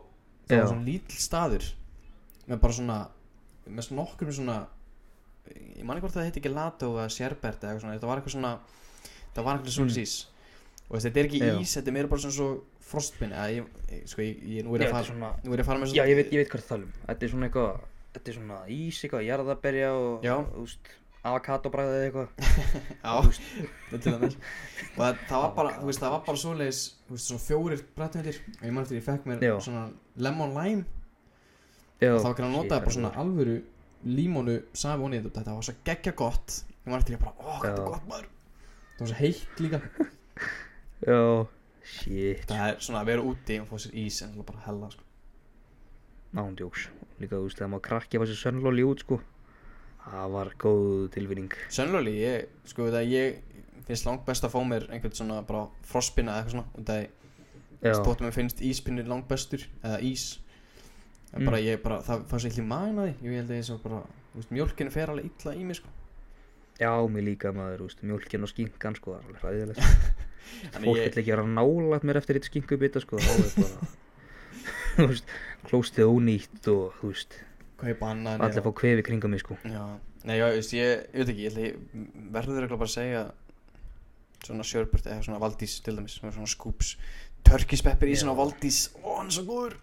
[SPEAKER 2] það
[SPEAKER 1] Já.
[SPEAKER 2] var svona lítill staður með bara svona með svona nokkur með svona ég man ekki hvort það heitti ekki Lato eða Sherbert eða eitthvað svona, þetta var eitthvað svona það var eitthvað svona
[SPEAKER 1] Mm.
[SPEAKER 2] ís og þessi, þetta er ekki
[SPEAKER 1] Já.
[SPEAKER 2] ís, þetta er meira bara svona svo frostbin eða ég, ég- sko, ég, ég nú er
[SPEAKER 1] Já, þetta er
[SPEAKER 2] ég að fara
[SPEAKER 1] svona,
[SPEAKER 2] nú er ég að fara með
[SPEAKER 1] já, ég veit, ég veit hvað það tala um þetta er svona eitthvað, þetta er svona ís eitthvað, jarðaberja og
[SPEAKER 2] Já.
[SPEAKER 1] úst, avokadobræði eða eitthvað
[SPEAKER 2] já, til dæmis. og það, það
[SPEAKER 1] Oh
[SPEAKER 2] var bara, þú veist, það var bara svoleiðis þú veist, svona fjórir bretthundir og ég man eftir ég fekk mér
[SPEAKER 1] Já.
[SPEAKER 2] svona lemon lime
[SPEAKER 1] já,
[SPEAKER 2] þá var ekki að nota
[SPEAKER 1] shit,
[SPEAKER 2] bara svona alvöru límónu safi vonið þetta þetta var svo geggja gott ég var eftir ég bara, ó, hvað þetta
[SPEAKER 1] Já.
[SPEAKER 2] er gott maður það var svo heitt líka
[SPEAKER 1] já, shit
[SPEAKER 2] það er svona að vera úti og fá sér ís en það er bara hella sko.
[SPEAKER 1] nándjóks líka þú veist þegar maður krakki var sér sönnlóli út sko það var góð tilvinning
[SPEAKER 2] sönlóli, ég, sko það ég finnst langt best að fá mér einhvern svona bara frospinna eða eitthvað svona og það
[SPEAKER 1] já,
[SPEAKER 2] er stóttum mér finnst íspinnir langt bestur eða ís en
[SPEAKER 1] Mm.
[SPEAKER 2] bara ég bara, það fannst ekki magna því ég held að ég svo bara, þú veist, mjölkinu fer alveg illa í mig sko
[SPEAKER 1] já, mér líka maður, þú veist, mjólkin og skinkan sko, það er alveg ræðilegt
[SPEAKER 2] Þannig
[SPEAKER 1] fólk
[SPEAKER 2] ég-
[SPEAKER 1] vill ekki vera nálat mér eftir eitt skinkubita sko, þá er bara þú veist, klóstið ónýtt og þú veist,
[SPEAKER 2] kaupa annað en ég-
[SPEAKER 1] allir fá kvefi kringum mig sko
[SPEAKER 2] Já, nei, já, veist, ég, ég veit ekki, ég, ætla- ég verður eitthvað bara að segja svona Sjörbjörn eða svona Valdís til dæmis, sem er svona skúps Turkish pepper í svona valdís Ó, hann er svo góður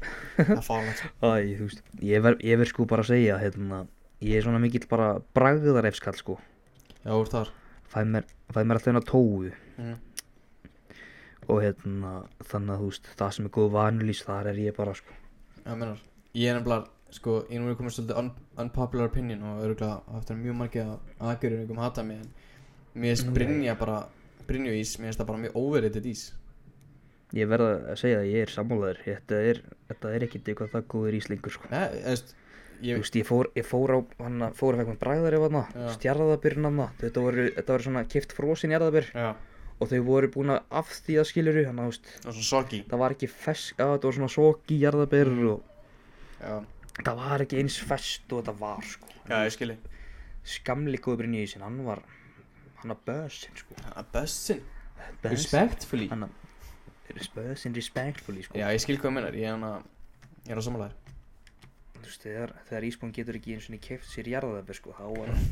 [SPEAKER 2] Það er fárlegt
[SPEAKER 1] Æ, þú veist, ég verð ver, sko bara að segja hérna, ég er svona mikill bara bragðarefskall sko
[SPEAKER 2] Já, úr þar
[SPEAKER 1] fæ mér, fæ mér alltaf hérna tóu
[SPEAKER 2] mm.
[SPEAKER 1] og hérna þannig að þú veist, það sem er góð vanulís þar er ég bara sko
[SPEAKER 2] Já, menar Ég er nefnilega Sko, ég nú er komið svolítið un unpopular opinion Og örgulega aftur mjög margir aðgjörur Einhverjum hata mig En mér finnst Brynja bara Brynju ís Mér finnst það bara mjög overrated ís
[SPEAKER 1] ég verð að segja að ég er sammálaður þetta er, þetta er ekkit eitthvað það góður íslingur sko
[SPEAKER 2] Nei, þú veist
[SPEAKER 1] Þú
[SPEAKER 2] Ég
[SPEAKER 1] veist, ég fór, ég fór á, hann fór að fekk með bræðari af hann,
[SPEAKER 2] Já.
[SPEAKER 1] stjarðabyrn hann, þetta voru, þetta voru svona kift frosin jarðabir
[SPEAKER 2] Já
[SPEAKER 1] og þau voru búin að af því að skiljuru, hann að, þú veist,
[SPEAKER 2] Og svona soggy
[SPEAKER 1] það var ekki fesk, að þetta var svona soki jarðabir
[SPEAKER 2] Mm.
[SPEAKER 1] og
[SPEAKER 2] Já
[SPEAKER 1] það var ekki eins fest og þetta var, sko.
[SPEAKER 2] Já, ég skilji
[SPEAKER 1] Skamli góðurinn í þessin, hann var, hann að bösin, sko.
[SPEAKER 2] Bössin
[SPEAKER 1] Bösin,
[SPEAKER 2] Respectfully
[SPEAKER 1] Hann að, bösin respectfully, sko.
[SPEAKER 2] Já, ég skil hvað ég meinar, ég er hana, ég er á samanlæðir.
[SPEAKER 1] Þú veist, þegar, þegar Ísbúinn getur ekki eins og niður keft sér jarðabir, sko, þá var hann,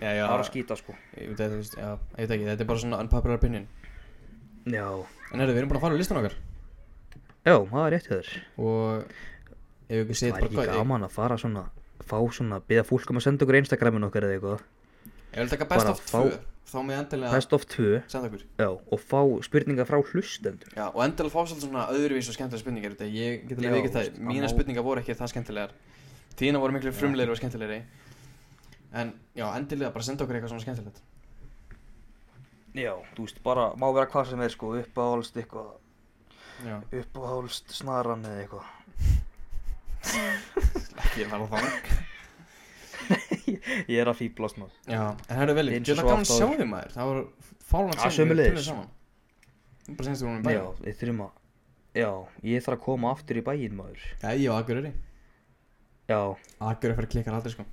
[SPEAKER 2] Já, já,
[SPEAKER 1] það var að skýta, sko.
[SPEAKER 2] ég veit að þú veist, já, ég veit ekki, þetta er bara svona unpopular opinion.
[SPEAKER 1] Já,
[SPEAKER 2] En herru, við erum búin að fara á listan okkar
[SPEAKER 1] já, það er rétt hjá þér.
[SPEAKER 2] og ef við ekki segja
[SPEAKER 1] Það er
[SPEAKER 2] þetta
[SPEAKER 1] ekki
[SPEAKER 2] bara hvað,
[SPEAKER 1] gaman að fara svona, fá svona, byggja fólk um að senda okkur Instagramin okkar eða eitthvað.
[SPEAKER 2] ég, ég vil taka best
[SPEAKER 1] bara
[SPEAKER 2] of
[SPEAKER 1] fá-
[SPEAKER 2] 2, þá með endilega
[SPEAKER 1] Best of 2,
[SPEAKER 2] senda okkur.
[SPEAKER 1] já, og fá spurningar frá hlustendur.
[SPEAKER 2] Já, og endilega fá svolítið svona öðruvís og skemmtilega spurningar, þetta ég get alveg
[SPEAKER 1] Já, sko,
[SPEAKER 2] vikið það,
[SPEAKER 1] veist, að
[SPEAKER 2] mína
[SPEAKER 1] má-
[SPEAKER 2] spurningar voru ekki það skemmtilegar, þína voru miklu frumlegri og skemmtilegri, en já, endilega bara senda okkur eitthvað svona skemmtilegt.
[SPEAKER 1] Já, þú veist, bara má vera hvað sem er, sko, uppáhálst eitthvað,
[SPEAKER 2] Já,
[SPEAKER 1] uppáhálst snaran eða eitthvað.
[SPEAKER 2] ekki að fara þannig.
[SPEAKER 1] Ég er að fýblast maður.
[SPEAKER 2] Já, en herru vel,
[SPEAKER 1] Eins og
[SPEAKER 2] þetta er
[SPEAKER 1] svo
[SPEAKER 2] gaman að
[SPEAKER 1] oft
[SPEAKER 2] sjá
[SPEAKER 1] áður.
[SPEAKER 2] þig maður, það voru fálan
[SPEAKER 1] Ja, sömuleiðis.
[SPEAKER 2] saman. Bara senast þú vorum í
[SPEAKER 1] Já,
[SPEAKER 2] bæði.
[SPEAKER 1] við þurfum að, já, ég þarf að koma aftur í bæinn maður.
[SPEAKER 2] Já, ég og Akureyri.
[SPEAKER 1] Já,
[SPEAKER 2] Akureyri fyrir klikkar aldrei sko.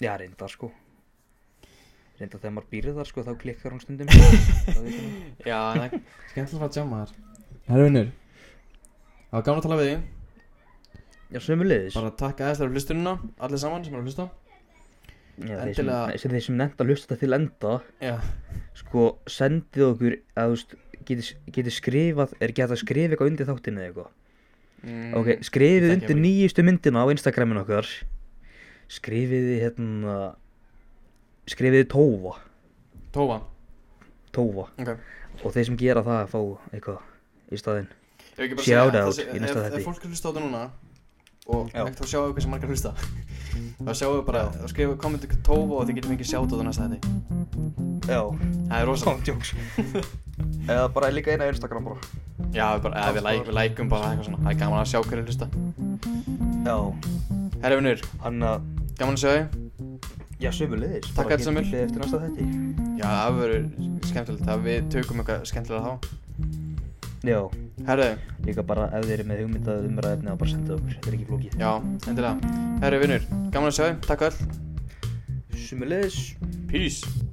[SPEAKER 1] já, reyndar, sko. Reyndar þegar maður býrið þar, sko, þá klikkar hún stundum. Það veit ég nú.
[SPEAKER 2] Já, skemmtilega að fara að jamma þar Herra vinnur Það var gaman að tala við þig
[SPEAKER 1] já, sömulegis.
[SPEAKER 2] Bara takk aðeins þar fyrir hlustunina Allir saman sem eru að hlusta
[SPEAKER 1] Já, þeir sem,
[SPEAKER 2] endilega-
[SPEAKER 1] sem þeir sem nefnda að hlusta þetta til enda.
[SPEAKER 2] Já
[SPEAKER 1] sko sendið okkur að þú veist getið geti skrifað er ekki hægt að skrifa eitthvað undir þáttinu eða eitthvað
[SPEAKER 2] mm,
[SPEAKER 1] ok, skrifið
[SPEAKER 2] það
[SPEAKER 1] undir
[SPEAKER 2] kemur.
[SPEAKER 1] nýjustu myndina á Instagramin okkar skrifið þið, hérna skrifið þið tófa
[SPEAKER 2] Tófa
[SPEAKER 1] tófa
[SPEAKER 2] Ok
[SPEAKER 1] og þeir sem gera það fá eitthvað í staðinn
[SPEAKER 2] Ef ekki bara
[SPEAKER 1] Shout
[SPEAKER 2] segja,
[SPEAKER 1] out
[SPEAKER 2] það sé-
[SPEAKER 1] í næsta
[SPEAKER 2] ef-
[SPEAKER 1] þætti.
[SPEAKER 2] Ef fólk er að hlusta á þetta núna Og
[SPEAKER 1] Já.
[SPEAKER 2] hægt þá sjáum við hvað sem margar hlusta Þá sjáum við bara Þá skrifum við kommentu Tófa og þið getum ekki sjátt á þetta næsta þetta
[SPEAKER 1] já,
[SPEAKER 2] Það er rosa
[SPEAKER 1] jóks eða bara líka eina Instagram bara
[SPEAKER 2] Já, við bara eða, Við læ- við lækum bara eitthvað svona Það er gaman að sjá hverju hlusta
[SPEAKER 1] já,
[SPEAKER 2] Herra vinnur
[SPEAKER 1] hann að
[SPEAKER 2] Gaman að sjá þig
[SPEAKER 1] já, sömulegis
[SPEAKER 2] Takk fyrir Samir.
[SPEAKER 1] eftir næsta þætti
[SPEAKER 2] Já, það verður skemmtilegt að Við tökum eitthvað skemmtilega þá
[SPEAKER 1] já,
[SPEAKER 2] Herra
[SPEAKER 1] líka bara ef þeir eru með hugmyndað umræðefni að bara senda okkur þetta er ekki flókið
[SPEAKER 2] Já, endilega. Herri vinnur, gaman að sjá þig, takk öll.
[SPEAKER 1] sömulegis
[SPEAKER 2] Peace.